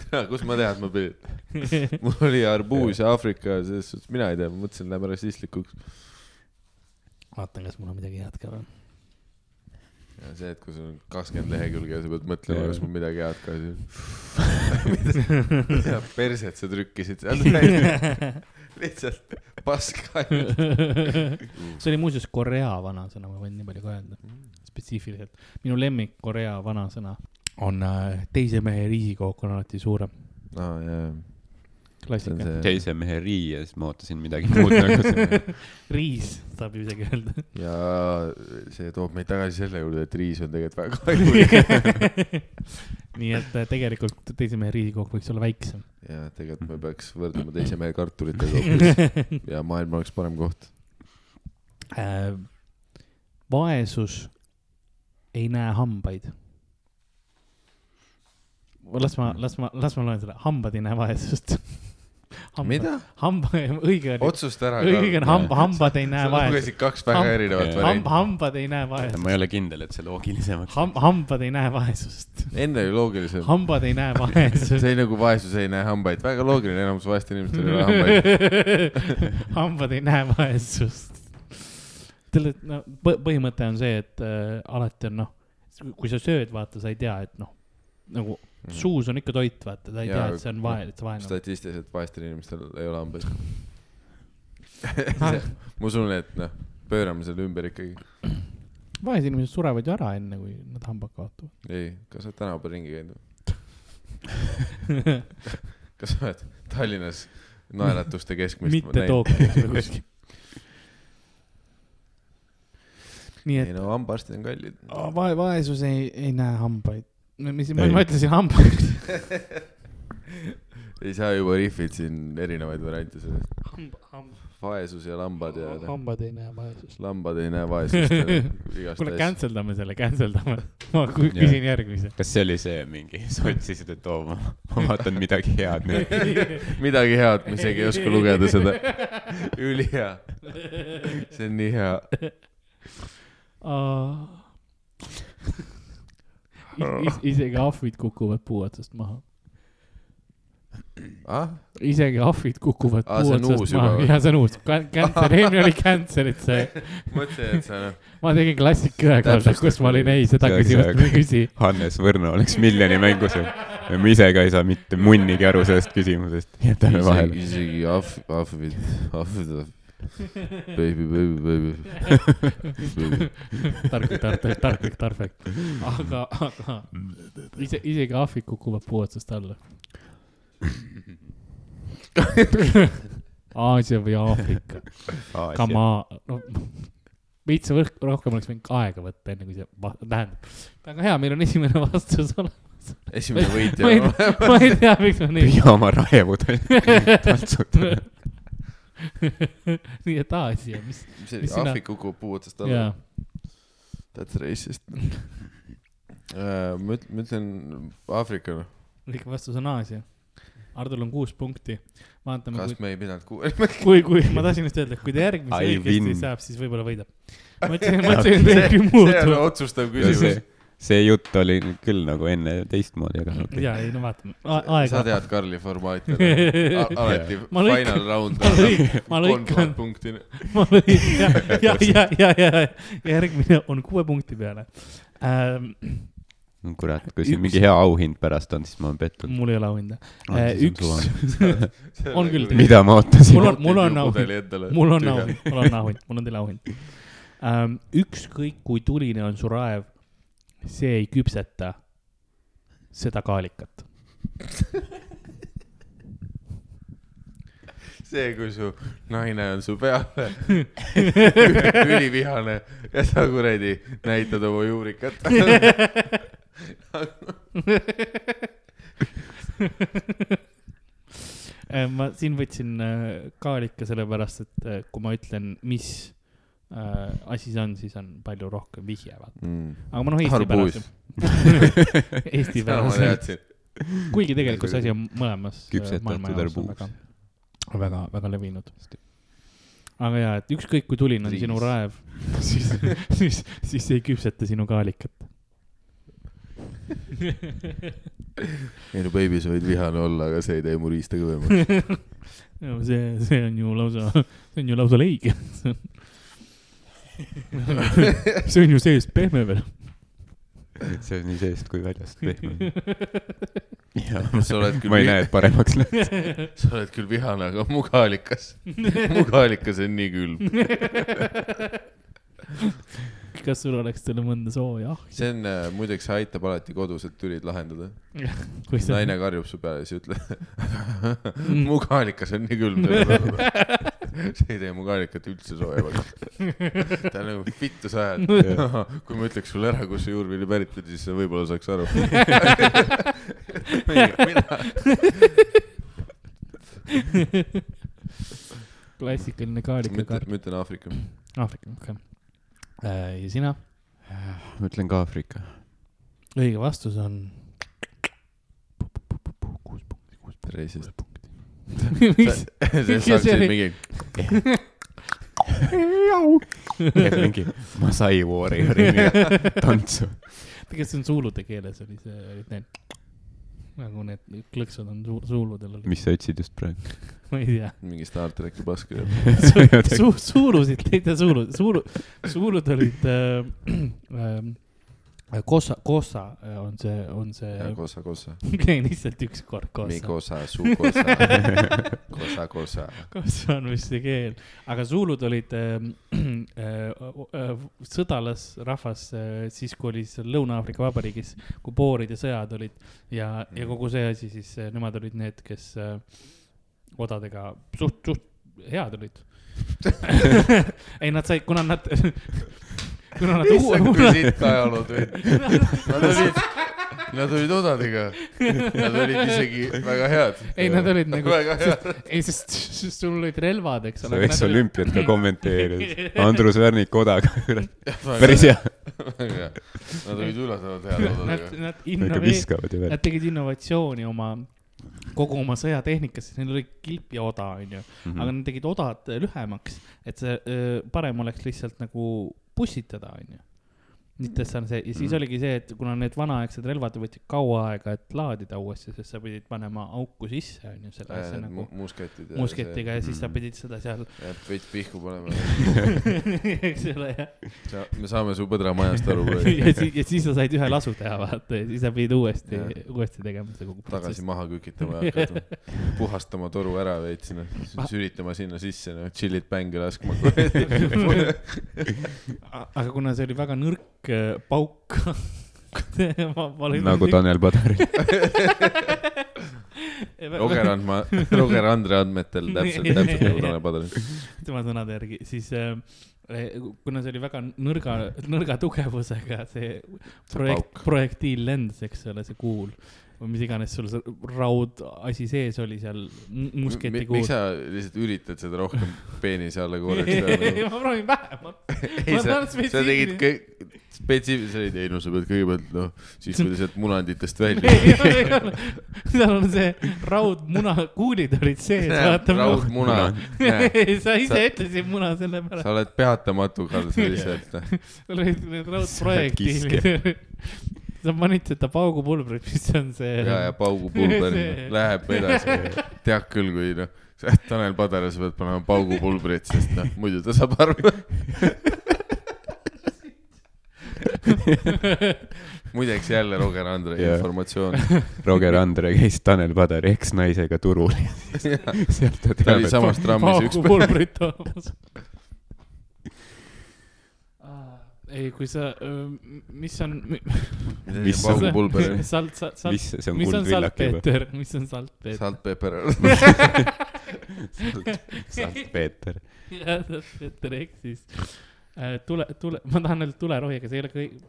Speaker 2: tea , kust ma tean , et ma pidin . mul oli arbuus ja Aafrika , selles suhtes mina ei tea , ma mõtlesin , lähme rassistlikuks .
Speaker 3: vaatan , kas mul on midagi head ka või .
Speaker 2: ja see , et kui sul on kakskümmend lehekülge ja sa pead mõtlema , kas mul midagi head ka siin . mida perset sa trükkisid seal ? lihtsalt paska .
Speaker 3: see oli muuseas Korea vanasõna , ma võin nii palju ka öelda ,
Speaker 4: Mm.
Speaker 3: spetsiifiliselt . minu lemmik Korea vanasõna on äh, teise mehe riisikook on alati suurem ,
Speaker 2: aa jaa , see on
Speaker 3: klassika .
Speaker 2: see
Speaker 4: teise mehe riies ma ootasin midagi muud nagu see .
Speaker 3: riis saab ju isegi öelda .
Speaker 2: ja see toob meid tagasi selle juurde , et riis on tegelikult väga kallis .
Speaker 3: nii et äh, tegelikult teise mehe riisikook võiks olla väiksem .
Speaker 2: ja tegelikult
Speaker 3: Mhm.
Speaker 2: me peaks võrdlema teise mehe kartulitega hoopis ja maailm oleks parem koht .
Speaker 3: Äh, vaesus ei näe hambaid . las ma , las ma , las ma loen selle , hambad ei näe vaesust .
Speaker 2: mida ??
Speaker 3: hamba , õige oli ,
Speaker 2: otsusta ära .
Speaker 3: õige on hamba , hambad ei näe
Speaker 2: sa
Speaker 3: vaesust .
Speaker 2: lugesid kaks väga
Speaker 3: Hamba-
Speaker 2: erinevat
Speaker 3: Hamb- ,
Speaker 4: Hamba-
Speaker 2: varianti .
Speaker 3: hambad ei näe vaesust .
Speaker 4: ma ei ole kindel , et see loogilisemaks .
Speaker 3: Ham- , hambad ei näe vaesust .
Speaker 2: enne oli loogilisem .
Speaker 3: hambad ei näe vaesust .
Speaker 2: see oli nagu vaesus ei näe hambaid , väga loogiline , enamus vaestel inimestel ei ole hambaid .
Speaker 3: hambad ei näe vaesust . tead , no põ- põhimõte on see , et äh, alati on noh , kui sa sööd , vaata , sa ei tea , et noh , nagu suus on ikka toit , vaata , sa ei
Speaker 2: Mm. Jaa,
Speaker 3: tea , et see on vaene , et sa vaene oled .
Speaker 2: statistiliselt vaestel inimestel ei ole hambaid . ma usun , et noh , pöörame selle ümber ikkagi .
Speaker 3: vaesed inimesed surevad ju ära enne , kui nad hambad kaotavad .
Speaker 2: ei , kas sa oled tänaval ringi käinud või ? kas sa oled Tallinnas naeratuste keskmist ?
Speaker 3: mitte . Tokyos või kuskil . nii et
Speaker 2: ei no hambaarstid on kallid .
Speaker 3: vae- , vaesus ei , ei näe hambaid . no mis , ma
Speaker 4: Ei.
Speaker 3: ma ütlesin hambaid .
Speaker 2: ei saa juba rihvid siin erinevaid variante sellest .
Speaker 3: Hamba,
Speaker 2: vaesus ja lambad ja noh,
Speaker 3: hambad ei näe vaesust .
Speaker 2: lambad ei näe vaesust ja noh, igast
Speaker 3: kuule ,
Speaker 2: asja .
Speaker 3: cancel dame selle , cancel dame . ma kü-
Speaker 4: Jah.
Speaker 3: küsin järgmise .
Speaker 4: kas see oli see mingi , sa otsisid , et oo , ma ma vaatan midagi head nüüd .
Speaker 2: midagi head , ma isegi ei oska lugeda seda . ülihea . see on nii hea .
Speaker 3: is, isegi ahvid kukuvad puu otsast maha .
Speaker 2: ah ,
Speaker 3: isegi ahvid kukuvad
Speaker 2: Aa,
Speaker 3: puu
Speaker 2: see on uus
Speaker 3: otsast
Speaker 2: juba
Speaker 3: maha
Speaker 2: või?
Speaker 3: ja see on uus . Cancel , eelmine oli cancel'id see .
Speaker 2: mõtlesin , et sa noh ,
Speaker 3: ma tegin klassika ühe korda , kus ma olin , ei , seda
Speaker 4: See oleks
Speaker 3: küsimust ma ei küsi .
Speaker 4: Hannes Võrno oleks miljoni mängus ja ja ma ise ka ei saa mitte munnigi aru sellest küsimusest . jätame vahele .
Speaker 2: isegi ahv , ahvid , ahvid , baby , baby , baby .
Speaker 3: tark , tark , tark , tark , aga , aga ise , isegi ahvid kukuvad puu otsast alla . Aasia või Aafrika , come on no, . veits võrk- rohkem oleks võinud aega võtta , enne kui see , tähendab , väga hea , meil on esimene vastus olemas .
Speaker 2: esimene võitja
Speaker 3: ma ei
Speaker 2: on ,
Speaker 3: ma ei tea , miks ma nii .
Speaker 4: püüa oma raevud taltsutada .
Speaker 3: nii et Aasia , mis ,
Speaker 2: mis see oli ,
Speaker 3: mis sina-
Speaker 2: ahvik kukub puu otsast alla
Speaker 3: jaa .
Speaker 2: That's racist . ma üt- , ma ütlen Aafrika noh ,
Speaker 3: õige vastus on Aasia . Hardol on kuus punkti , vaatame ,
Speaker 2: kas me ei pidanud kuulama ?
Speaker 3: kui , kui ma tahtsin just öelda , et kui ta järgmise
Speaker 4: I
Speaker 3: õigesti
Speaker 4: win.
Speaker 3: saab , siis võib-olla võidab . mõtlesin , mõtlesin midagi
Speaker 2: see on
Speaker 3: muud .
Speaker 2: otsustav
Speaker 4: ja
Speaker 2: küsimus
Speaker 4: see ,, see jutt oli nüüd küll nagu enne teistmoodi , aga okei
Speaker 3: ja
Speaker 4: okay. .
Speaker 3: ei no vaatame , aega
Speaker 2: sa . tead Karli formaati ära. A- alati
Speaker 3: Ma lõikan-
Speaker 2: final round
Speaker 3: ma lõi- ma lõikan-
Speaker 2: kolmkümmend punkti .
Speaker 3: ma lõin ja , ja , ja , ja , ja järgmine on kuue punkti peale ähm, .
Speaker 4: kurat , kui siin mingi hea auhind pärast on , siis ma olen pettunud .
Speaker 3: mul ei ole auhinda . Mm. üks , On küll.
Speaker 4: mida ma ootasin
Speaker 3: Mul ? on- mul on auhind. mul on
Speaker 2: Tühja.
Speaker 3: auhind , mul on auhind , mul on teile auhind ähm, . ükskõik kui tuline on su raev , see ei küpseta seda kaalikat .
Speaker 2: see , kui su naine on su peale ülivihane ja sa kuradi näitad oma juurikat .
Speaker 3: ma siin võtsin äh, kaalika sellepärast , et äh, kui ma ütlen , mis äh, asi see on , siis on palju rohkem vihje , vaata .
Speaker 2: Mm.
Speaker 3: aga ma noh , Eesti
Speaker 2: Arbuus.
Speaker 3: pärast . Eesti
Speaker 2: seda ma
Speaker 3: pärast ,
Speaker 2: teadsin .
Speaker 3: kuigi tegelikult see asi on mõlemas äh,
Speaker 4: Küpsetatud
Speaker 3: maailma jaos
Speaker 4: arbuus.
Speaker 3: väga , väga , väga levinud . aga jaa , et ükskõik kui tuline on
Speaker 2: Riis.
Speaker 3: sinu raev , siis , siis , siis ei küpseta sinu kaalikat .
Speaker 2: ei no baby , sa võid vihane olla , aga see ei tee mu riista kõvemaks .
Speaker 3: see , see on ju lausa , see on ju lausa leige . see on ju sees pehme veel .
Speaker 4: see on nii seest kui väljast pehme .
Speaker 2: sa oled küll
Speaker 4: ma ei näe , et paremaks läheb .
Speaker 2: sa oled küll vihane , aga mugalikas , mugalikas on nii külm .
Speaker 3: kas sul oleks talle mõnda sooja ahju ?
Speaker 2: see on äh, muideks , see aitab alati kodused tülid lahendada .
Speaker 3: kui sa-
Speaker 2: naine karjub su peale , siis ütle , mugalikas on nii külm . see ei tee mugalikat üldse soojemaks . ta on nagu vittu sa ajad . kui ma ütleks sulle ära , kust see juurvili pärit on , siis sa võib-olla saaks aru .
Speaker 3: klassikaline kaalika
Speaker 2: ma , ütlen Aafrika .
Speaker 3: Aafrika , okei . ja sina ?
Speaker 4: ma ütlen ka Aafrika .
Speaker 3: õige vastus on
Speaker 2: reisist .
Speaker 3: mis ?
Speaker 2: sa saaksid mingi ,
Speaker 4: mingi Masai Warriori tantsu .
Speaker 3: tegelikult see on suulude keeles oli see , olid need nagu need klõksud on su- suuludel olid ,
Speaker 4: mis sa otsid just praegu ?
Speaker 3: ma ei tea .
Speaker 2: mingi Star tracki paska .
Speaker 3: Su- , suulusid , teiste suulud , suulu , suulud olid äh, äh, kossa , kossa on see , on see ,
Speaker 2: kosa , kosa .
Speaker 3: lihtsalt üks kord
Speaker 2: mi kosa ,
Speaker 3: kossa .
Speaker 2: su kosa , kosa , kosa .
Speaker 3: kossa on vist see keel , aga suulud olid äh, äh, äh, sõdalasrahvas äh, siis , kui oli seal Lõuna-Aafrika Vabariigis , kui boorid ja sõjad olid ja , ja kogu see asi , siis äh, nemad olid need , kes äh, odadega suht , suht head olid . ei , nad said , kuna nad , kuna nad uue ,
Speaker 2: issand , kui
Speaker 3: kuna ,
Speaker 2: siit ajaloo tulid . Nad olid , nad olid odadega . Nad olid isegi väga head .
Speaker 3: ei , nad olid nagu ,
Speaker 2: väga head .
Speaker 3: ei , sest , sest sul olid relvad , eks
Speaker 4: sa
Speaker 3: ole .
Speaker 4: võiks olümpiat ka kommenteerida . Andrus Värnik odaga , päris . hea .
Speaker 2: Nad olid üllatavalt head
Speaker 3: Nad ,
Speaker 2: odadega .
Speaker 3: nad
Speaker 4: ikka
Speaker 3: innoveerisid .
Speaker 4: viskavad ju veel .
Speaker 3: Nad tegid innovatsiooni oma , kogu oma sõjatehnikasse , neil oli kilp ja oda , onju .
Speaker 4: Mhm.
Speaker 3: aga
Speaker 2: Hmm.
Speaker 3: nad tegid odad lühemaks , et see öö, parem oleks lihtsalt nagu pussitada , onju . mitte see on see , ja siis
Speaker 2: Mhm.
Speaker 3: oligi see , et kuna need vanaaegsed relvad võtsid kaua aega , et laadida uuesti , sest sa pidid panema auku sisse , onju ,
Speaker 2: Äh,
Speaker 3: selle asja nagu
Speaker 2: musketid .
Speaker 3: musketiga ja siis sa
Speaker 2: Hmm.
Speaker 4: Mhm.
Speaker 3: pidid seda seal ,
Speaker 2: veits pihku panema .
Speaker 3: eks ole , ja ,
Speaker 2: me saame su põdramajast aru .
Speaker 3: ja siis , ja siis sa said ühe lasu teha , vaata , ja siis sa pidid uuesti
Speaker 2: Jah. ,
Speaker 3: uuesti tegema seda kogu
Speaker 2: tagasi
Speaker 3: protsessi .
Speaker 2: maha kükitama ja hakkad puhastama toru ära veits , noh ,
Speaker 3: Ah.
Speaker 2: süritama sinna sisse , noh , tšillid bängi laskma .
Speaker 3: A- aga kuna see oli väga nõrk äh, pauk , ma palun .
Speaker 4: nagu . Tanel Padar .
Speaker 2: Roger Andma , Roger Andre andmetel täpselt , täpselt nagu Tanel Padar .
Speaker 3: tema sõnade järgi , siis äh, eh, kuna see oli väga nõrga , nõrga tugevusega see projekt ,
Speaker 2: pauk.
Speaker 3: projektiil lendas , eks ole , see kuul või mis iganes sul see raudasi sees oli seal m- musketi
Speaker 2: miks
Speaker 3: kuul .
Speaker 2: sa lihtsalt üritad seda rohkem peenise alla korjaks teha ?
Speaker 3: ma proovin vähemalt ,
Speaker 2: ei ,
Speaker 3: ma
Speaker 2: sa ,
Speaker 3: tahan
Speaker 2: sa tegid
Speaker 3: spetsiifilist .
Speaker 2: kõik , spetsiifiliselt , ei no sa pead kõigepealt , noh , siis kui ta sealt munanditest välja .
Speaker 3: ei , seal on see raudmunakuulid olid sees , vaata .
Speaker 2: raudmuna .
Speaker 3: sa ise
Speaker 2: Sa-
Speaker 3: ütlesid muna selle
Speaker 2: sa
Speaker 3: pärast ,
Speaker 2: oled peatamatu , Karl , sa lihtsalt . noh,
Speaker 3: olid need raudprojektiilid . sa panid seda paugupulbrit , mis on see .
Speaker 2: ja , ja paugupulber noh,
Speaker 3: See-
Speaker 2: läheb edasi . tead küll , kui noh , Tanel Padara , sa pead panema paugupulbrit , sest noh , muidu ta saab aru . muideks jälle Roger Andre
Speaker 4: Jaa.
Speaker 2: informatsioon .
Speaker 4: Roger Andre käis Tanel Padari eksnaisega turul ja siis sealt ta
Speaker 2: ta oli
Speaker 4: teab ,
Speaker 2: samas trammis üks päev .
Speaker 3: paugupulbrit toomas . ei , kui sa , mis on ,
Speaker 4: Mis on-
Speaker 2: paugupulber ,
Speaker 3: salt , salt ,
Speaker 4: et
Speaker 3: salt ,
Speaker 4: mis , see on
Speaker 3: mis on
Speaker 4: kuldvillak juba .
Speaker 3: saltpeeter , mis on saltpeeter ?
Speaker 2: saltpeeper .
Speaker 4: saltpeeter .
Speaker 3: jah , saltpeeter eksis . tule , tule , ma tahan öelda tulerohiga , see ei ole kõik ,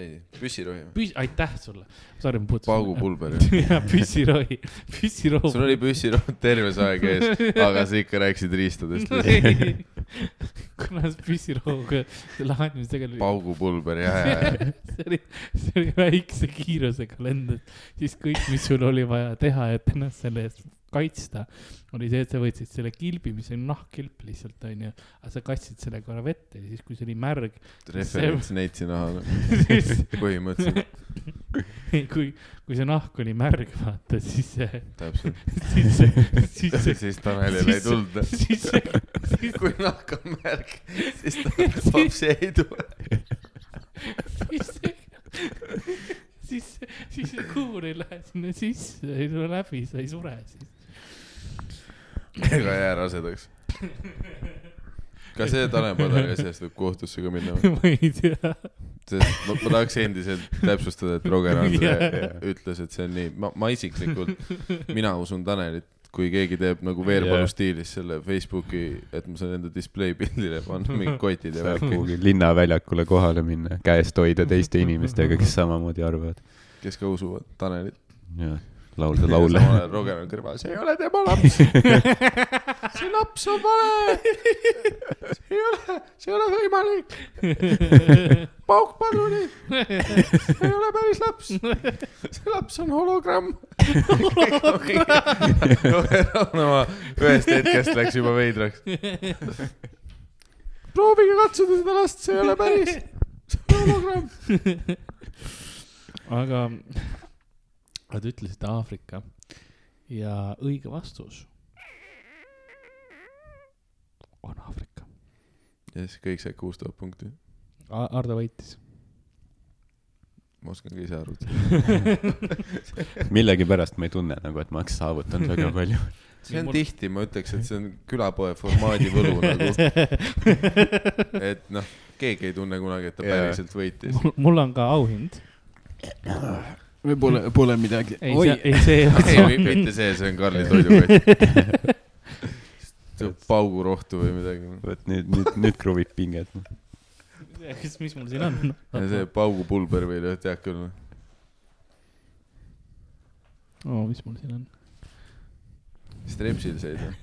Speaker 2: ei , püssirohi .
Speaker 3: püs- , aitäh sulle . Sorry , ma puutusin .
Speaker 2: paugupulber .
Speaker 3: jah , püssirohi , püssirohu .
Speaker 2: sul oli püssirohi terve see aeg ees , aga sa ikka rääkisid riistadest .
Speaker 3: kuna see püssirohuga lahendus tegelikult .
Speaker 2: paugupulber , jah , jah , jah .
Speaker 3: see oli , see oli väikse kiirusega lendas , siis kõik , mis sul oli vaja teha , et ennast selle eest kaitsta , oli see , et sa võtsid selle kilbi , mis on nahkkilp lihtsalt onju , aga sa kastsid selle korra vette ja siis , kui see oli märg ,
Speaker 2: referents neitsi naha ,
Speaker 3: siis
Speaker 2: põhimõtteliselt ,
Speaker 3: kui , kui see nahk oli märg , vaata siis see ,
Speaker 2: täpselt .
Speaker 3: siis see , siis see ,
Speaker 2: siis Tanelile ei
Speaker 3: siis-
Speaker 2: tulda .
Speaker 3: siis see ,
Speaker 2: kui nahk on märg , siis ta lapsi ei tule .
Speaker 3: siis see , siis see , siis see kuur ei lähe sinna sisse , ei tule läbi , sa ei sure siis .
Speaker 2: ega ei jää rasedaks . ka see Tanel Padari asjast võib kohtusse ka minna .
Speaker 3: ma ei tea .
Speaker 2: sest ma, ma tahaks endiselt täpsustada , et Roger Andre ütles , et see on nii . ma , ma isiklikult , mina usun Tanelit kui keegi teeb nagu Veerpalu
Speaker 4: Jah.
Speaker 2: stiilis selle Facebooki , et ma saan enda display pildile panna mingid kotid ja
Speaker 4: saab
Speaker 2: värki ,
Speaker 4: kuhugi linnaväljakule kohale minna , käest hoida teiste inimestega , kes samamoodi arvavad .
Speaker 2: kes ka usuvad Tanelit .
Speaker 4: jah , laulda laule .
Speaker 2: Roger on kõrval , see ei ole tema laps . see laps on vale . see ei ole , see ei ole võimalik . pauk paluni . see ei ole päris laps . see laps on hologramm . Raunamaa ühest hetkest läks juba veidraks . proovige katsuda seda last , see ei ole päris . see on hologramm .
Speaker 3: aga , aga te ütlesite Aafrika ja õige vastus on Aafrika .
Speaker 2: ja siis kõik said kuus tuhat punkti .
Speaker 3: Ardo võitis .
Speaker 2: ma oskan ka ise arvutada .
Speaker 4: millegipärast ma ei tunne nagu , et ma oleks saavutanud väga palju .
Speaker 2: see on
Speaker 3: Mul-
Speaker 2: tihti , ma ütleks , et see on külapoe formaadi võlu nagu , et noh , keegi ei tunne kunagi , et ta
Speaker 4: Jaa.
Speaker 2: päriselt võitis .
Speaker 3: mul , mul on ka auhind .
Speaker 4: või pole , pole midagi
Speaker 3: ei , see , ei see
Speaker 2: ei , mitte see , see on Karli toidukott . paugurohtu või midagi .
Speaker 4: vot nüüd , nüüd , nüüd kruvib pinget .
Speaker 3: kas , mis mul siin on ?
Speaker 2: see paugupulber või noh , tead küll .
Speaker 3: oo , Oh, mis mul siin on ?
Speaker 2: Strepsil sees või ?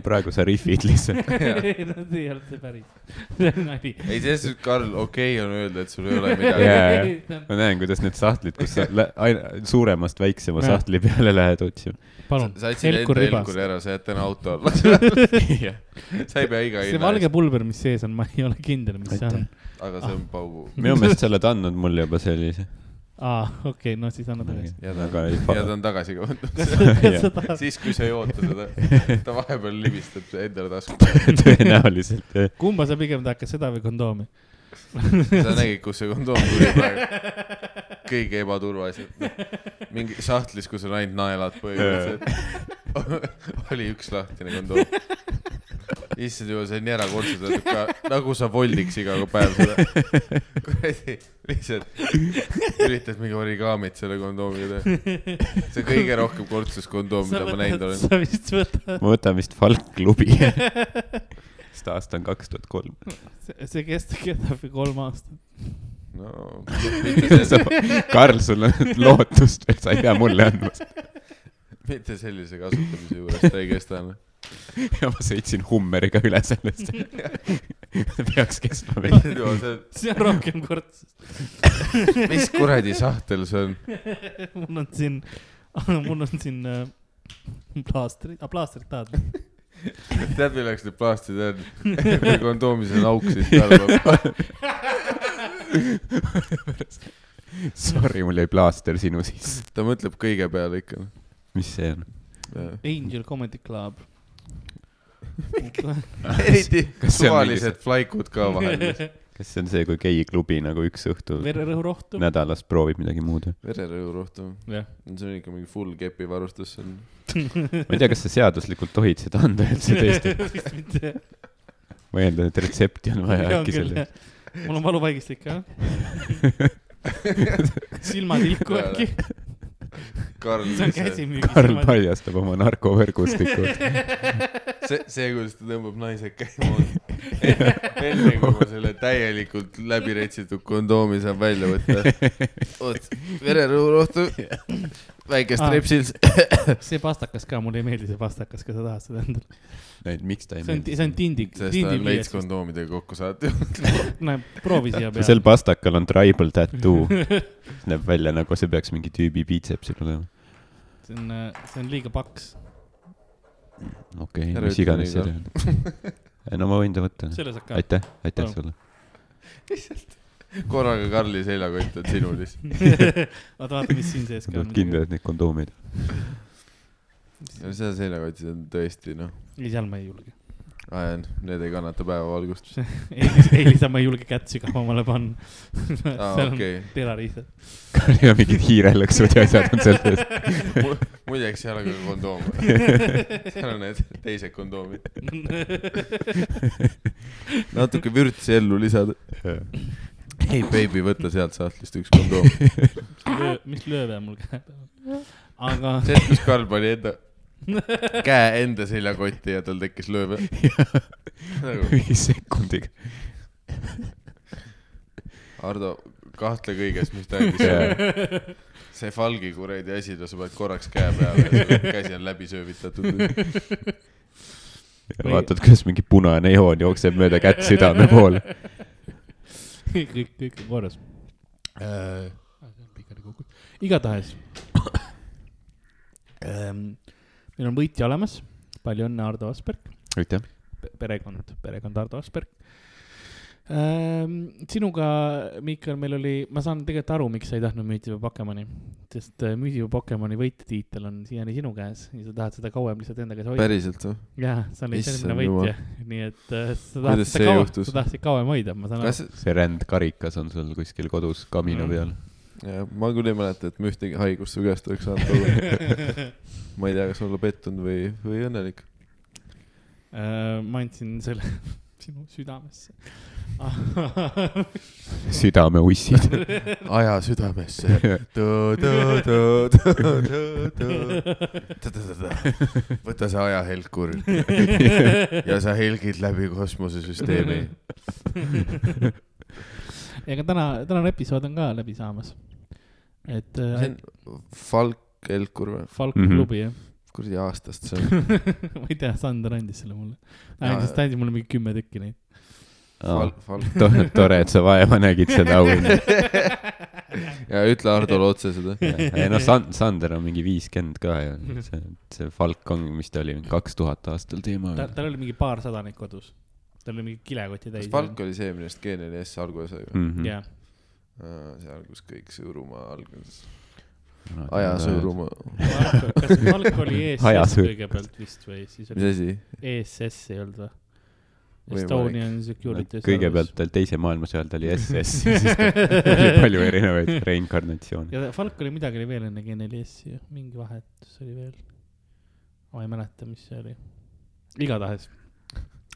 Speaker 4: praegu sa rihvid lihtsalt .
Speaker 3: ei , no see ei olnud see päris , see on nali .
Speaker 2: ei , selles suhtes , Karl , okei okay on öelda , et sul ei ole midagi
Speaker 4: Jaa.
Speaker 2: yeah. .
Speaker 4: ma näen , kuidas need sahtlid , kus sa lä- aina suuremast väiksema
Speaker 3: Jah.
Speaker 4: sahtli peale lähed otsima .
Speaker 3: palun ,
Speaker 2: sa jätsid
Speaker 3: Helkur
Speaker 2: enda
Speaker 3: ribast .
Speaker 2: Helkuri ära , sa jääd täna auto alla . sa ei pea iga
Speaker 3: see
Speaker 2: hinna
Speaker 3: valge
Speaker 2: eest ,
Speaker 3: pulber , mis sees on , ma ei ole kindel , mis see on .
Speaker 2: aga see on paugu .
Speaker 4: minu meelest sa oled andnud mulle juba sellise .
Speaker 3: aa , okei , no siis anna tagasi .
Speaker 2: ja ta
Speaker 4: Aga ei
Speaker 2: on ,
Speaker 4: pa-
Speaker 2: ja ta on tagasi ka võtnud .
Speaker 3: kas sa tahad ,
Speaker 2: siis , kui sa ei oota seda , ta vahepeal libistab see endale tasku .
Speaker 4: tõenäoliselt jah .
Speaker 3: kumba sa pigem tahad , kas seda või kondoomi ?
Speaker 2: sa nägid , kus see kondoom tuli praegu . kõige ebaturvaliselt . mingi sahtlis , kus on ainult naelad põhimõtteliselt . oli üks lahtine kondoom . issand jumal , see on nii erakordselt , et ka nagu sa voldiks iga päev seda . kuradi , lihtsalt üritad mingi origaamit selle kondoomiga teha . see on kõige rohkem kordsus kondoom , mida ma näinud olen .
Speaker 3: sa vist võtad ,
Speaker 4: ma võtan vist Falk-klubi . sest aasta on kaks tuhat kolm .
Speaker 3: see kestab , kestab ju kolm aastat .
Speaker 2: no
Speaker 4: Karl , sul on lootust veel , sa ei pea mulle andma .
Speaker 2: mitte sellise kasutamise juures ta ei kesta enam .
Speaker 4: ja ma sõitsin Hummeriga üle sellest . peaks kestma veel .
Speaker 3: see on rohkem kortsi .
Speaker 2: mis kuradi sahtel see on ?
Speaker 3: mul on siin , mul on siin äh, plaastrid , aa plaastrid tahad ?
Speaker 2: tead , milleks need plaastrid on ? kui kondoomis on auk , siis peale peab .
Speaker 4: Sorry , mul jäi plaaster sinu sisse .
Speaker 2: ta mõtleb kõige peale ikka .
Speaker 4: mis see on ?
Speaker 3: Angel Comedy Club
Speaker 2: eriti
Speaker 4: kas see on
Speaker 2: suvalised flaikud ka vahel .
Speaker 4: kas see on see , kui geiklubi nagu üks õhtu
Speaker 3: vererõhu rohtu .
Speaker 4: nädalas proovib midagi muud või ?
Speaker 2: vererõhu rohtu .
Speaker 3: jah ,
Speaker 2: see on ikka mingi full kepi varustus , see on .
Speaker 4: ma ei tea , kas sa seaduslikult tohid seda anda üldse teistele .
Speaker 3: vist mitte .
Speaker 4: ma eeldan , et retsepti on vaja äkki selle .
Speaker 3: mul on valuvaigistik jah silmad ilku äkki ,
Speaker 2: Karl ,
Speaker 3: see on käsi
Speaker 2: see ,
Speaker 4: Karl
Speaker 3: müügis .
Speaker 4: paljastab oma narkovõrgustiku .
Speaker 2: see , kuidas ta tõmbab naised käima . enne kui ma selle täielikult läbi retsitud kondoomi saan välja võtta . oot , vererõhu rohtu , väike
Speaker 3: Aa.
Speaker 2: strepsils .
Speaker 3: see pastakas ka , mulle ei meeldi see pastakas , kas sa tahad seda endale ?
Speaker 4: et miks ta ei
Speaker 3: see on ,
Speaker 4: meeldi ?
Speaker 3: see on tindik ,
Speaker 2: sest ta on veits
Speaker 3: tindipliiats .
Speaker 2: kondoomidega kokku saanud .
Speaker 3: näe , proovi siia
Speaker 4: sel
Speaker 3: peale .
Speaker 4: pastakal on tribal tattoo . näeb välja nagu see peaks mingi tüübi biitsepsil olema .
Speaker 3: see on , see on liiga paks ,
Speaker 4: okei okay, ,
Speaker 2: Ära
Speaker 4: mis
Speaker 2: ütle
Speaker 4: iganes see
Speaker 2: nii,
Speaker 4: tähendab . no ma võin ta võtta .
Speaker 3: selle saad ka .
Speaker 4: aitäh , aitäh
Speaker 3: Palun.
Speaker 4: sulle .
Speaker 2: korraga Karli seljakott on sinul siis .
Speaker 3: oota , vaata , mis siin sees
Speaker 4: Nad
Speaker 3: ka on
Speaker 4: olid . kindlad , et need kondoomid .
Speaker 2: no seal seljakotis on tõesti noh ,
Speaker 3: ei , seal ma ei julge .
Speaker 2: need ei kannata päevavalgust .
Speaker 3: ei , ei lihtsalt ma ei julge kätt sügavamale panna .
Speaker 2: aa ,
Speaker 3: seal on
Speaker 2: okei .
Speaker 3: terariised .
Speaker 4: ja mingid hiirelõksud ja asjad on seal sees .
Speaker 2: muideks seal on ka kondoom . seal on need teised kondoomid . natuke vürtsi ellu lisada .
Speaker 4: Nagu-
Speaker 2: ei , baby , võta sealt sahtlist üks kondoom .
Speaker 3: mis lööve mul käe peal on ? aga
Speaker 2: see , et kus Karl pani enda käe enda seljakotti ja tal tekkis Nagu, lööve .
Speaker 4: mingi sekundiga .
Speaker 2: Ardo , kahtle kõiges , mis ta andis . see falgi kuradi asi , sa paned korraks käe peale ja su käsi on läbi söövitatud .
Speaker 4: vaatad , kuidas mingi punane joon jookseb mööda kätt südame poole .
Speaker 3: kõik , kõik on korras . Äh, igatahes . meil on võitja olemas , palju õnne , Ardo Asperg ,
Speaker 4: aitäh .
Speaker 3: perekond , perekond Ardo Asperg . sinuga , Miikal , meil oli , ma saan tegelikult aru , miks sa ei tahtnud müütiva Pokemoni , sest äh, müütiva Pokemoni võitja tiitel on siiani sinu käes ja sa tahad seda kauem lihtsalt enda käes hoida .
Speaker 2: päriselt või ?
Speaker 3: jaa , sa olid
Speaker 2: Issand
Speaker 3: esimene võitja , nii et äh, sa tahtsid
Speaker 2: Kuidas see
Speaker 3: seda kauem ,
Speaker 2: juhtus?
Speaker 3: sa tahtsid kauem hoida , ma saan aru .
Speaker 2: kas ,
Speaker 4: see rändkarikas on sul kuskil kodus kamina peal .
Speaker 2: ma küll ei mäleta , et me ühtegi haigust su käest oleks saanud olla . ma ei tea , kas olla pettunud või , või õnnelik .
Speaker 3: Äh, ma andsin selle sinu südamesse .
Speaker 4: südameussid .
Speaker 2: aja südamesse . võta see ajahelkur ja sa helgid läbi kosmosesüsteemi .
Speaker 3: ega täna , tänane episood on ka läbi saamas . et äh,
Speaker 2: see on Falk Helkur või ?
Speaker 3: Falk mm
Speaker 4: Mhm.
Speaker 3: -hmm. klubi jah ,
Speaker 2: kuradi aastast see on ?
Speaker 3: ma ei tea , Sander andis selle mulle . ta
Speaker 2: Jaa.
Speaker 3: andis , ta andis mulle mingi kümme tükki neid .
Speaker 2: Falk , Falk .
Speaker 4: tore , et sa vaeva nägid seda auhinda .
Speaker 2: ja ütle Hardole otse seda .
Speaker 4: ei noh , San- , Sander on mingi viiskümmend ka ju . see , see Falk on , mis ta oli , kaks tuhat aastal teema .
Speaker 3: tal , tal oli mingi paarsada neid kodus . tal oli mingi kilekoti täis
Speaker 2: kas . Falk oli see , millest Geeneli S alguse sai või ?
Speaker 4: jah .
Speaker 3: jah ,
Speaker 2: see algus kõik Sõõrumaa alguses . aja . Sõõrumaa .
Speaker 3: kas Falk oli ESS
Speaker 4: Hajasõõr-
Speaker 3: kõigepealt vist või siis
Speaker 2: mis
Speaker 3: oli
Speaker 2: asi ?
Speaker 3: ESS E ei olnud või ?
Speaker 2: Võimalik.
Speaker 3: Estonian Security .
Speaker 4: kõigepealt tal teise maailmasõja ajal ta oli SS , siis tal oli palju erinevaid reinkarnatsioone .
Speaker 3: ja Falk oli midagi oli veel enne G4S-i , mingi vahetus oli veel . ma ei mäleta , mis see oli . igatahes .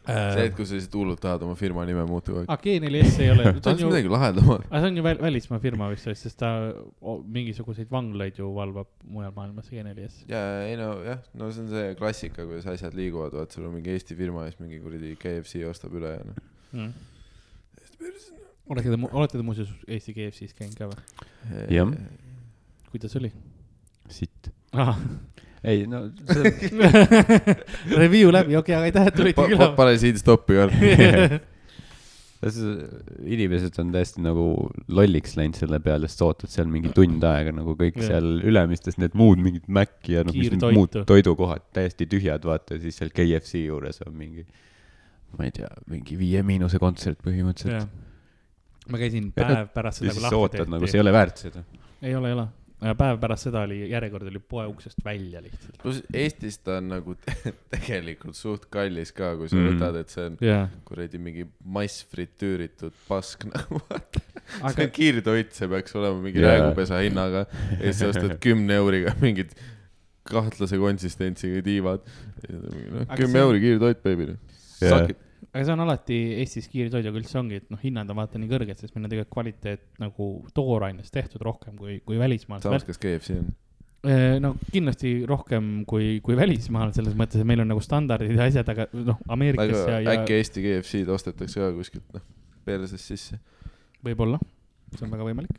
Speaker 2: see hetk , kus sa lihtsalt hullult tahad oma firma nime muuta kogu aeg .
Speaker 3: aga G4S ei ole ,
Speaker 2: sa
Speaker 3: see on
Speaker 2: oled
Speaker 3: ju ,
Speaker 2: midagi lahendamat .
Speaker 3: aga see on ju väl, välismaa firma vist , sest ta o, mingisuguseid vanglaid ju valvab mujal maailmas , G4S .
Speaker 2: ja , ei no jah , no see on see klassika , kuidas asjad liiguvad , vaat sul on mingi Eesti firma ja siis mingi kuradi KFC ostab üle ja noh .
Speaker 3: olete te , olete te muuseas Eesti GFC-s käinud ka või ?
Speaker 4: Jah. .
Speaker 3: kuidas oli ?
Speaker 4: sitt .
Speaker 3: Ah,
Speaker 4: ei no see
Speaker 3: Review läbi , okei , aga aitäh , et tulite külla .
Speaker 2: pane siin stoppi ka .
Speaker 4: Kas äh, inimesed on täiesti nagu lolliks läinud selle peale , sest sa ootad seal mingi tund aega nagu kõik
Speaker 3: Jah.
Speaker 4: yeah. seal Ülemistes need muud mingid Maci ja noh , mis need
Speaker 3: Kiirtoitu.
Speaker 4: muud toidukohad täiesti tühjad , vaata , ja siis seal KFC juures on mingi , ma ei tea , mingi Viie Miinuse kontsert põhimõtteliselt .
Speaker 3: ma käisin
Speaker 4: Ja
Speaker 3: päev pärast
Speaker 4: ja
Speaker 3: seda ,
Speaker 4: siis
Speaker 3: kui
Speaker 4: sa
Speaker 3: lahti
Speaker 4: ootad nagu , see ei ole väärt seda .
Speaker 3: ei ole , ei ole . päev pärast seda oli , järjekord oli poe uksest välja lihtsalt .
Speaker 2: pluss Eestis ta on nagu te- tegelikult suht kallis ka , kui sa
Speaker 4: Mm.
Speaker 2: mm. võtad , et see on
Speaker 3: jaa .
Speaker 2: kuradi mingi massfritüüritud pask nagu . see
Speaker 3: aga
Speaker 2: on kiirtoit , see peaks olema mingi
Speaker 4: Jaa.
Speaker 2: yeah. räägupesa hinnaga ja siis sa ostad kümne euriga mingid kahtlase konsistentsiga tiivad .
Speaker 3: Aga see-
Speaker 2: kümme noh, euri kiirtoit , baby . noh.
Speaker 4: Jaa.
Speaker 3: aga see on alati Eestis kiirtoiduga üldse ongi , et noh , hinnad on vaata nii kõrged , sest meil on tegelikult kvaliteet nagu tooraines tehtud rohkem kui , kui välismaal .
Speaker 2: samas , kas KFC on ?
Speaker 3: no kindlasti rohkem kui , kui välismaal selles mõttes , et meil on nagu standardid ja asjad , aga noh , Ameerikas
Speaker 2: aga
Speaker 3: ja , ja
Speaker 2: äkki Eesti KFC-d ostetakse ka kuskilt , noh , persest sisse .
Speaker 3: võib-olla , see on väga võimalik .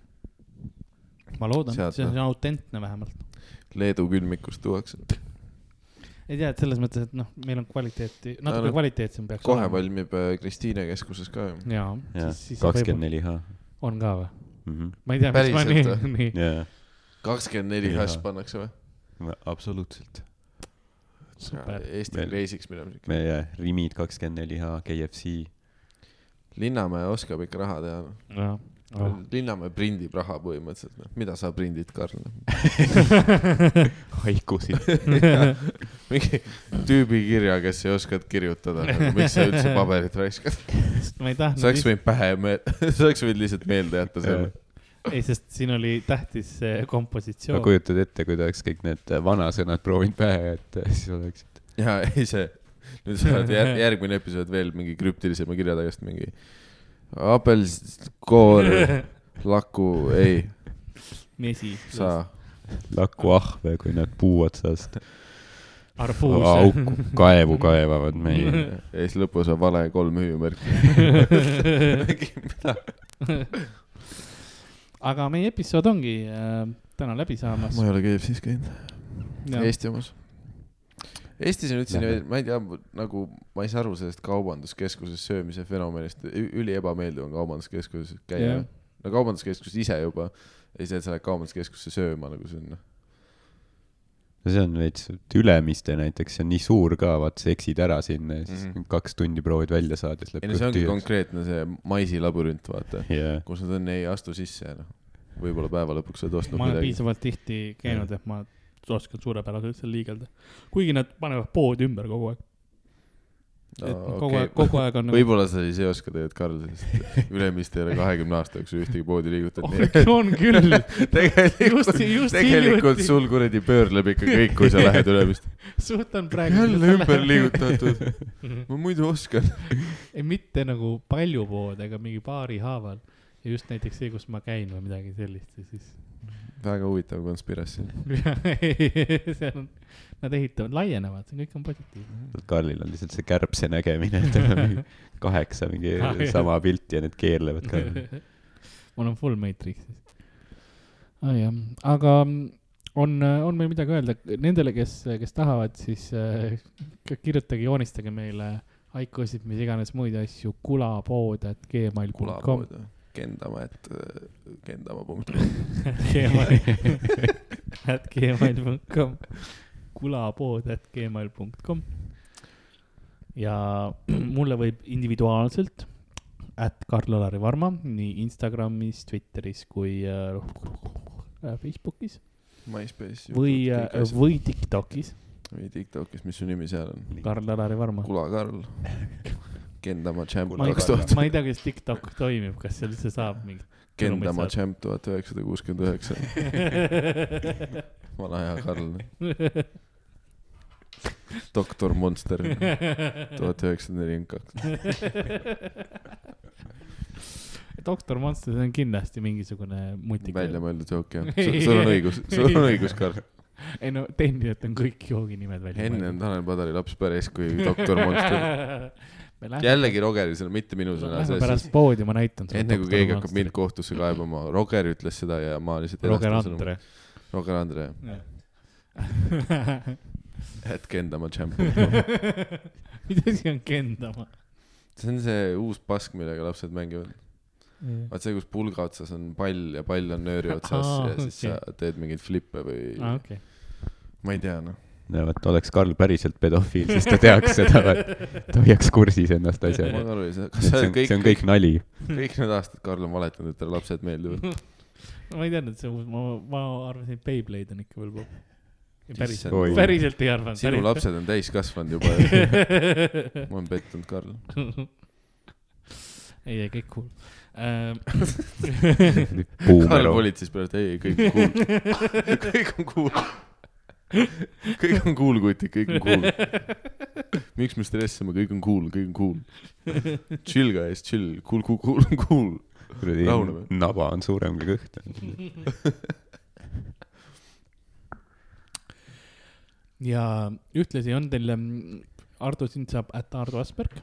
Speaker 3: ma loodan ,
Speaker 2: Sealt,
Speaker 3: see on
Speaker 2: noh.
Speaker 3: autentne vähemalt .
Speaker 2: Leedu külmikust tuuakse .
Speaker 3: ei tea , et selles mõttes , et noh , meil on kvaliteeti , natuke
Speaker 2: no,
Speaker 3: kvaliteetsem peaks
Speaker 2: kohe
Speaker 3: olema .
Speaker 2: valmib äh, Kristiine keskuses ka ju .
Speaker 3: jaa ,
Speaker 4: jah ,
Speaker 3: siis , siis
Speaker 4: kakskümmend neli H .
Speaker 3: võib-olla- on ka või ? ma ei tea , miks ma nii
Speaker 2: Päriselt ,
Speaker 3: nii ,
Speaker 4: jaa ,
Speaker 2: kakskümmend neli
Speaker 4: Jaa.
Speaker 2: hash pannakse või ?
Speaker 4: absoluutselt .
Speaker 3: super .
Speaker 2: Äh, Eesti
Speaker 4: Meil-
Speaker 2: reisiks minema .
Speaker 4: me jaa , Rimid kakskümmend neli H , KFC .
Speaker 2: Linnamäe oskab ikka raha teha no. .
Speaker 3: jaa . Ah.
Speaker 2: Oh. Linnamäe prindib raha põhimõtteliselt , noh , mida sa prindid , Karl ? noh?
Speaker 4: haikusid .
Speaker 2: mingi tüübi kirja , kes ei oska kirjutada nagu, , miks sa üldse paberit raiskad ?
Speaker 3: ma ei tahtnud
Speaker 2: saaks , võinud pähe meelde , saaks võinud lihtsalt meelde jätta selle .
Speaker 3: ei , sest siin oli tähtis see
Speaker 4: sa
Speaker 3: kompositsioon .
Speaker 4: kujutad ette , kui ta oleks kõik need vanasõnad proovinud pähe , et eh, siis oleks
Speaker 2: ja ei see , nüüd sa oled jär, järgmine episood veel mingi krüptilisema kirja tagasi mingi apelskoor , laku , ei
Speaker 3: mesi ,
Speaker 2: saa .
Speaker 4: lakuahve , kui nad puu otsast
Speaker 3: arbuus .
Speaker 4: auku , kaevu kaevavad meie .
Speaker 2: ja siis lõpus on vale kolm hüüumärki .
Speaker 3: aga meie episood ongi äh, täna läbi saamas
Speaker 2: ma . ei ole KFC-s käinud ,
Speaker 3: ja
Speaker 2: Eesti omas . Eestis on üldse nii , ma ei tea , nagu ma ei saa aru sellest kaubanduskeskuses söömise fenomenist , üli ebameeldiv on kaubanduskeskuses käia
Speaker 3: Jah. .
Speaker 2: no kaubanduskeskus ise juba , ei see , et sa lähed kaubanduskeskusse sööma nagu see on noh.
Speaker 4: no see on veits , Ülemiste näiteks , see on nii suur ka , vaat sa eksid ära sinna ja siis mm
Speaker 2: Mhm.
Speaker 4: -hmm. kaks tundi proovid välja saada , siis läheb
Speaker 2: ei no see ongi . konkreetne see maisilabürint , vaata ,
Speaker 4: jaa ,
Speaker 2: kus nad on , ei astu sisse , noh . võib-olla päeva lõpuks oled ostnud
Speaker 3: ma olen
Speaker 2: midagi .
Speaker 3: piisavalt tihti käinud , et ma oskan suurepäraselt seal liigelda . kuigi nad panevad poodi ümber kogu aeg . et kogu aeg , kogu aeg on nagu ,
Speaker 2: võib-olla sa siis ei oska tegelikult , Karl , sest Ülemiste ei ole kahekümne aasta jooksul ühtegi poodi liigutanud nii et-
Speaker 3: on Oh, küll .
Speaker 2: tegelikult
Speaker 3: Just- , just
Speaker 2: tegelikult
Speaker 3: hiljuti.
Speaker 2: sul kuradi pöörleb ikka kõik , kui sa lähed Ülemiste .
Speaker 3: suhtan praegu .
Speaker 2: jälle ümber . liigutatud . ma muidu oskan .
Speaker 3: mitte nagu palju pood , aga mingi paari haaval . ja just näiteks see , kus ma käin või midagi sellist ja siis
Speaker 2: väga huvitav konspiratsioon .
Speaker 3: seal on , nad ehitavad , laienevad , see kõik on positiivne .
Speaker 4: Karlil on lihtsalt see kärbse nägemine , tal on mingi kaheksa mingi
Speaker 3: Ah, jah.
Speaker 4: sama pilti ja need keerlevad ka .
Speaker 3: mul on full Matrixis ah, . jah , aga mm, on , on meil midagi öelda nendele , kes , kes tahavad , siis äh, k- kirjutage , joonistage meile haikusid , mis iganes muid asju , kulapood , et gmail.com .
Speaker 2: kulapood , Kendama , et äh, Kendama punkt .
Speaker 3: et gmail.com , kulapood et gmail.com . ja mulle võib individuaalselt , et Karl-Alari Varma nii Instagramis , Twitteris kui äh, Facebookis
Speaker 2: MySpace .
Speaker 3: või , äh, või Tiktokis ,
Speaker 2: või TikTokis , mis su nimi seal on ?
Speaker 3: Karl-Alari Varma .
Speaker 2: Kula Karl . Kendama Champ
Speaker 3: ma ei
Speaker 2: kaks
Speaker 3: tea
Speaker 2: tuhat ,,
Speaker 3: ma ei tea , kas Tiktok toimib , kas seal üldse saab mingit .
Speaker 2: Kendama Champ tuhat üheksasada kuuskümmend üheksa , vana hea Karl , doktor Monster tuhat üheksasada nelikümmend kaks .
Speaker 3: doktor Monster , see on kindlasti mingisugune mutikas
Speaker 2: välja . mõeldud jook jah , sul on õigus , sul on õigus , Karl .
Speaker 3: ei no tehniliselt on kõik jooginimed välja .
Speaker 2: enne on Tanel Padari laps päris kui doktor Monster .
Speaker 3: me lähme,
Speaker 2: jällegi Rogeri sõna , mitte minu sõna ,
Speaker 3: lähme
Speaker 2: sest
Speaker 3: pärast poodi , ma näitan sulle .
Speaker 2: enne kui keegi hakkab mind . kohtusse kaebama , Roger ütles seda ja ma lihtsalt
Speaker 3: Roger . Andre .
Speaker 2: Roger Andre , jätke enda oma džämpi .
Speaker 3: mida asi on kendama ?
Speaker 2: see on see uus pask , millega lapsed mängivad . vaat see , kus pulga otsas on pall ja pall on nööri otsas
Speaker 3: Aa,
Speaker 2: ja siis
Speaker 3: okei.
Speaker 2: sa teed mingeid flippe või
Speaker 3: aa , Ah, okei .
Speaker 2: ma ei tea , noh .
Speaker 4: no vot , oleks Karl päriselt pedofiil , siis ta teaks seda , ta hoiaks kursis ennast
Speaker 2: ma saan
Speaker 4: asjaga .
Speaker 2: aru , kas
Speaker 4: see
Speaker 2: sa
Speaker 4: on ,
Speaker 2: kõik
Speaker 4: see , on kõik nali .
Speaker 2: kõik need aastad , Karl on valetanud , et talle lapsed meeldivad .
Speaker 3: ma ei teadnud , see uus , ma , ma arvasin , et Beyblade on ikka veel popp . päriselt ,
Speaker 4: Oi.
Speaker 3: päriselt ei arvanud .
Speaker 2: sinu lapsed on täiskasvanud juba ja ma olen pettunud , Karl .
Speaker 3: ei , ei kõik cool ähm, .
Speaker 2: Karl
Speaker 4: buumer ,
Speaker 2: politseis peale , et ei , ei kõik on cool . kõik on cool . kõik on cool , kutid , kõik on cool . miks me stressime , kõik on cool , kõik on cool . Chill guys , chill , cool , cool , cool , cool .
Speaker 4: kuradi
Speaker 2: rahuneme.
Speaker 4: naba on suurem kui kõht .
Speaker 3: ja ühtlasi on teil , Ardo , sind saab , et Ardo Asperg .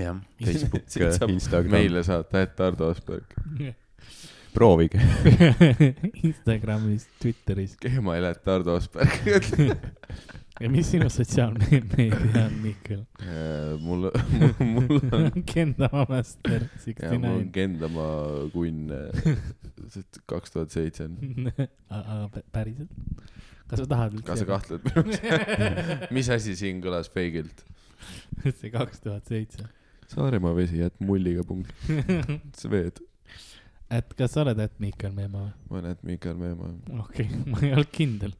Speaker 4: jah ,
Speaker 2: Siit
Speaker 4: Facebook
Speaker 2: saab ,
Speaker 4: Instagram ,
Speaker 2: meile saata , et Ardo Asperg .
Speaker 4: proovige .
Speaker 3: Instagramis , Twitteris
Speaker 2: kehma ei lähe , et Ardo Asperg .
Speaker 3: ja mis sinu sotsiaalmeedia on , Mihkel ?
Speaker 2: mul , mul on
Speaker 3: Kendama Master
Speaker 2: ja
Speaker 3: sixty
Speaker 2: mul on
Speaker 3: nine .
Speaker 2: Kendama kunn , et kaks tuhat seitse on .
Speaker 3: päriselt ? kas sa tahad
Speaker 2: kas sa ? kahtled minus ? mis asi siin kõlas peegilt ?
Speaker 3: see kaks tuhat seitse .
Speaker 2: Saaremaa vesi jääb mulliga punkt . Swed .
Speaker 3: et kas sa oled , et Mihkel Meemaa või ?
Speaker 2: ma näen , et Mihkel Meemaa .
Speaker 3: okei okay, , ma ei olnud kindel .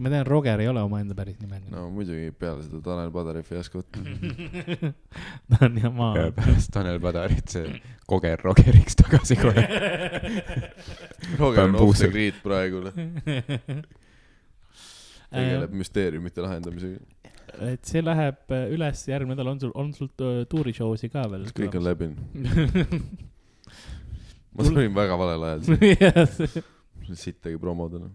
Speaker 3: ma tean , Roger ei ole omaenda päris nime .
Speaker 2: no muidugi peale seda Tanel Padari fiaskot .
Speaker 3: Mm. ta on ja maa .
Speaker 4: pärast Tanel Padarit see koger Rogeriks tagasi kohe .
Speaker 2: Roger on off the
Speaker 4: Bambuusel.
Speaker 2: grid praegu , tegeleb müsteeriumite lahendamisega .
Speaker 3: et see läheb äh, üles , järgmine nädal on sul , on sul äh, tuurishowsi ka veel ?
Speaker 2: kõik on läbinud . ma tulin väga valel ajal ,
Speaker 3: Yes.
Speaker 2: sittagi promodena .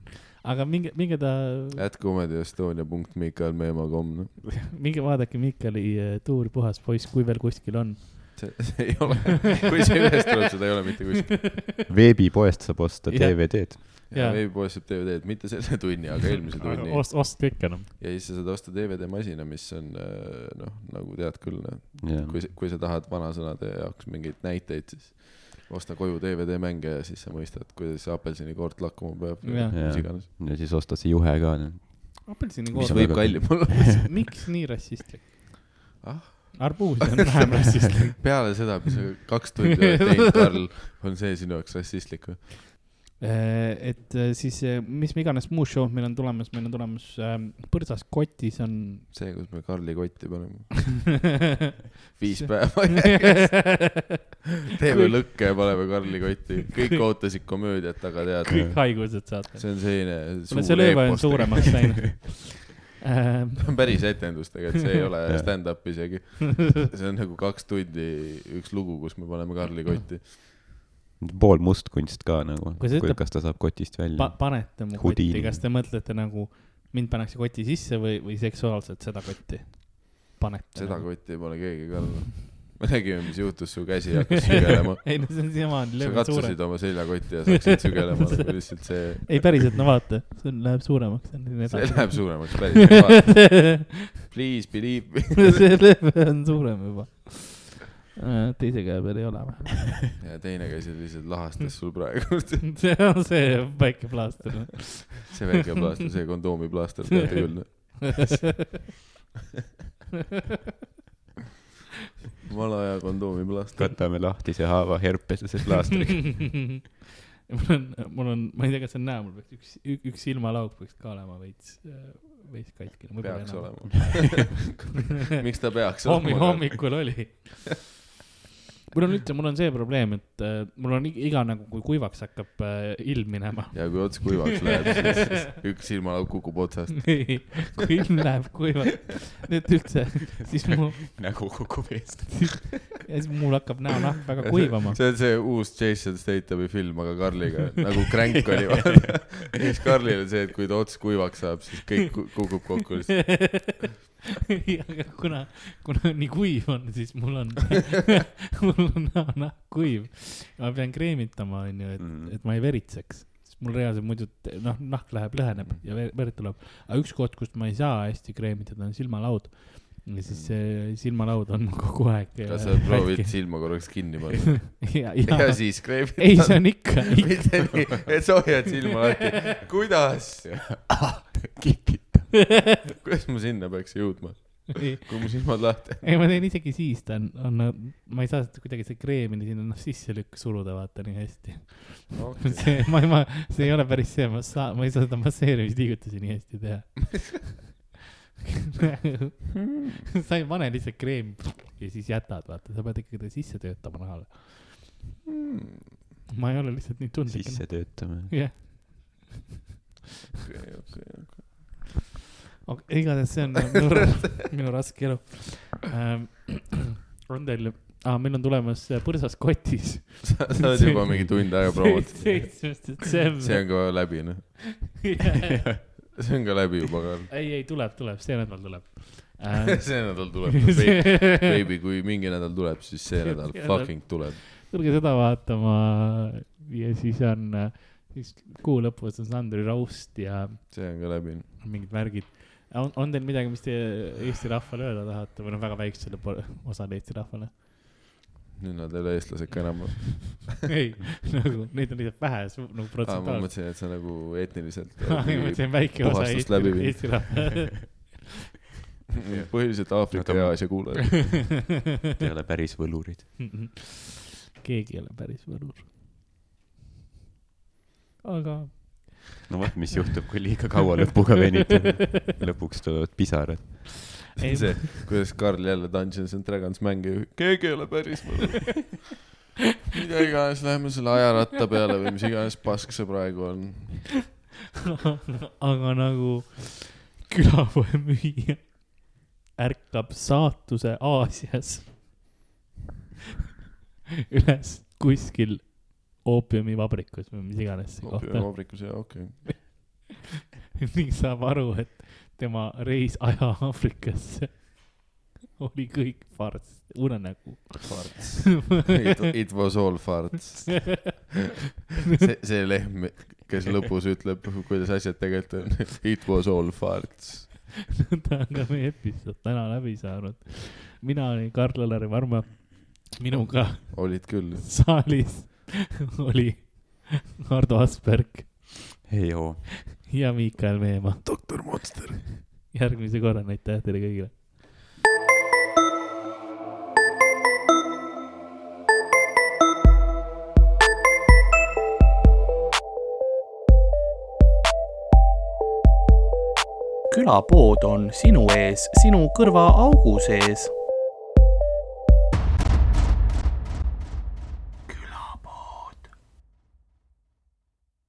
Speaker 3: aga minge , minge ta ,
Speaker 2: At Comedy Estonia punkt Mihkel Meemaa kom , noh .
Speaker 3: minge vaadake Mikkeli äh, tuur Puhas poiss , kui veel kuskil on .
Speaker 2: see see ei ole , kui see üles tuleb , seda ei ole mitte kuskil .
Speaker 4: veebipoest saab osta
Speaker 3: Jah.
Speaker 4: DVD-d .
Speaker 2: ja
Speaker 3: Jaa.
Speaker 2: veebipoes saab DVD-d , mitte selle tunni , aga eelmise tunni .
Speaker 3: ost , ost kõik enam .
Speaker 2: ja siis sa saad osta DVD-masina , mis on äh, noh , nagu tead küll , noh , kui sa , kui sa tahad vanasõnade jaoks mingeid näiteid , siis osta koju DVD-mänge ja siis sa mõistad , kuidas see apelsinikoort lakkuma peab või
Speaker 3: Jah.
Speaker 2: mis
Speaker 4: Jah.
Speaker 2: iganes .
Speaker 4: ja siis osta see juhe ka .
Speaker 2: mis
Speaker 3: apelsinikoor ,
Speaker 4: või-
Speaker 2: võib
Speaker 4: väga-
Speaker 2: kallim olla .
Speaker 3: miks nii rassistlik
Speaker 2: Ah? ?
Speaker 3: arbuus on vähem rassistlik .
Speaker 2: peale seda , mis sa kaks tundi oled teinud , Karl , on see sinu jaoks rassistlik või ?
Speaker 3: et äh, siis , mis iganes muud show'd meil on tulemas , meil on tulemas ähm, Põrsas kotis on
Speaker 2: see , kus me Karli kotti paneme .
Speaker 3: viis
Speaker 2: viis päeva järjest . teeme lõkke ja paneme Karli kotti . kõik ootasid komöödiat , aga tead .
Speaker 3: kõik haigused saate .
Speaker 2: see on selline
Speaker 3: no see lööva on . suuremaks läinud Ähm,
Speaker 2: see on päris etendus tegelikult , see ei ole
Speaker 4: Jah.
Speaker 2: stand-up isegi . see on nagu kaks tundi üks lugu , kus me paneme Karli kotti .
Speaker 4: pool mustkunst ka nagu .
Speaker 3: Kui sa ütled-
Speaker 4: kas ta saab kotist välja
Speaker 3: pa- ?, panete mu
Speaker 4: Houdini.
Speaker 3: kotti , kas te mõtlete nagu mind pannakse koti sisse või , või seksuaalselt seda kotti panete ? nagu?
Speaker 2: seda kotti ei pane keegi ka . me nägime , mis juhtus , su käsi hakkas sügelema .
Speaker 3: ei no see on siiamaani
Speaker 2: sa
Speaker 3: lööb suurem .
Speaker 2: katsusid oma seljakotti ja sa hakkasid sügelema , nagu lihtsalt see ,
Speaker 3: ei päriselt , no vaata , see läheb suuremaks .
Speaker 2: see läheb suuremaks päriselt . Please believe me .
Speaker 3: see lööb on suurem juba . teise käe peal ei ole või ?
Speaker 2: ja teine käsi lihtsalt lahastas sul praegu .
Speaker 3: see on see väike plaaster .
Speaker 2: see väike plaaster , see kondoomi plaaster , teate küll . vana aja kondoomi plaaster .
Speaker 4: katame lahti see haava herpesese plaastriga .
Speaker 3: mul on , mul on , ma ei tea , kas on näha , mul peaks üks , üks silmalauk peaks ka olema veits , veits katkine .
Speaker 2: peaks olema . miks ta peaks
Speaker 3: hommi ,
Speaker 2: olema ?
Speaker 3: hommikul oli . mul on üldse , mul on see probleem , et äh, mul on ig- iga nagu , kui kuivaks hakkab äh, ilm minema .
Speaker 2: ja kui ots kuivaks läheb , siis üks silmalauk kukub otsast .
Speaker 3: ei , kui ilm läheb kuivaks , nüüd üldse , siis mu ,
Speaker 4: nägu nagu kukub eest .
Speaker 3: ja siis mul hakkab näonahk väga kuivama .
Speaker 2: see on see uus Jason Statham'i film , aga Karliga , nagu Crank oli . siis Karlil on see , et kui ta ots kuivaks saab , siis kõik ku- kukub kokku lihtsalt .
Speaker 3: aga kuna , kuna nii kuiv on , siis mul on ,
Speaker 2: Mhm.
Speaker 3: mul on näonahk kuiv ja ma pean kreemitama , onju , et , et ma ei veritseks . siis mul reaalselt muidu te- noh , nahk läheb , lõheneb
Speaker 2: Mhm.
Speaker 3: ja ver- verd tuleb . aga üks koht , kust ma ei saa hästi kreemitada , on silmalaud . ja siis see silmalaud on mul kogu aeg .
Speaker 2: Mhm. kas sa proovid ? silma korraks kinni panna
Speaker 3: ja ,
Speaker 2: ja
Speaker 3: ja ,
Speaker 2: siis kreebid ?
Speaker 3: ei , see on ikka , ikka .
Speaker 2: mitte nii , et sa hoiad silma lahti . kuidas ? kuidas ma sinna peaks jõudma ,
Speaker 3: ei ,
Speaker 2: kui mu silmad lahti ?
Speaker 3: ma teen isegi siis , ta on , on , ma ei saa seda kuidagi see kreemini sinna noh sisse lükk- , suruda vaata nii hästi . see , ma , ma , see ei ole päris see , ma saa- , ma ei saa seda masseerimisliigutusi nii hästi teha . sa ei pane lihtsalt kreemi ja siis jätad , vaata , sa pead ikkagi ta sisse töötama nahale . ma ei ole lihtsalt nii tundlik .
Speaker 4: sisse töötame .
Speaker 3: jah , igatahes see on äh, minu, ra- minu raske elu ähm, . on teil , aa , meil on tulemas äh, põrsas kotis .
Speaker 2: sa sa oled juba mingi tund aega proovinud .
Speaker 3: seitsmes
Speaker 2: see
Speaker 3: detsember .
Speaker 2: on ka läbi , noh . see on ka läbi juba , Karl .
Speaker 3: ei , ei tuleb , tuleb , see nädal tuleb ähm, .
Speaker 2: Äh. see nädal tuleb . Baby , kui mingi nädal tuleb , siis see nädal
Speaker 3: See nädal.
Speaker 2: fucking tuleb .
Speaker 3: tulge seda vaatama ja siis on , siis kuu lõpus on Sandri Raust ja
Speaker 2: see on ka läbi .
Speaker 3: mingid värgid . on , on teil midagi , mis te Eesti rahvale öelda tahate või noh , väga väiksele po- osale Eesti rahvale ?
Speaker 2: nüüd nad ei ole eestlased ka enam .
Speaker 3: ei , nagu neid on lihtsalt vähe , nagu
Speaker 2: aa , Ah, ma
Speaker 3: protsentuaalselt .
Speaker 2: mõtlesin , et sa nagu etniliselt .
Speaker 3: ma mõtlesin väike osa
Speaker 2: puhastust
Speaker 3: Eesti
Speaker 2: läbi , viinud.
Speaker 3: Eesti rahvale .
Speaker 2: põhiliselt Aafrika ja Aasia kuulajad .
Speaker 4: Te ei ole päris võlurid .
Speaker 3: keegi ei ole päris võlur . aga .
Speaker 4: no vot , mis juhtub , kui liiga kaua lõpuga venitame . lõpuks tulevad pisarad .
Speaker 3: Ei,
Speaker 2: see , kuidas Karl jälle Dungeons and Dragons mängi , keegi ei ole päris mõelnud . mida iganes , lähme selle ajaratta peale või mis iganes pask see praegu on .
Speaker 3: aga nagu külapoe müüja ärkab saatuse Aasias üles kuskil oopiumivabrikus või mis iganes see koht on
Speaker 2: vabrikus ja okei okay. .
Speaker 3: ning saab aru , et tema reis aja Aafrikasse oli kõik farss , nagu unenägu .
Speaker 2: farts . It was all farts . see , see lehm , kes lõpus ütleb , kuidas asjad tegelikult on . It was all farts .
Speaker 3: ta on ka meie episood täna läbi saanud . mina olin Karl-Alari Varma , minuga
Speaker 2: olid küll .
Speaker 3: saalis oli Ardo Asperg
Speaker 4: ei joo .
Speaker 3: ja Miikael Meemaa . doktor Monster . järgmise korrani , aitäh teile kõigile .
Speaker 1: külapood on sinu ees , sinu kõrva augu sees